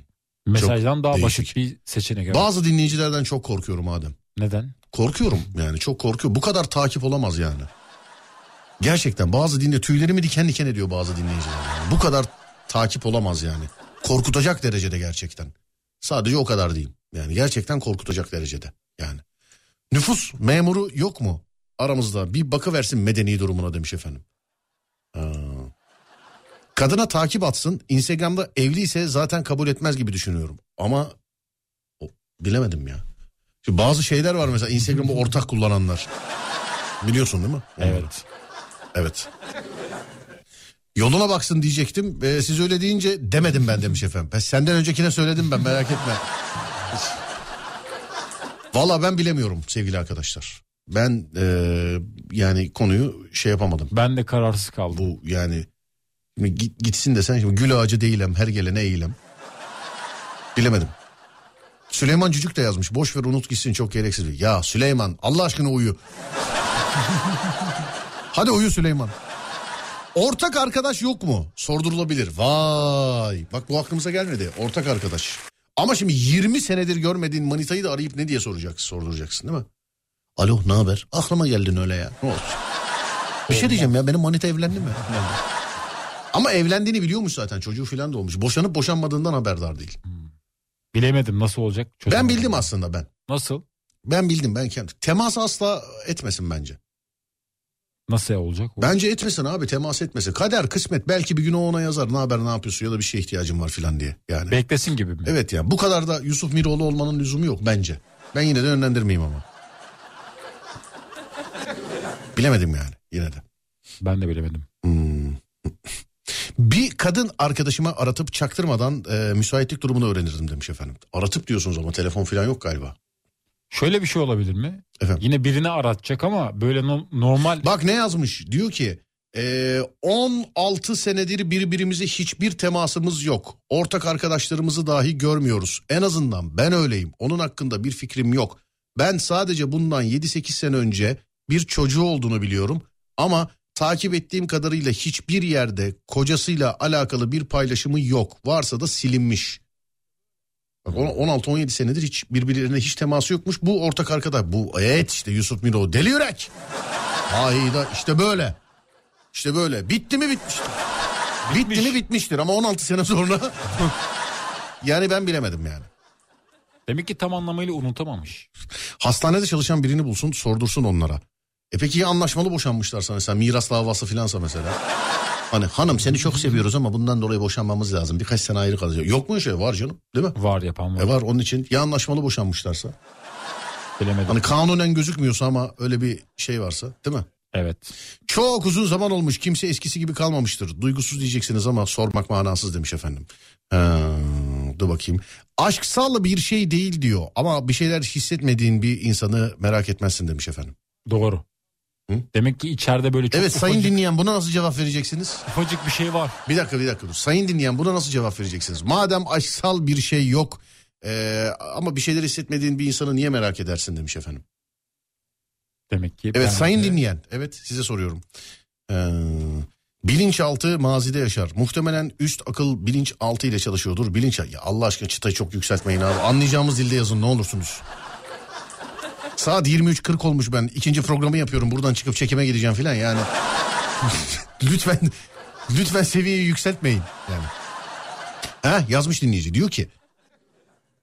S3: Mesajdan daha
S2: değişik.
S3: basit bir seçenek. evet.
S2: Bazı dinleyicilerden çok korkuyorum Adem.
S3: Neden?
S2: Korkuyorum yani çok korkuyorum. Bu kadar takip olamaz yani. Gerçekten bazı dinle tüylerimi diken diken ediyor bazı dinleyiciler. yani. Bu kadar takip olamaz yani. Korkutacak derecede gerçekten. Sadece o kadar diyeyim. Yani gerçekten korkutacak derecede yani. Nüfus memuru yok mu aramızda? Bir bakıversin medeni durumuna demiş efendim. Ha. Kadına takip atsın. Instagram'da evliyse zaten kabul etmez gibi düşünüyorum. Ama o, bilemedim ya. Şimdi bazı şeyler var mesela Instagram'ı ortak kullananlar. Biliyorsun değil mi? Onları.
S3: Evet.
S2: Evet. Yoluna baksın diyecektim. Ee, siz öyle deyince demedim ben demiş efendim. Ben senden öncekine söyledim ben merak etme. Valla ben bilemiyorum sevgili arkadaşlar. Ben ee, yani konuyu şey yapamadım.
S3: Ben de kararsız kaldım.
S2: Bu yani şimdi git- gitsin desen şimdi gül ağacı değilim her gelene eğilem. Bilemedim. Süleyman Cücük de yazmış. Boş ver unut gitsin çok gereksiz. Ya Süleyman Allah aşkına uyu. Hadi uyu Süleyman. Ortak arkadaş yok mu? Sordurulabilir. Vay. Bak bu aklımıza gelmedi. Ortak arkadaş. Ama şimdi 20 senedir görmediğin manitayı da arayıp ne diye soracaksın, sorduracaksın değil mi? Alo ne haber? Aklıma geldin öyle ya. Ne olsun? Bir şey diyeceğim ya benim manita evlendi mi? Ama evlendiğini biliyormuş zaten çocuğu filan da olmuş. Boşanıp boşanmadığından haberdar değil.
S3: Bilemedim nasıl olacak.
S2: Ben
S3: Çözemedim.
S2: bildim aslında ben.
S3: Nasıl?
S2: Ben bildim ben kendim. Temas asla etmesin bence.
S3: Nasıl olacak? o?
S2: Bence etmesin abi temas etmesin. Kader kısmet belki bir gün o ona yazar ne haber ne yapıyorsun ya da bir şeye ihtiyacım var filan diye. Yani.
S3: Beklesin gibi mi?
S2: evet ya bu kadar da Yusuf Miroğlu olmanın lüzumu yok bence. Ben yine de önlendirmeyeyim ama. Bilemedim yani yine de.
S3: Ben de bilemedim.
S2: Hmm. Bir kadın arkadaşıma aratıp çaktırmadan e, müsaitlik durumunu öğrenirdim demiş efendim. Aratıp diyorsunuz ama telefon filan yok galiba.
S3: Şöyle bir şey olabilir mi?
S2: Efendim.
S3: Yine birini aratacak ama böyle no- normal
S2: Bak ne yazmış diyor ki e, 16 senedir birbirimize hiçbir temasımız yok. Ortak arkadaşlarımızı dahi görmüyoruz. En azından ben öyleyim. Onun hakkında bir fikrim yok. Ben sadece bundan 7-8 sene önce bir çocuğu olduğunu biliyorum. Ama takip ettiğim kadarıyla hiçbir yerde kocasıyla alakalı bir paylaşımı yok. Varsa da silinmiş. Bak on- 16-17 senedir hiç birbirlerine hiç teması yokmuş. Bu ortak arkadaş. Bu evet işte Yusuf Miro deli yürek. Hayda işte böyle. İşte böyle. Bitti mi bitmiştir. Bitti mi bitmiştir ama 16 sene sonra. yani ben bilemedim yani.
S3: demek ki tam anlamıyla unutamamış.
S2: Hastanede çalışan birini bulsun sordursun onlara. E peki ya anlaşmalı boşanmışlarsa mesela miras davası filansa mesela. Hani hanım seni çok seviyoruz ama bundan dolayı boşanmamız lazım. Birkaç sene ayrı kalacak. Yok mu öyle şey var canım değil mi?
S3: Var yapan var.
S2: E var onun için ya anlaşmalı boşanmışlarsa.
S3: Bilemedim.
S2: Hani kanunen gözükmüyorsa ama öyle bir şey varsa değil mi?
S3: Evet.
S2: Çok uzun zaman olmuş kimse eskisi gibi kalmamıştır. Duygusuz diyeceksiniz ama sormak manasız demiş efendim. Ha, dur bakayım. Aşksal bir şey değil diyor ama bir şeyler hissetmediğin bir insanı merak etmezsin demiş efendim.
S3: Doğru.
S2: Hı?
S3: Demek ki içeride böyle çok
S2: Evet sayın
S3: ufacık,
S2: dinleyen buna nasıl cevap vereceksiniz?
S3: ufacık bir şey var.
S2: Bir dakika bir dakika dur. Sayın dinleyen buna nasıl cevap vereceksiniz? Madem aşksal bir şey yok eee, ama bir şeyler hissetmediğin bir insanı niye merak edersin demiş efendim.
S3: Demek ki.
S2: Evet
S3: ben-
S2: sayın dinleyen. Evet size soruyorum. Ee, bilinçaltı mazide yaşar. Muhtemelen üst akıl bilinçaltı ile çalışıyordur. Bilinç ya Allah aşkına çıtayı çok yükseltmeyin abi. Anlayacağımız dilde yazın ne olursunuz. Saat 23.40 olmuş ben. ikinci programı yapıyorum. Buradan çıkıp çekime gideceğim filan yani. lütfen lütfen seviyeyi yükseltmeyin yani. Ha yazmış dinleyici diyor ki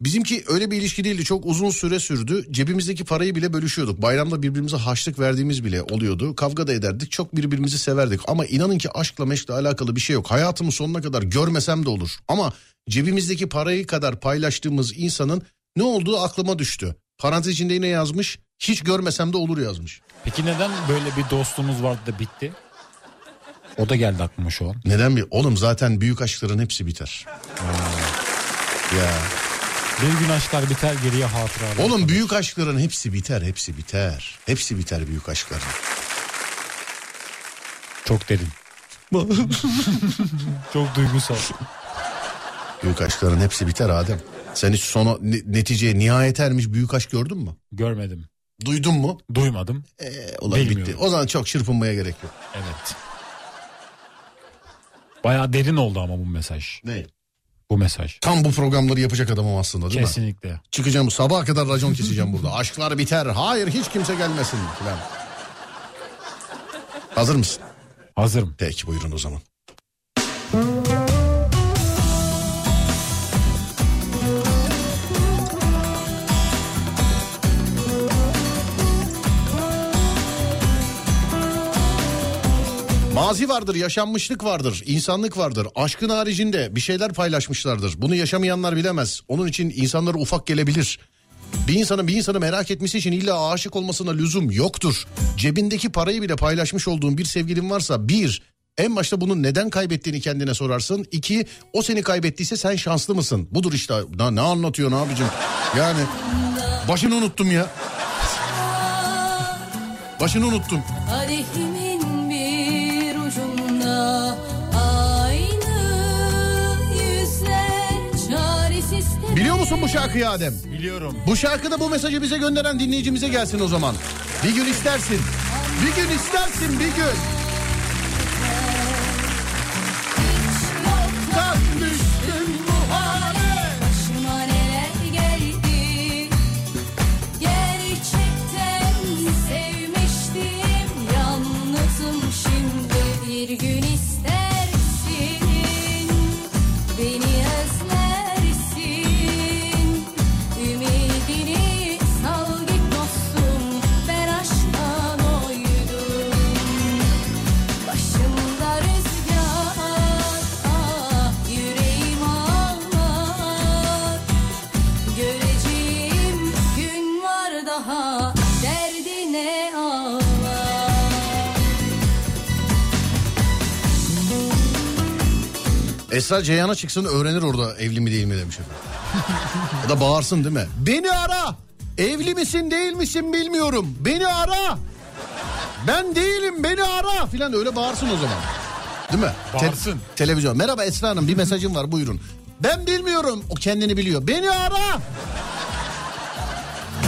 S2: Bizimki öyle bir ilişki değildi. Çok uzun süre sürdü. Cebimizdeki parayı bile bölüşüyorduk. Bayramda birbirimize haçlık verdiğimiz bile oluyordu. Kavga da ederdik. Çok birbirimizi severdik. Ama inanın ki aşkla meşkle alakalı bir şey yok. Hayatımın sonuna kadar görmesem de olur. Ama cebimizdeki parayı kadar paylaştığımız insanın ne olduğu aklıma düştü. Parantez içinde yine yazmış. Hiç görmesem de olur yazmış.
S3: Peki neden böyle bir dostluğumuz vardı da bitti? O da geldi aklıma şu an.
S2: Neden bir? Oğlum zaten büyük aşkların hepsi biter. Ya.
S3: Bir gün aşklar biter geriye hatıralar.
S2: Oğlum büyük aşkların hepsi biter, hepsi biter. Hepsi biter büyük aşkların.
S3: Çok derin. Çok duygusal.
S2: Büyük aşkların hepsi biter Adem. Sen hiç sona ne- neticeye nihayet ermiş büyük aşk gördün mü?
S3: Görmedim.
S2: Duydun mu?
S3: Duymadım.
S2: E, ulan
S3: Bilmiyorum.
S2: bitti. O zaman çok çırpınmaya gerek yok.
S3: Evet. Baya derin oldu ama bu mesaj.
S2: Ne?
S3: Bu mesaj.
S2: Tam bu programları yapacak adamım aslında değil mi?
S3: Kesinlikle.
S2: Çıkacağım sabaha kadar racon keseceğim burada. Aşklar biter. Hayır hiç kimse gelmesin falan. Hazır mısın?
S3: Hazırım.
S2: Peki buyurun o zaman. Mazi vardır, yaşanmışlık vardır, insanlık vardır. Aşkın haricinde bir şeyler paylaşmışlardır. Bunu yaşamayanlar bilemez. Onun için insanlara ufak gelebilir. Bir insanın bir insanı merak etmesi için illa aşık olmasına lüzum yoktur. Cebindeki parayı bile paylaşmış olduğun bir sevgilin varsa bir, en başta bunun neden kaybettiğini kendine sorarsın. İki, o seni kaybettiyse sen şanslı mısın? Budur işte. Na, ne anlatıyorsun abicim? Yani başını unuttum ya. Başını unuttum.
S8: Kadehimin bir ucunda aynı yüzler çaresiz
S2: Biliyor musun bu şarkıyı Adem?
S3: Biliyorum.
S2: Bu şarkıda bu mesajı bize gönderen dinleyicimize gelsin o zaman. Bir gün istersin. Bir gün istersin bir gün.
S8: Yoktan düştüm bu hale Başıma neler geldi Gerçekten sevmiştim Yalnızım şimdi Bir gün istersin Beni özlersin Ümidini sal git dostum Ben aşktan oydum Başımda rüzgar, ah, yüreğim ağlar Göreceğim gün var daha, derdine ağlar
S2: Esra Ceyhan'a çıksın öğrenir orada evli mi değil mi demiş efendim. ya da bağırsın değil mi? Beni ara. Evli misin değil misin bilmiyorum. Beni ara. Ben değilim beni ara filan öyle bağırsın o zaman. Değil mi? Te-
S6: Bağırsın.
S2: televizyon. Merhaba Esra Hanım bir mesajım var buyurun. Ben bilmiyorum. O kendini biliyor. Beni ara.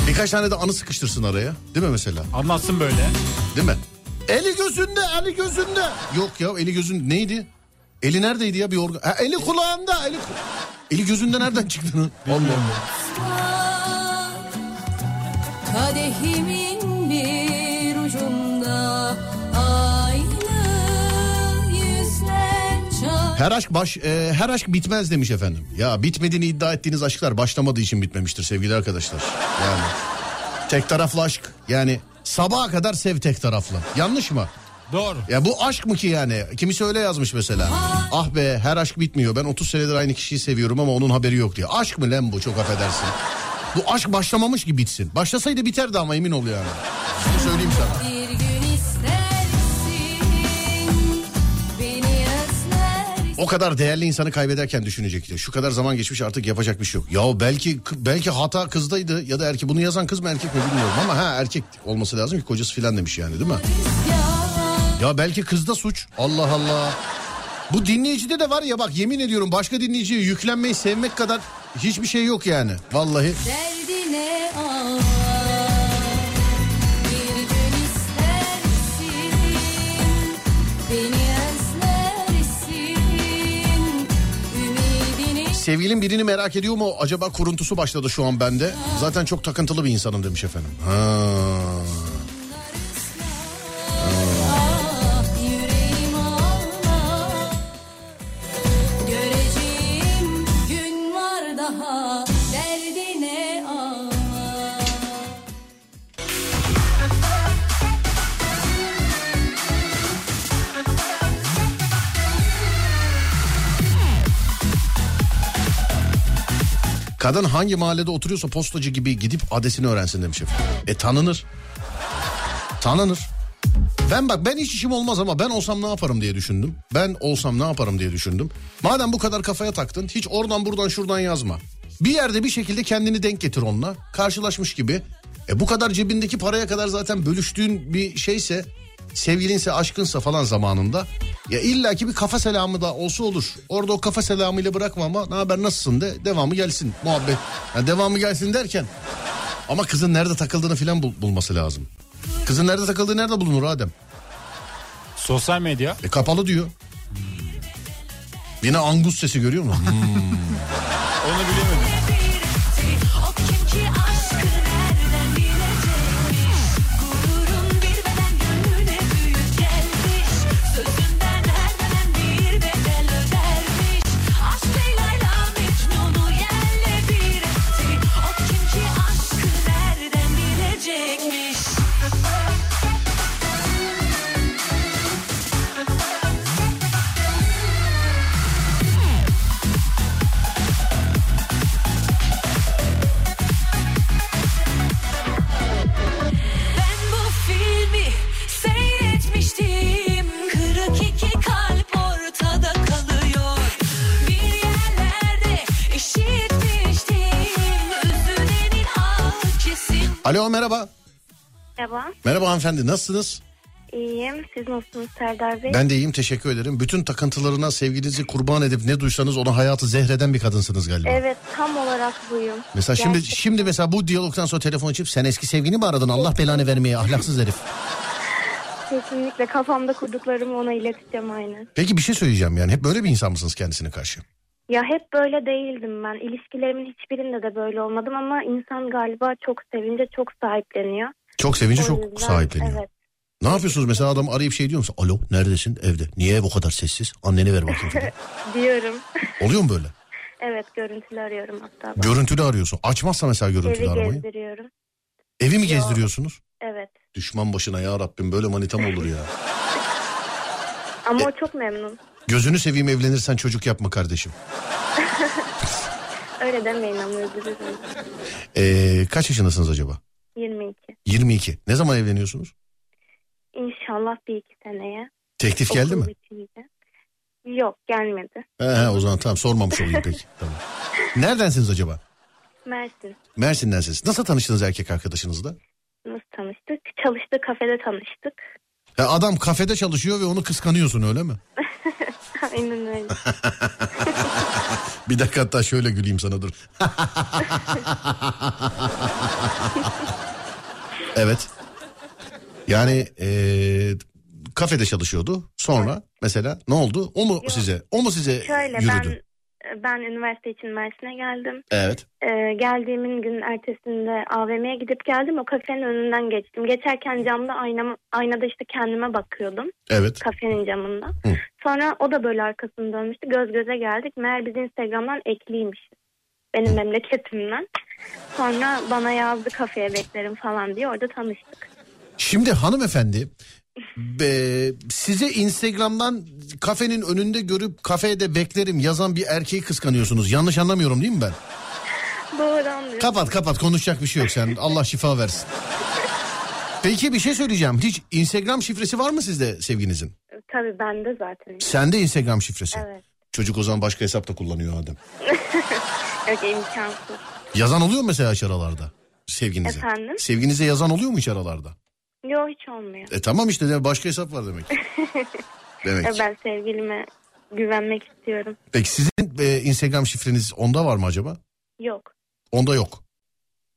S2: Birkaç tane de anı sıkıştırsın araya. Değil mi mesela?
S6: Anlatsın böyle.
S2: Değil mi? Eli gözünde, eli gözünde. Yok ya eli gözün neydi? Eli neredeydi ya bir organ? Ha, eli kulağında, eli ku- Eli gözünde nereden çıktı? Allah Allah.
S8: Kadehimin bir ucunda aynı yüzler çar
S2: Her aşk baş e, her aşk bitmez demiş efendim. Ya bitmediğini iddia ettiğiniz aşklar başlamadığı için bitmemiştir sevgili arkadaşlar. Yani tek taraflı aşk yani sabaha kadar sev tek taraflı. Yanlış mı?
S6: Doğru.
S2: Ya bu aşk mı ki yani? Kimisi öyle yazmış mesela. Ah be her aşk bitmiyor. Ben 30 senedir aynı kişiyi seviyorum ama onun haberi yok diyor. Aşk mı lan bu çok affedersin. Bu aşk başlamamış gibi bitsin. Başlasaydı biterdi ama emin ol yani. Bunu söyleyeyim sana.
S8: Bir gün istersin beni özlersin
S2: O kadar değerli insanı kaybederken düşünecek diyor. Şu kadar zaman geçmiş artık yapacak bir şey yok. Ya belki belki hata kızdaydı ya da erkek. Bunu yazan kız mı erkek mi bilmiyorum ama ha erkek olması lazım ki kocası filan demiş yani değil mi?
S8: ya
S2: Ya belki kızda suç. Allah Allah. Bu dinleyicide de var ya bak yemin ediyorum başka dinleyiciye yüklenmeyi sevmek kadar hiçbir şey yok yani. Vallahi.
S8: derdine ağlar. Bir gün istersin beni özlersin ümidini
S2: Sevgilim birini merak ediyor mu? Acaba kuruntusu başladı şu an bende. Zaten çok takıntılı bir insanım demiş efendim. Ha.
S8: Ah yüreğim ağlar Göreceğim gün var daha derdine ağlar
S2: Kadın hangi mahallede oturuyorsa postacı gibi gidip adresini öğrensin demiş efendim. E tanınır. Tanınır. Ben bak ben hiç işim olmaz ama ben olsam ne yaparım diye düşündüm. Ben olsam ne yaparım diye düşündüm. Madem bu kadar kafaya taktın hiç oradan buradan şuradan yazma. Bir yerde bir şekilde kendini denk getir onunla. Karşılaşmış gibi. E bu kadar cebindeki paraya kadar zaten bölüştüğün bir şeyse sevgilinse aşkınsa falan zamanında ya illaki bir kafa selamı da olsa olur. Orada o kafa selamıyla bırakma ama ne haber nasılsın de devamı gelsin muhabbet. Yani devamı gelsin derken ama kızın nerede takıldığını filan bul- bulması lazım. Kızın nerede takıldığı nerede bulunur Adem?
S6: Sosyal medya.
S2: E kapalı diyor. Yine angus sesi görüyor musun? Hmm.
S6: Onu bilemedim.
S5: O kim ki aşkı nereden bilecekmiş Gururun bir beden gönlüne büyük gelmiş Sözünden her beden bir bedel ödermiş Aşk Leyla'yla Mecnun'u yerle bir etti O kim ki aşkı nereden bilecekmiş Ben bu filmi seyretmiştim. Kırık iki kalp ortada kalıyor. Bir yerlerde işitmiştim. Üzülenin ah kesin
S2: Alo merhaba.
S9: Merhaba,
S2: Merhaba hanımefendi nasılsınız?
S9: iyiyim. Siz nasılsınız Serdar Bey?
S2: Ben de iyiyim teşekkür ederim. Bütün takıntılarına sevginizi kurban edip ne duysanız ona hayatı zehreden bir kadınsınız galiba.
S9: Evet, tam olarak buyum.
S2: Mesela şimdi
S9: Gerçekten.
S2: şimdi mesela bu diyalogdan sonra telefon açıp sen eski sevgini mi aradın? Allah belanı vermeye ahlaksız herif.
S9: Kesinlikle kafamda kurduklarımı ona ileteceğim aynı.
S2: Peki bir şey söyleyeceğim yani hep böyle bir insan mısınız kendisine karşı?
S9: Ya hep böyle değildim ben. İlişkilerimin hiçbirinde de böyle olmadım ama insan galiba çok sevince çok sahipleniyor.
S2: Çok sevince
S9: O
S2: çok
S9: yüzden,
S2: sahipleniyor.
S9: Evet.
S2: Ne yapıyorsunuz mesela adam arayıp şey diyor musun? Alo neredesin evde? Niye bu kadar sessiz? Anneni ver bakayım. falan.
S9: Diyorum.
S2: Oluyor mu böyle?
S9: Evet görüntülü arıyorum hatta. ben.
S2: Görüntülü arıyorsun. Açmazsa mesela görüntülü
S9: Evi
S2: aramayı.
S9: gezdiriyorum.
S2: Evi mi gezdiriyorsunuz?
S9: Evet.
S2: Düşman başına ya Rabbim böyle manita mı olur ya?
S9: Ama
S2: E-
S9: o çok memnun.
S2: Gözünü seveyim evlenirsen çocuk yapma kardeşim.
S9: Öyle demeyin ama özür dilerim.
S2: Ee, kaç yaşındasınız acaba?
S9: 22.
S2: 22. Ne zaman evleniyorsunuz?
S9: İnşallah bir iki seneye.
S2: Teklif geldi mi?
S9: Okul bitince. Yok gelmedi.
S2: He, he, o zaman tamam sormamış olayım peki. Tamam. Neredensiniz acaba?
S9: Mersin.
S2: Mersin'densiniz. Nasıl tanıştınız erkek arkadaşınızla?
S9: Nasıl tanıştık? Çalıştığı kafede tanıştık.
S2: Ya adam kafede çalışıyor ve onu kıskanıyorsun öyle mi?
S9: Aynen öyle.
S2: Bir dakika hatta şöyle güleyim sana dur. evet. Yani eee, kafede çalışıyordu. Sonra mesela ne oldu? O mu size? O mu size
S9: Şöyle
S2: yürüdü?
S9: ben ben üniversite için Mersin'e geldim.
S2: Evet.
S9: Ee, geldiğimin gün ertesinde AVM'ye gidip geldim. O kafenin önünden geçtim. Geçerken camda aynam, aynada işte kendime bakıyordum.
S2: Evet.
S9: Kafenin camında. Sonra o da böyle arkasını dönmüştü. Göz göze geldik. Meğer biz Instagram'dan ekliymiş. Benim memleketimden. Sonra bana yazdı kafeye beklerim falan diye orada tanıştık.
S2: Şimdi hanımefendi be- size Instagram'dan kafenin önünde görüp kafede beklerim yazan bir erkeği kıskanıyorsunuz. Yanlış anlamıyorum değil mi ben?
S9: Doğru anlıyorum.
S2: Kapat kapat konuşacak bir şey yok sen. Allah şifa versin. Peki bir şey söyleyeceğim. Hiç Instagram şifresi var mı sizde sevginizin?
S9: Tabii bende zaten.
S2: Sende Instagram şifresi.
S9: Evet.
S2: Çocuk o zaman başka hesapta kullanıyor adam.
S9: Yok imkansız.
S2: Yazan oluyor mu mesela hiç aralarda? Sevginize.
S9: Efendim?
S2: Sevginize yazan oluyor mu hiç aralarda?
S9: Yok hiç olmuyor.
S2: E tamam işte de başka hesap var demek. demek.
S9: Ben sevgilime güvenmek istiyorum.
S2: Peki sizin e, Instagram şifreniz onda var mı acaba?
S9: Yok.
S2: Onda yok.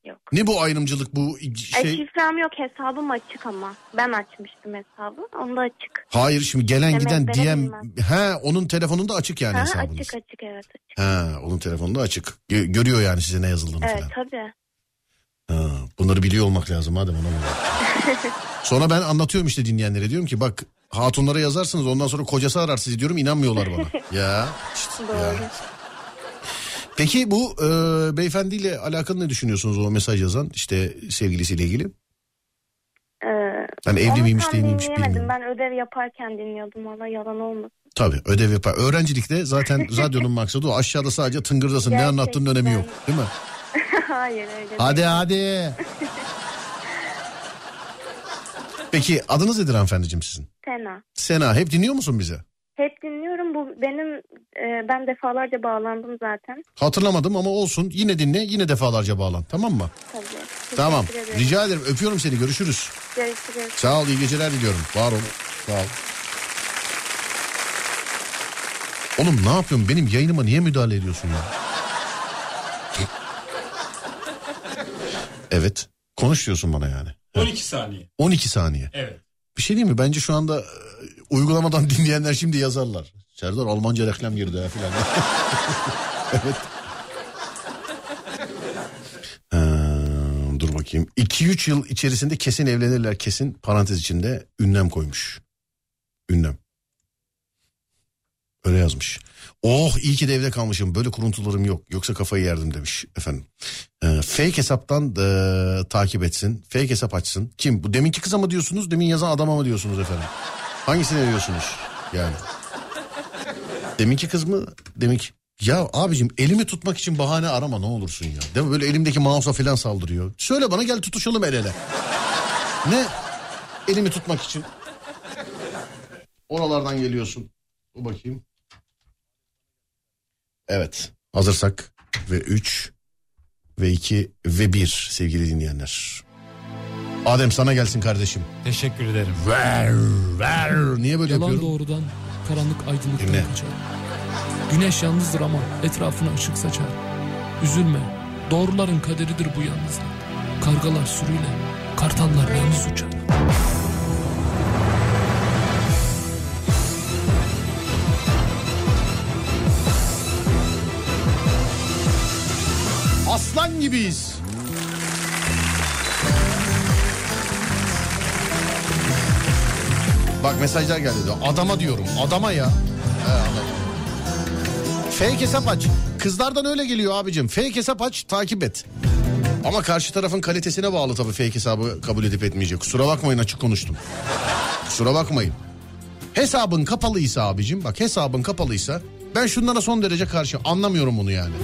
S9: Yok.
S2: Ne bu ayrımcılık bu şey?
S9: E, şifrem yok hesabım açık ama. Ben açmıştım hesabı. Onda açık.
S2: Hayır şimdi gelen giden
S9: Demek
S2: DM.
S9: verebilmem.
S2: He onun telefonunda açık yani
S9: Ha,
S2: hesabınız.
S9: açık açık evet açık.
S2: Ha, onun telefonunda açık. Gö- görüyor yani size ne yazıldığını
S9: Evet
S2: falan.
S9: tabii.
S2: Ha, bunları biliyor olmak lazım madem ona göre. sonra ben anlatıyorum işte dinleyenlere diyorum ki bak hatunlara yazarsınız ondan sonra kocası arar sizi diyorum inanmıyorlar bana. ya. işte, ya. Peki bu e, beyefendiyle alakalı ne düşünüyorsunuz o mesaj yazan işte sevgilisiyle ilgili?
S9: Ee,
S2: Yani Hani evli
S9: onu
S2: miymiş
S9: tam
S2: değil miymiş
S9: dinleyemedim.
S2: bilmiyorum.
S9: Ben ödev yaparken dinliyordum valla yalan olmasın.
S2: Tabii ödev yapar. Öğrencilikte zaten radyonun maksadı o aşağıda sadece tıngırdasın ne
S9: Gerçekten.
S2: anlattığının önemi yok değil mi?
S9: Hayır öyle değil.
S2: Hadi hadi. Peki adınız nedir hanımefendiciğim sizin?
S9: Sena.
S2: Sena hep dinliyor musun bizi?
S9: Hep dinliyorum bu benim e, ben defalarca bağlandım zaten.
S2: Hatırlamadım ama olsun yine dinle yine defalarca bağlan tamam mı?
S9: Tabii. Teşekkür
S2: Tamam
S9: ederim.
S2: rica ederim öpüyorum seni görüşürüz.
S9: Görüşürüz.
S2: Sağ ol iyi geceler diliyorum var ol. Sağ ol. Oğlum ne yapıyorsun benim yayınıma niye müdahale ediyorsun ya? evet konuş diyorsun bana yani.
S6: 12 saniye.
S2: 12 saniye.
S6: Evet.
S2: Bir şey değil mi? Bence şu anda e, uygulamadan dinleyenler şimdi yazarlar. Serdar Almanca reklam girdi ha filan. evet. Ee, dur bakayım. 2-3 yıl içerisinde kesin evlenirler kesin parantez içinde ünlem koymuş. Ünlem. Öyle yazmış. Oh iyi ki de evde kalmışım. Böyle kuruntularım yok. Yoksa kafayı yerdim demiş efendim. Ee, fake hesaptan e, takip etsin. Fake hesap açsın. Kim? Bu deminki kıza mı diyorsunuz? Demin yazan adama mı diyorsunuz efendim? Hangisini diyorsunuz? Yani. Deminki kız mı? Deminki. Ya abicim elimi tutmak için bahane arama ne olursun ya. Değil mi? Böyle elimdeki mouse'a falan saldırıyor. Söyle bana gel tutuşalım el ele. ne? Elimi tutmak için. Oralardan geliyorsun. Dur bakayım. Evet. Hazırsak ve 3 ve 2 ve 1 sevgili dinleyenler. Adem sana gelsin kardeşim.
S3: Teşekkür ederim.
S2: Ver, ver. Niye böyle
S10: Yalan
S2: yapıyorum?
S10: doğrudan, karanlık aydınlıktan
S2: Dinle.
S10: kaçar. Güneş yalnızdır ama etrafına ışık saçar. Üzülme, doğruların kaderidir bu yalnızlık. Kargalar sürüyle, kartallar yalnız uçar.
S2: Adam gibiyiz. Bak mesajlar geldi diyor. Adama diyorum. Adama ya. He, adam. Fake hesap aç. Kızlardan öyle geliyor abicim. Fake hesap aç takip et. Ama karşı tarafın kalitesine bağlı tabii fake hesabı kabul edip etmeyecek. Kusura bakmayın açık konuştum. Kusura bakmayın. Hesabın kapalıysa abicim bak hesabın kapalıysa ben şunlara son derece karşı anlamıyorum bunu yani.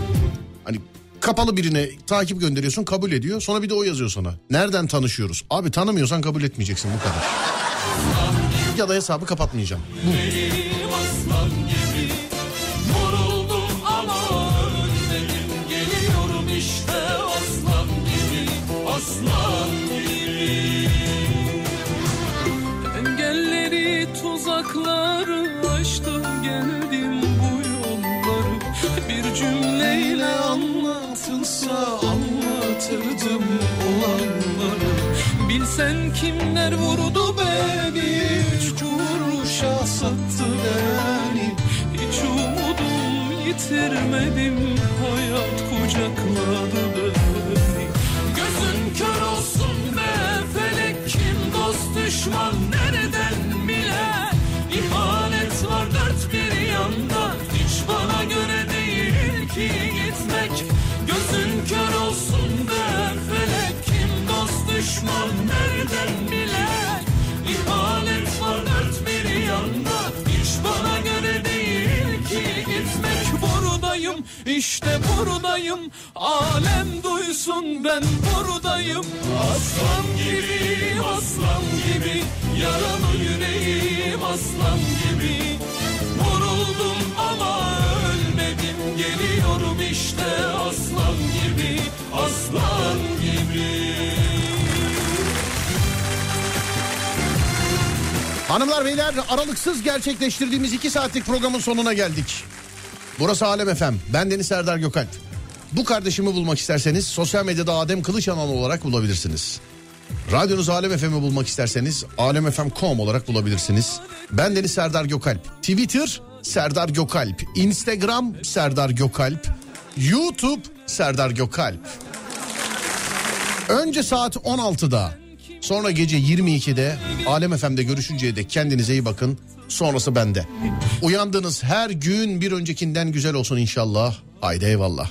S2: Hani kapalı birine takip gönderiyorsun kabul ediyor sonra bir de o yazıyor sana. Nereden tanışıyoruz? Abi tanımıyorsan kabul etmeyeceksin bu kadar. Ya da hesabı kapatmayacağım.
S1: Benim aslan gibi Vuruldum ama ölmedim Geliyorum işte aslan gibi Aslan gibi Engelleri tuzakları aştım geldim bu yolları Bir cümleyle anlatılsa anlatırdım olanları Bilsen kimler vurdu beni Üç kuruşa sattı beni Hiç umudum yitirmedim Hayat kucakladı beni Gözün kör olsun be felek Kim dost düşman nereden bile İhanet var dört bir yanda Hiç bana göre değil ki gitmek Gözün kör olsun be felek Kim dost düşman nereden bile İhanet var dört bir yanda Hiç bana göre değil ki gitmek Buradayım işte buradayım Alem duysun ben buradayım Aslan gibi aslan gibi Yaralı yüreğim aslan gibi Vuruldum ama ölmedim Geliyorum işte aslan gibi Aslan gibi
S2: Hanımlar beyler aralıksız gerçekleştirdiğimiz iki saatlik programın sonuna geldik. Burası Alem FM. Ben Deniz Serdar Gökalp. Bu kardeşimi bulmak isterseniz sosyal medyada Adem Kılıç Anan olarak bulabilirsiniz. Radyonuz Alem FM'i bulmak isterseniz alemfm.com olarak bulabilirsiniz. Ben Deniz Serdar Gökalp. Twitter Serdar Gökalp. Instagram Serdar Gökalp. YouTube Serdar Gökalp. Önce saat 16'da sonra gece 22'de Alem FM'de görüşünceye dek kendinize iyi bakın. Sonrası bende. Uyandığınız her gün bir öncekinden güzel olsun inşallah. Haydi eyvallah.